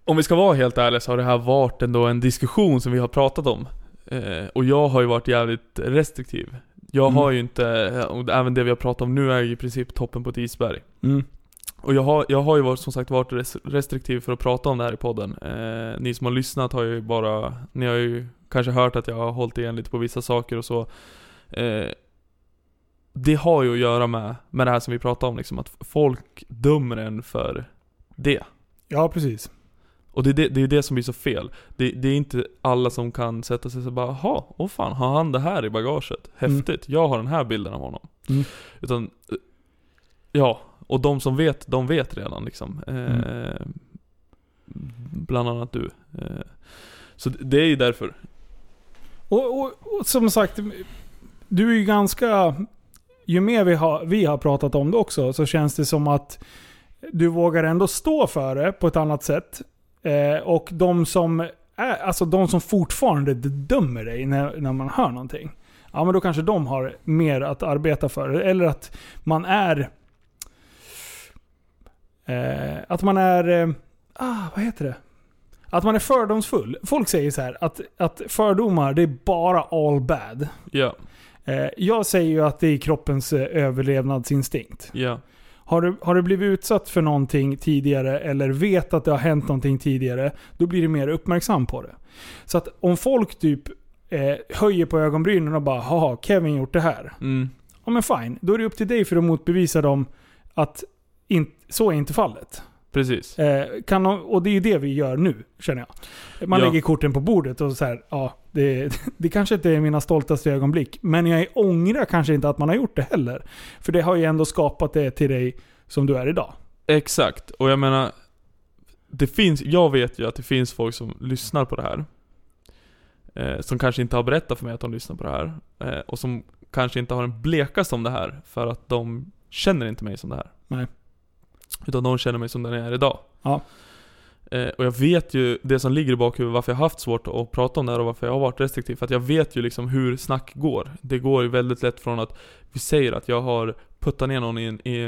Om vi ska vara helt ärliga så har det här varit ändå en diskussion som vi har pratat om. Eh, och jag har ju varit jävligt restriktiv. Jag
Mm.
har ju inte, och även det vi har pratat om nu är ju i princip toppen på ett isberg. Och jag har, jag har ju varit, som sagt varit res- restriktiv för att prata om det här i podden. Eh, ni som har lyssnat har ju bara, ni har ju kanske hört att jag har hållit igen lite på vissa saker och så. Eh, det har ju att göra med, med det här som vi pratade om, liksom, att folk dömer en för det.
Ja, precis.
Och det är det, det, är det som blir så fel. Det, det är inte alla som kan sätta sig så bara Jaha, åh fan, har han det här i bagaget? Häftigt, jag har den här bilden av honom.
Mm.
Utan, eh, ja, och de som vet, de vet redan liksom. Eh, bland annat du. Eh, så det- det är ju därför.
Och, och, och som sagt, du är ju ganska... Ju mer vi har, vi har pratat om det också så känns det som att du vågar ändå stå för det på ett annat sätt. Eh, och de som, är, alltså de som fortfarande dömer dig när, när man hör någonting. Ja men då kanske de har mer att arbeta för. Eller att man är... Eh, att man är... Eh, ah, vad heter det? Att man är fördomsfull. Folk säger så här att, att fördomar det är bara all bad.
Ja,
Eh, jag säger ju att det är kroppens eh, överlevnadsinstinkt.
ja.
Har du, har du blivit utsatt för någonting tidigare eller vet att det har hänt någonting tidigare, då blir du mer uppmärksam på det. Så att om folk typ eh, höjer på ögonbrynen och bara “Haha, Kevin gjort det här”.
Mm.
Ja men fine, då är det upp till dig för att motbevisa dem att in, så är inte fallet.
Precis.
Eh, kan de, och det är ju det vi gör nu, känner jag. Man
Ja.
lägger korten på bordet och så här, ja, det, [laughs] det kanske inte är mina stoltaste ögonblick, men jag ångrar kanske inte att man har gjort det heller. För det har ju ändå skapat det till dig som du är idag.
Exakt, och jag menar det finns, Jag vet ju att det finns folk som lyssnar på det här eh, Som kanske inte har berättat för mig att de lyssnar på det här eh, Och som kanske inte har den blekaste om det här För att de känner inte mig som det här
Nej.
Utan de känner mig som den jag är idag
Ja.
eh, Och jag vet ju det som ligger i bakhuvudet varför jag har haft svårt att prata om det här och varför jag har varit restriktiv För att jag vet ju liksom hur snack går Det går ju väldigt lätt från att vi säger att jag har puttat ner någon i en i,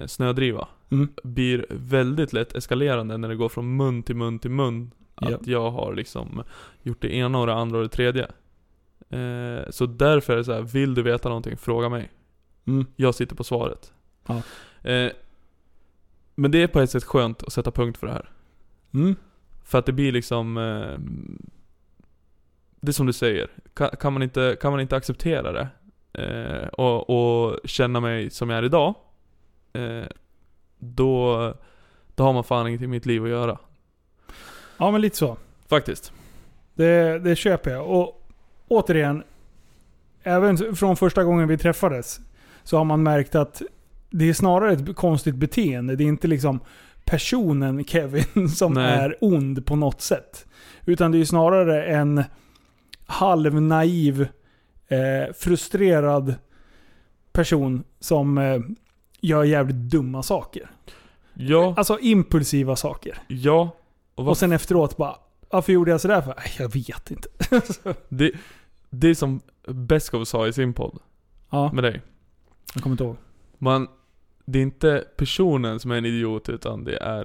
eh, snödriva
Mm.
blir väldigt lätt eskalerande när det går från mun till mun till mun. Att
Ja.
jag har liksom gjort det ena och det andra och det tredje. Eh, så därför är det så här, vill du veta någonting, fråga mig.
Mm.
Jag sitter på svaret.
Ja.
Eh, men det är på ett sätt skönt att sätta punkt för det här.
Mm.
För att det blir liksom... Eh, det är som du säger. Kan, kan, man, inte, kan man inte acceptera det eh, och, och känna mig som jag är idag. Eh, då, då har man fan inget i mitt liv att göra.
Ja, men lite så.
Faktiskt.
Det, det köper jag. Och återigen, även från första gången vi träffades så har man märkt att det är snarare ett konstigt beteende. Det är inte liksom personen Kevin [laughs] som
Nej.
är ond på något sätt. Utan det är ju snarare en halvnaiv, eh, frustrerad person som eh, gör jävligt dumma saker.
Ja,
Alltså impulsiva saker.
ja. Och vad
Och sen efteråt bara, varför gjorde jag sådär för? "Äh, Jag vet inte.
Det, det är som Beskow sa i sin podd
Ja,
med dig.
jag kommer inte ihåg.
Man, det är inte personen som är en idiot utan det är...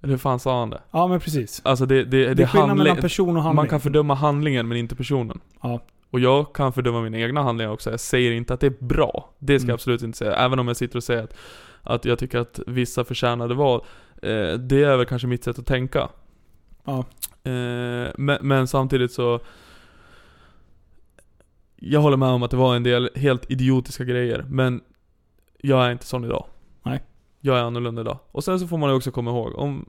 Eller hur fan sa han det?
Ja men precis.
Alltså det, det, det,
Det är skillnad
handling,
mellan person och handling.
Man kan fördöma handlingen men inte personen.
Ja.
Och jag kan fördöma mina egna handlingar också. Jag säger inte att det är bra. Det ska
Mm.
jag absolut inte säga. Även om jag sitter och säger att, att jag tycker att vissa förtjänade val. Eh, det är väl kanske mitt sätt att tänka.
Ja.
Eh, men, men samtidigt så... Jag håller med om att det var en del helt idiotiska grejer, men jag är inte sån idag.
Nej.
Jag är annorlunda idag. Och sen så får man ju också komma ihåg, om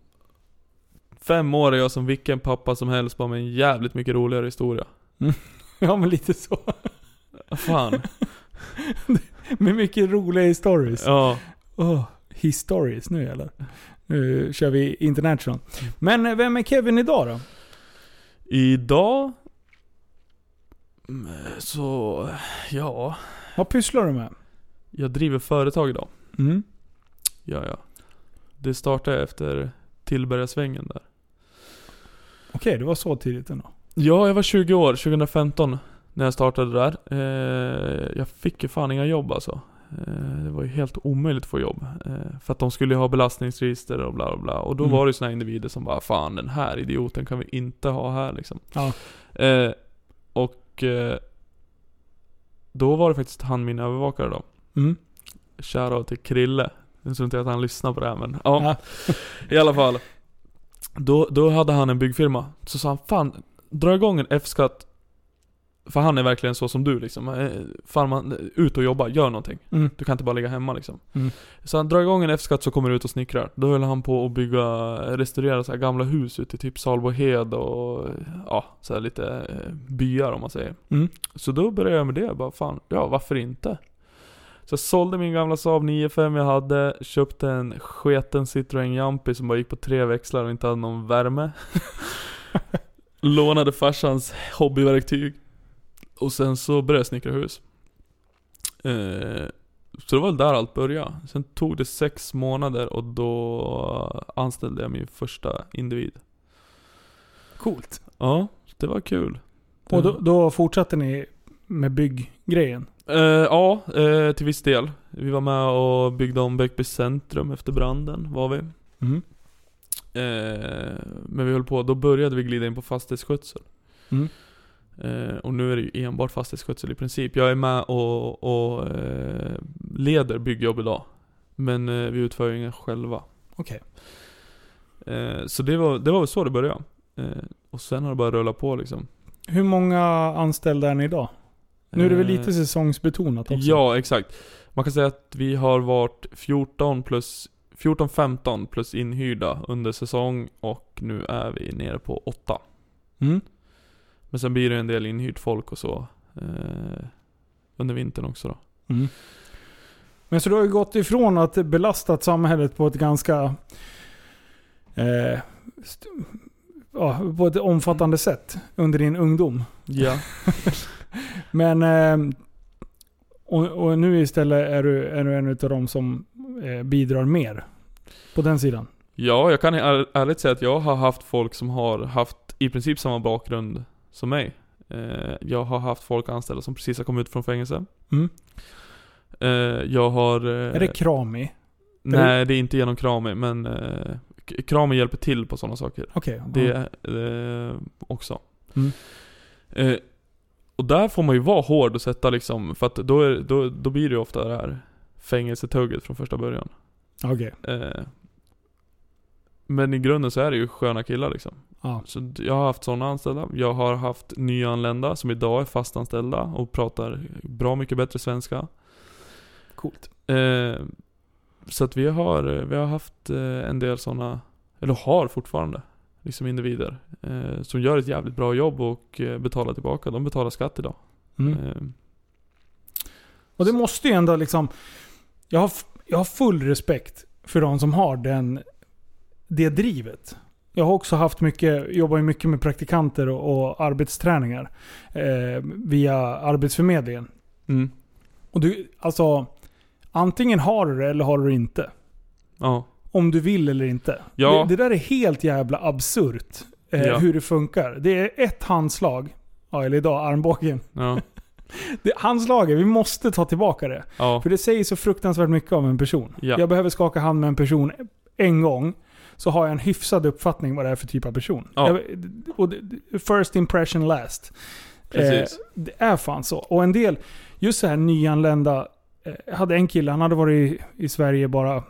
fem år är jag som vilken pappa som helst, bara med en jävligt mycket roligare historia.
Ja men lite så. [laughs]
Fan.
Med mycket roliga histories.
ja.
Åh, histories nu eller? Nu kör vi international. Men eh, vem är Kevin idag då?
Idag... mm, Så... Ja.
Vad pysslar du med?
Jag driver företag idag.
Mm.
Ja, ja. Det startade efter Tillbergasvängen där.
Okej, det var så tidigt ändå.
Ja, jag var 20 år, 2015, när jag startade där. Eh, jag fick ju fan inga jobb alltså. Eh, det var ju helt omöjligt att få jobb. Eh, för att de skulle ju ha belastningsregister och bla bla bla. Och då
Mm.
var det ju såna individer som bara 'Fan den här idioten kan vi inte ha här' liksom.
Ja.
Eh, och eh, då var det faktiskt han min övervakare då.
Mm.
Shoutout till Krille. Nu tror inte jag att han lyssnar på det här men ja.
Ja.
[laughs] I alla fall. Då, då hade han en byggfirma. Så sa han, fan dra igång en F-skatt. För han är verkligen så som du liksom. Eh, Fan man, ut och jobba, gör någonting.
Mm.
Du kan inte bara ligga hemma liksom.
Mm.
Så han drar igång en F-skatt så kommer du ut och snickrar. Då höll han på att bygga, restaurera så här gamla hus ute i typ Salbohed och ja, så här lite eh, byar om man säger.
Mm.
Så då började jag med det. Jag Bara, fan, ja varför inte? Så jag sålde min gamla Saab 9-5 jag hade, köpte en sketen Citroën Jumpy som bara gick på tre växlar och inte hade
[laughs]
någon värme. Lånade farsans hobbyverktyg. Och sen så började jag snickra hus. Eh, så det var väl där allt började. Sen tog det sex månader och då anställde jag min första individ.
Coolt.
Ja, det var kul.
Och då, då fortsatte ni med bygggrejen?
Eh, ja, eh, till viss del. Vi var med och byggde om Bäckby centrum efter branden, var vi.
Mm.
Eh, men vi höll på, då började vi glida in på fastighetsskötsel.
Mm.
Eh, och nu är det ju enbart fastighetsskötsel i princip. Jag är med och, och eh, leder byggjobb idag. Men eh, vi utför ju inga själva.
Okej.
Eh, så det var, det var väl så det började. Eh, och sen har det bara rullat på liksom.
Hur många anställda är ni idag? Nu är det väl
Eh,
lite säsongsbetonat också?
Ja, exakt. Man kan säga att vi har varit 14 plus 14-15 plus inhyrda under säsong och nu är vi nere på 8.
Mm.
Men sen blir det en del inhyrt folk och så eh, under vintern också då.
Mm. Men så du har ju gått ifrån att belastat samhället på ett ganska... Eh, st- ja, på ett omfattande sätt under din ungdom.
Ja.
Men... Eh, och, och nu istället är du, är du en av de som eh, bidrar mer. På den sidan.
[laughs] ja, jag kan är, ärligt säga att jag har haft folk som har haft i princip samma bakgrund som mig. Eh, jag har haft folk anställda som precis har kommit ut från fängelse.
Mm.
Eh, jag har... eh,
Är det Krami?
Nej, det är inte genom Krami, men eh, K- Krami hjälper till på sådana saker.
Okej.
Det
ja.
eh, också.
Mm.
Eh, och där får man ju vara hård och sätta liksom, för att då, är, då, då blir det ju ofta det här fängelsetugget från första början.
Okej.
Eh, men i grunden så är det ju sköna killar liksom.
Ja.
Så d- jag har haft sådana anställda. Jag har haft nyanlända som idag är fastanställda och pratar bra mycket bättre svenska.
Coolt.
Eh, så att vi har, vi har haft eh, en del sådana, eller har fortfarande, liksom individer. Eh, som gör ett jävligt bra jobb och eh, betalar tillbaka. De betalar skatt idag.
Mm.
Eh,
Och det måste ju ändå liksom... Jag har, f- jag har full respekt för de som har den det drivet. Jag har också haft mycket, jobbar ju mycket med praktikanter och, och arbetsträningar eh, via Arbetsförmedlingen.
Mm.
Och du, alltså, antingen har du det eller har du det inte.
Ja.
Om du vill eller inte.
Ja.
Det, det där är helt jävla absurt. Eh,
Ja.
Hur det funkar. Det är ett handslag. Ja, eller idag armbågen.
Ja.
Det, handslaget, vi måste ta tillbaka det.
[laughs] Ja.
För det säger så fruktansvärt mycket om en person.
Ja.
Jag behöver skaka hand med en person en gång. Så har jag en hyfsad uppfattning vad det är för typ av person.
Ja.
Jag, och det- first impression last.
Precis.
Eh, det är fan så. Och en del, just så här nyanlända. eh, Jag hade en kille, han hade varit i, i Sverige bara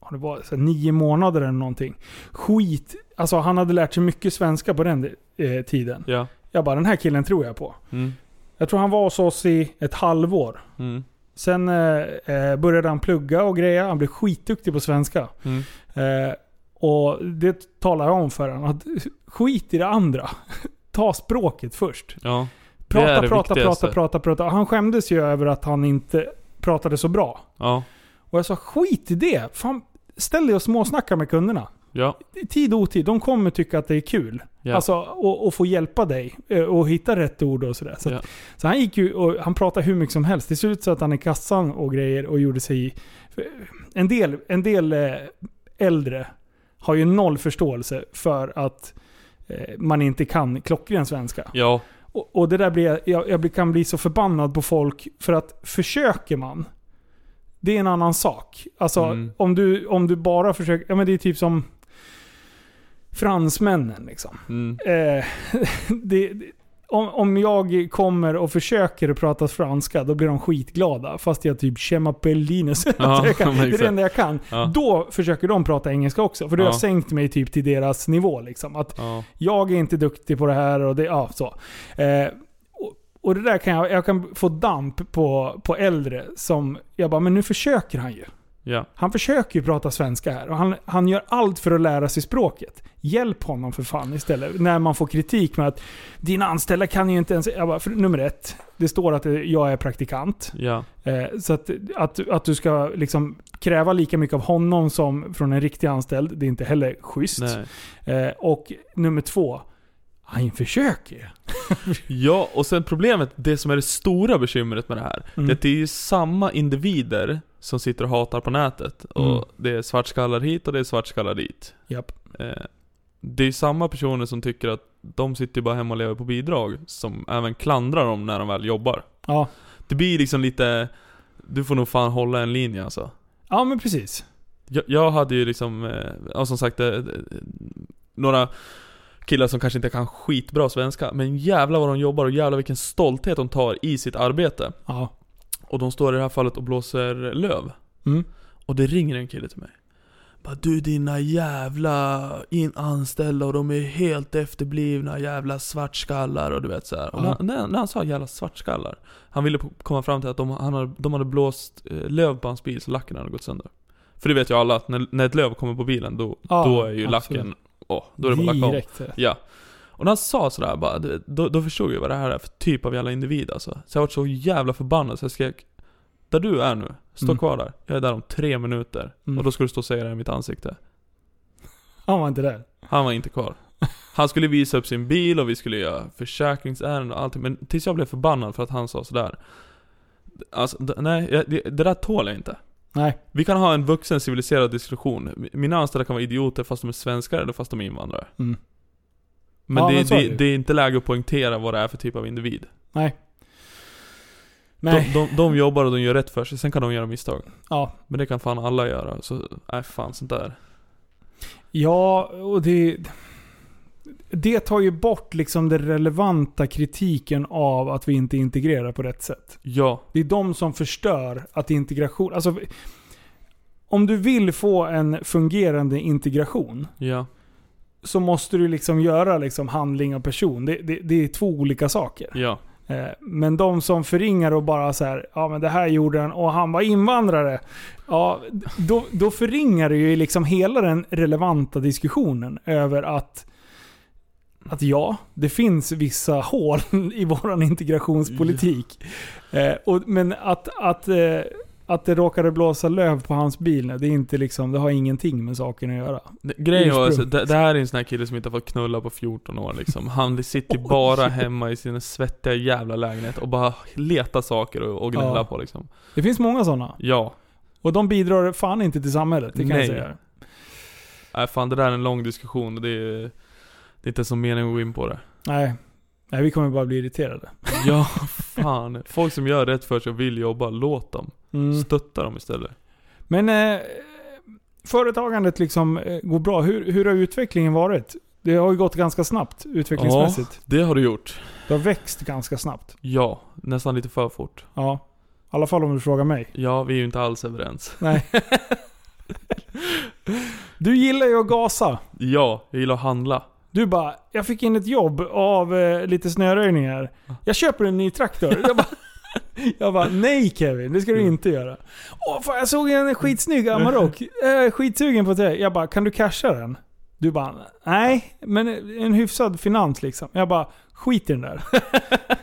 ja, det var så här, nio månader eller någonting. Skit. Alltså han hade lärt sig mycket svenska på den eh, tiden.
Ja.
Jag bara, den här killen tror jag på.
Mm.
Jag tror han var hos oss i ett halvår.
Mm.
Sen eh, eh, började han plugga och greja. Han blev skitduktig på svenska.
Mm.
Eh, och det talade jag om för honom. Att [laughs] skit i det andra. [laughs] Ta språket först.
Ja. Det är
Prata,
det
prata,
viktigaste.
prata, prata, prata. Han skämdes ju över att han inte pratade så bra.
Ja.
Och jag sa skit i det. Fan, ställ dig och småsnacka med kunderna.
Ja.
I Tid och otid. De kommer tycka att det är kul.
Ja.
Alltså, och, och få hjälpa dig eh, och hitta rätt ord och sådär. Så, att-
Ja.
så han gick ju och han pratade hur mycket som helst. Det såg ut så att han i kassan och grejer och gjorde sig i... för En del, en del eh, äldre har ju noll förståelse för att eh, man inte kan klockren svenska.
Ja.
Och, och det där blir jag- jag, jag blir- kan bli så förbannad på folk för att försöker man, det är en annan sak. Alltså
Mm.
om, du, om du bara försöker, ja men det är typ som fransmännen liksom.
Mm.
Eh, [laughs] det, det- om, om jag kommer och försöker att prata franska, då blir de skitglada. Fast jag typ chemapellinus.
Ja,
jag kan, det
[laughs] men
är det
exakt.
enda jag kan.
Ja.
Då försöker de prata engelska också. För då har
Ja.
jag sänkt mig typ till deras nivå. Liksom. Att
Ja.
jag är inte duktig på det här och det, ja så. Eh, och, och det där kan jag, jag kan få damp på, på äldre som, jag bara, men nu försöker han ju.
Ja.
Han försöker ju prata svenska här och han, han gör allt för att lära sig språket. Hjälp honom för fan istället. När man får kritik med att dina anställda kan ju inte ens... Jag bara, för, nummer ett, det står att eh, jag är praktikant.
Ja.
Eh, så att, att, att du ska liksom kräva lika mycket av honom som från en riktig anställd, det är inte heller schysst.
Nej.
Eh, och nummer två, han försöker.
Ja, och sen problemet, det som är det stora bekymret med det här,
Mm.
det är att det är ju samma individer som sitter och hatar på nätet. Och
Mm.
det är svartskallar hit och det är svartskallar dit.
Japp.
Eh, det är ju samma personer som tycker att de sitter ju bara hemma och lever på bidrag, som även klandrar dem när de väl jobbar.
Ja.
Det blir liksom lite, du får nog fan hålla en linje alltså.
ja, men precis.
Jag, jag hade ju liksom, eh, ja, som sagt, eh, eh, några killar som kanske inte kan skitbra svenska, men jävla vad de jobbar och jävla vilken stolthet de tar i sitt arbete.
Ja.
Och de står i det här fallet och blåser löv.
Mm.
Och det ringer en kille till mig. Bara du dina jävla in- anställda och de är helt efterblivna jävla svartskallar och du vet såhär. Och
Ja.
när- när, när han sa jävla svartskallar. Han ville po- komma fram till att de, han hade, de hade blåst eh, löv på hans bil så lacken hade gått sönder. För det vet ju alla att när, när ett löv kommer på bilen då,
Ja,
då är ju
absolut.
lacken, åh, då är det bara lacka om.
Direkt.
Ja. Och när han sa sådär bara, du vet, då, då förstod jag vad det här är för typ av jävla individ alltså. Så jag var så jävla förbannad så jag skrek Där du är nu, stå
Mm.
kvar där. Jag är där om tre minuter.
Mm.
Och då ska du stå och säga det i mitt ansikte.
Han var inte där.
Han var inte kvar. Han skulle visa upp sin bil och vi skulle göra försäkringsärenden och allting. Men tills jag blev förbannad för att han sa sådär. Alltså, d- nej, jag- det, det där tål jag inte.
Nej.
Vi kan ha en vuxen civiliserad diskussion. Mina anställda kan vara idioter fast de är svenskar eller fast de är invandrare.
Mm.
Men,
Ja,
det,
men så är det
det,
ju.
det är inte läge att poängtera vad det är för typ av individ.
Nej.
De, de, de jobbar och de gör rätt för sig, sen kan de göra misstag.
Ja.
Men det kan fan alla göra, så nej fan sånt där.
Ja, och det... Det tar ju bort liksom den relevanta kritiken av att vi inte integrerar på rätt sätt.
Ja,
Det är de som förstör att integration... Alltså, om du vill få en fungerande integration
ja,
så måste du liksom göra liksom handling och person. Det, det, det är två olika saker.
ja,
Eh, Men de som förringar och bara så här, ja men det här gjorde han och han var invandrare. Ja, då, då förringar du ju liksom hela den relevanta diskussionen över att, att ja, det finns vissa [laughs] hål i vår integrationspolitik. Eh, och, men att, att eh, Att det råkade blåsa löv på hans bil, nej, det, är inte liksom, det har ingenting med saken att göra.
Det- Grejen var alltså,
Ursprung.
det, det här är en sån här kille som inte har fått knulla på 14 år liksom. Han sitter ju bara hemma i sin svettiga jävla lägenhet och bara letar saker och, och gnäller
Ja.
på liksom.
Det finns många sådana.
Ja.
Och de bidrar fan inte till samhället, det kan
Nej.
jag säga.
Nej Äh, fan det där är en lång diskussion och det är, det är inte ens någon mening att gå in på det.
Nej. nej, vi kommer bara bli irriterade.
Ja, fan. Folk som gör rätt för sig och vill jobba, låt dem.
Mm.
Stötta dem istället.
Men eh, företagandet liksom eh, går bra. Hur, hur har utvecklingen varit? Det har ju gått ganska snabbt utvecklingsmässigt.
Det har du gjort.
Det har växt ganska snabbt.
Ja, nästan lite för fort.
Ja. I alla fall om du frågar mig.
Ja, vi är ju inte alls överens.
Nej. Du gillar ju att gasa.
Ja, jag gillar att handla.
Du bara, jag fick in ett jobb av eh, lite snöröjning här. Jag köper en ny traktor. Jag bara, [laughs] jag bara nej Kevin, det ska du inte göra. Åh fan, jag såg en skitsnygg Amarok. Jag är skitsugen på det. Jag bara, kan du casha den? Du bara, nej, men en hyfsad finans liksom. Jag bara, skit i den där.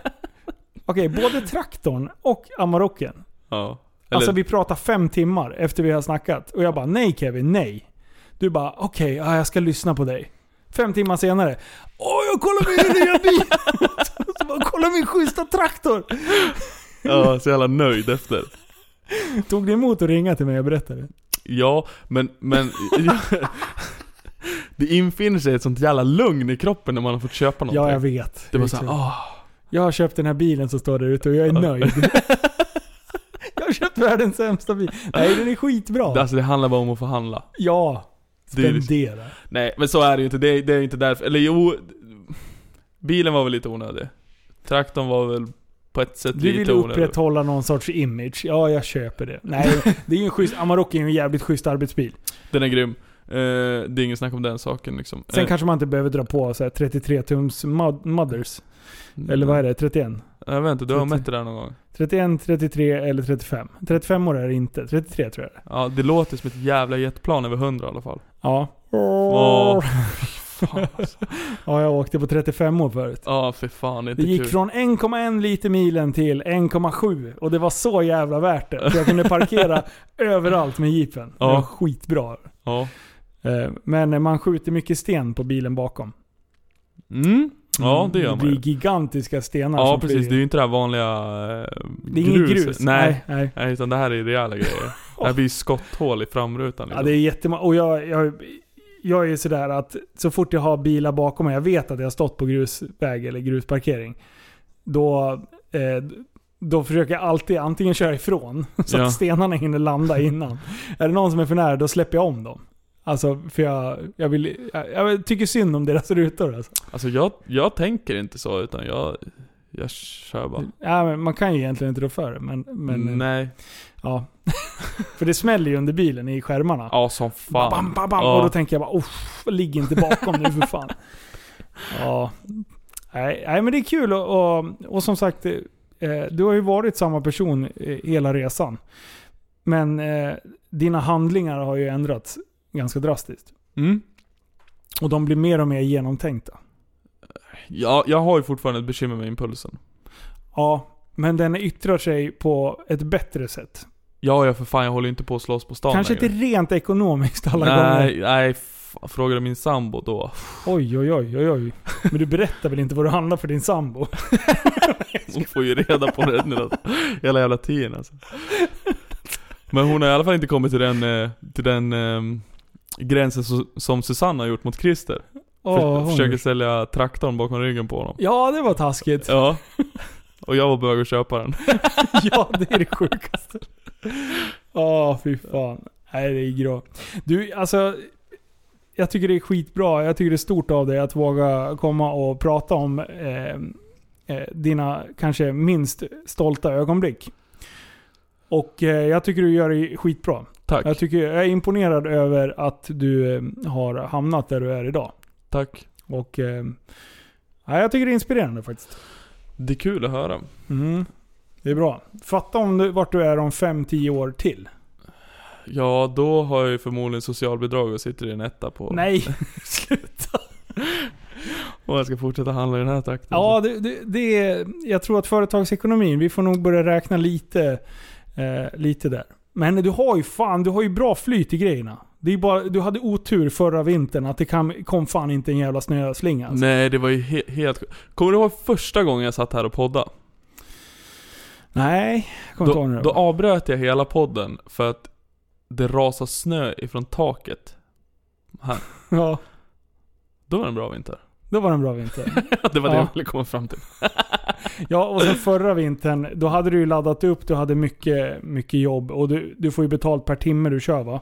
[laughs] Okej, både traktorn och Amaroken.
Ja. Eller,
Alltså vi pratar fem timmar efter vi har snackat. Och jag bara, nej Kevin, nej. Du bara, okej, ja, jag ska lyssna på dig. Fem timmar senare. Åh, jag kollar min nya bil! [laughs] Så bara, kolla min schyssta traktor!
ja, så jävla nöjd efter.
Tog det emot att ringa till mig och berätta det?
Ja, men, men... det infinner sig ett sånt jävla lugn i kroppen när man har fått köpa någonting.
Ja, jag vet.
det var
Exakt.
såhär, ah.
Jag har köpt den här bilen som står där ute och jag är
Ja.
nöjd. [laughs] jag har köpt världens sämsta bil. Nej, den är skitbra.
Det- Alltså det handlar bara om att få handla.
ja.
Det är liksom-
Spendera.
Nej, men så är det ju inte. Det, det är ju inte därför. Eller jo... Bilen var väl lite onödig. Traktorn var väl på ett sätt
Du vill
lite onödig.
upprätthålla någon sorts image. Ja, jag köper det. Nej, det är ju en schysst... Amarok är ju en jävligt schysst arbetsbil.
Den är grym. Eh, det är ingen snack om den saken liksom.
Sen kanske man inte behöver dra på så här 33-tums mod- mothers.
Mm.
Eller vad är det? 31?
Eh, Jag vet inte, du har
30.
mätt det där någon gång?
31, 33 eller 35. 35 år är det inte. 33 tror jag det är.
Ja, det låter som ett jävla jetplan över 100 i
[laughs]
alla fall.
Ja.
Åh, Fan alltså.
[laughs] Ja, jag åkte på 35 år förut.
Ja, för fan. Det är inte
Det gick
kul.
från 1,1 liter milen till 1,7 och det var så jävla värt det. För jag kunde
[laughs]
parkera överallt med jeepen. Det
Ja.
var skitbra.
Ja.
Eh, Men man skjuter mycket sten på bilen bakom.
Mm. Ja, det gör man
Det
ju.
blir gigantiska stenar
Ja,
som
precis. Det är
flyger.
ju inte det här vanliga eh,
Det är inget grus.
Nej.
Nej. nej.
Nej, utan det här är rejäla grejer.
[laughs]
Det här blir ju skotthål i framrutan
Ja,
liksom.
det är jättemånga. Och jag, jag, jag är ju sådär att så fort jag har bilar bakom mig, jag vet att jag har stått på grusväg eller grusparkering. Då, eh, då försöker jag alltid antingen köra ifrån [laughs] så
Ja.
att stenarna hinner landa innan. är det någon som är för nära, då släpper jag om dem. Alltså, för jag, jag, vill, jag, jag tycker synd om deras rutor. Alltså.
Alltså jag, jag tänker inte så, utan jag, jag kör bara.
Mm. Ja, men man kan ju egentligen inte rå för det, men, men eh,
Nej.
ja. [laughs] för det smäller ju under bilen i skärmarna.
Ja, som fan.
Bam, bam, bam.
Ja.
Och då tänker jag bara uff, ligg inte bakom nu för fan. ja. nej, nej, men det är kul och, och, och som sagt, eh, du har ju varit samma person eh, hela resan. Men eh, dina handlingar har ju ändrats ganska drastiskt.
Mm.
Och de blir mer och mer genomtänkta.
Ja, jag har ju fortfarande ett bekymmer med impulsen.
Ja, men den yttrar sig på ett bättre sätt.
Ja, ja för fan, jag håller ju inte på att slåss på stan
Kanske
längre.
inte rent ekonomiskt alla gånger.
Nej, nej. f- Frågade min sambo då. [laughs]
Oj, oj, oj, oj, oj. Men du berättar väl inte vad du handlar för din sambo?
Hon [laughs] får ju reda på det nu alltså. Hela jävla tiden alltså. Men hon har i alla fall inte kommit till den, eh, till den ehm, gränsen so- som Susanna har gjort mot Christer.
Åh, hon-
För, försöker sälja traktorn bakom ryggen på honom.
Ja, det var taskigt.
Ja. [laughs] Och jag var på väg att köpa den.
[laughs] ja, det är det sjukaste. Ja, fy fan. Nej, det är grå. Du, alltså. Jag tycker det är skitbra. Jag tycker det är stort av dig att våga komma och prata om eh, eh, dina kanske minst stolta ögonblick. Och eh, jag tycker du gör det skitbra.
Tack.
Jag, tycker, jag är imponerad över att du eh, har hamnat där du är idag.
Tack.
Och eh, ja, jag tycker det är inspirerande faktiskt.
Det är kul att höra.
Mm. Det är bra. Fatta om du, vart du är om 5-10 år till.
Ja, då har jag ju förmodligen socialbidrag och sitter i en etta på... [laughs]
Nej, sluta.
Och jag ska fortsätta handla i den här takten.
Ja, det, det, det är, jag tror att företagsekonomin, vi får nog börja räkna lite Eh, lite där. Men du har ju fan, du har ju bra flyt i grejerna. Det är bara, du hade otur förra vintern att det kan, kom fan inte en jävla snöslinga. Alltså.
Nej, det var ju he helt... Kommer du ihåg första gången jag satt här och poddade?
Nej, jag kommer inte ihåg
Då,
nu.
då avbröt jag hela podden för att det rasade snö ifrån taket.
Ja,
Då var det en bra vinter. [laughs]
då var det en bra vinter.
det var det
Ja.
jag ville komma fram till.
Ja, och sen förra vintern, då hade du ju laddat upp, du hade mycket, mycket jobb och du, du får ju betalt per timme du kör va?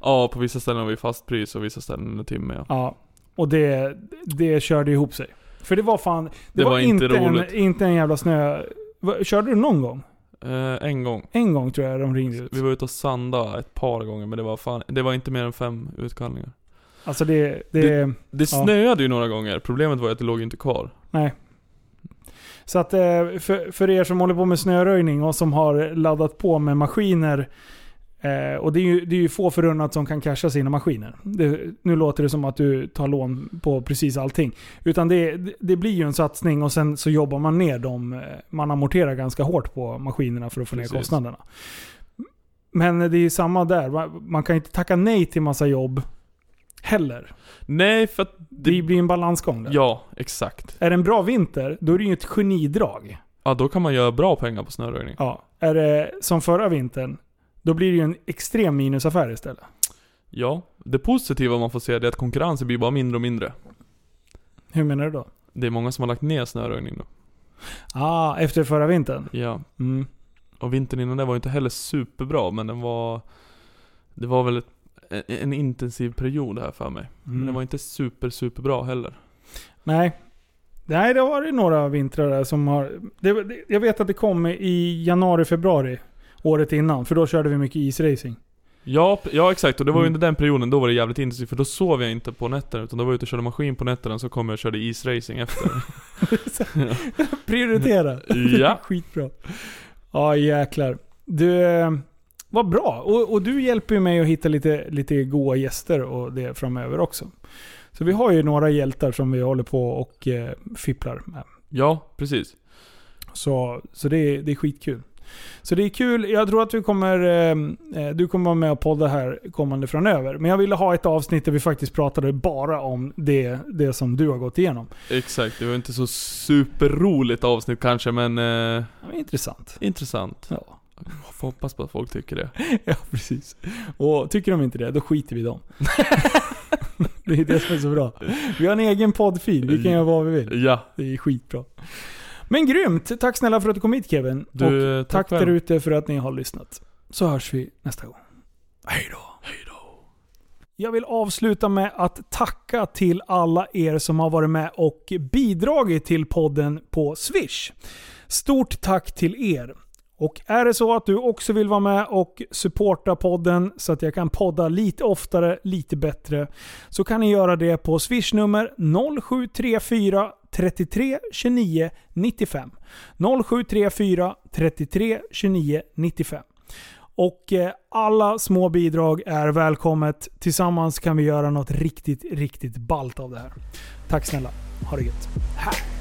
Ja, på vissa ställen har vi fast pris och vissa ställen en timme ja.
Ja. Och det, det körde ihop sig. För det var fan, det, var, inte,
roligt.
en, inte en jävla snö... Va- Körde du någon gång?
Eh, en gång.
En gång tror jag de ringde ut.
Vi var ute och sanda ett par gånger men det var fan, det var inte mer än fem utkallningar.
Alltså det... det,
Det
Ja.
snöade ju några gånger, problemet var ju att det låg ju inte kvar.
Så att eh, för, för er som håller på med snöröjning och som har laddat på med maskiner. eh, Och det är ju, det är ju få förunnat som kan casha sina maskiner. Det, nu låter det som att du tar lån på precis allting. Utan det, det blir ju en satsning och sen så jobbar man ner dem. eh, Man amorterar ganska hårt på maskinerna för att få
Precis.
ner kostnaderna. Men det är ju samma där. Man- Man kan ju inte tacka nej till massa jobb heller.
Nej för att
Det,
det...
blir en balansgång där.
Ja, exakt.
Är det en bra vinter, då är det ju ett genidrag.
Ja, då kan man göra bra pengar på snöröjning.
Ja. Är det som förra vintern, då blir det ju en extrem minusaffär istället.
Ja. Det positiva man får se det är att konkurrensen blir bara mindre och mindre.
Hur menar du då?
Det är många som har lagt ner snöröjning nu.
Ah, efter förra vintern?
Ja.
Mm.
Och vintern innan det var ju inte heller superbra men den var... Det var väl ett, en, en intensiv period här för mig. Men
Mm.
den var inte super, superbra heller.
Nej. Nej, det har varit några vintrar där som har... Det, det, jag vet att det kom i januari, februari året innan. För då körde vi mycket isracing.
Ja, p- ja exakt. Och det var ju
Mm.
under den perioden, då var det jävligt intensivt. För då sov jag inte på nätterna, utan då var jag ute och körde maskin på nätterna, så kom jag och körde
[laughs]
isracing efter.
Prioritera!
Ja.
[laughs] Skitbra. Ja, jäklar. Du, eh, vad bra. Och, och du hjälper ju mig att hitta lite, lite goa gäster och det framöver också. Så vi har ju några hjältar som vi håller på och eh, fipplar med.
ja, precis.
Så, så det, är, det är skitkul. Så det är kul. Jag tror att du kommer, eh, eh, du kommer vara med och podda här kommande framöver. Men jag ville ha ett avsnitt där vi faktiskt pratade bara om det, det som du har gått igenom.
Exakt. Det var inte så superroligt avsnitt kanske, men eh,
Ja, men intressant.
intressant.
Ja.
Jag får hoppas på att folk
[laughs]
tycker det.
Ja, precis. Och tycker de inte det, då skiter vi i dem. det är det som är så bra. Vi har en egen poddfil, vi kan göra vad vi vill.
Ja.
Det är skitbra. Men grymt! Tack snälla för att du kom hit Kevin. och
Du, eh,
tack
själv.
där ute för att ni har lyssnat. Så hörs vi nästa gång. Hej då! Jag vill avsluta med att tacka till alla er som har varit med och bidragit till podden på Swish. Stort tack till er! Och är det så att du också vill vara med och supporta podden så att jag kan podda lite oftare, lite bättre, så kan ni göra det på swishnummer 0734 33 29 95. 0734 33 29 95. Och eh, alla små bidrag är välkommet. Tillsammans kan vi göra något riktigt, riktigt ballt av det här. Tack snälla. Ha det gött. Här.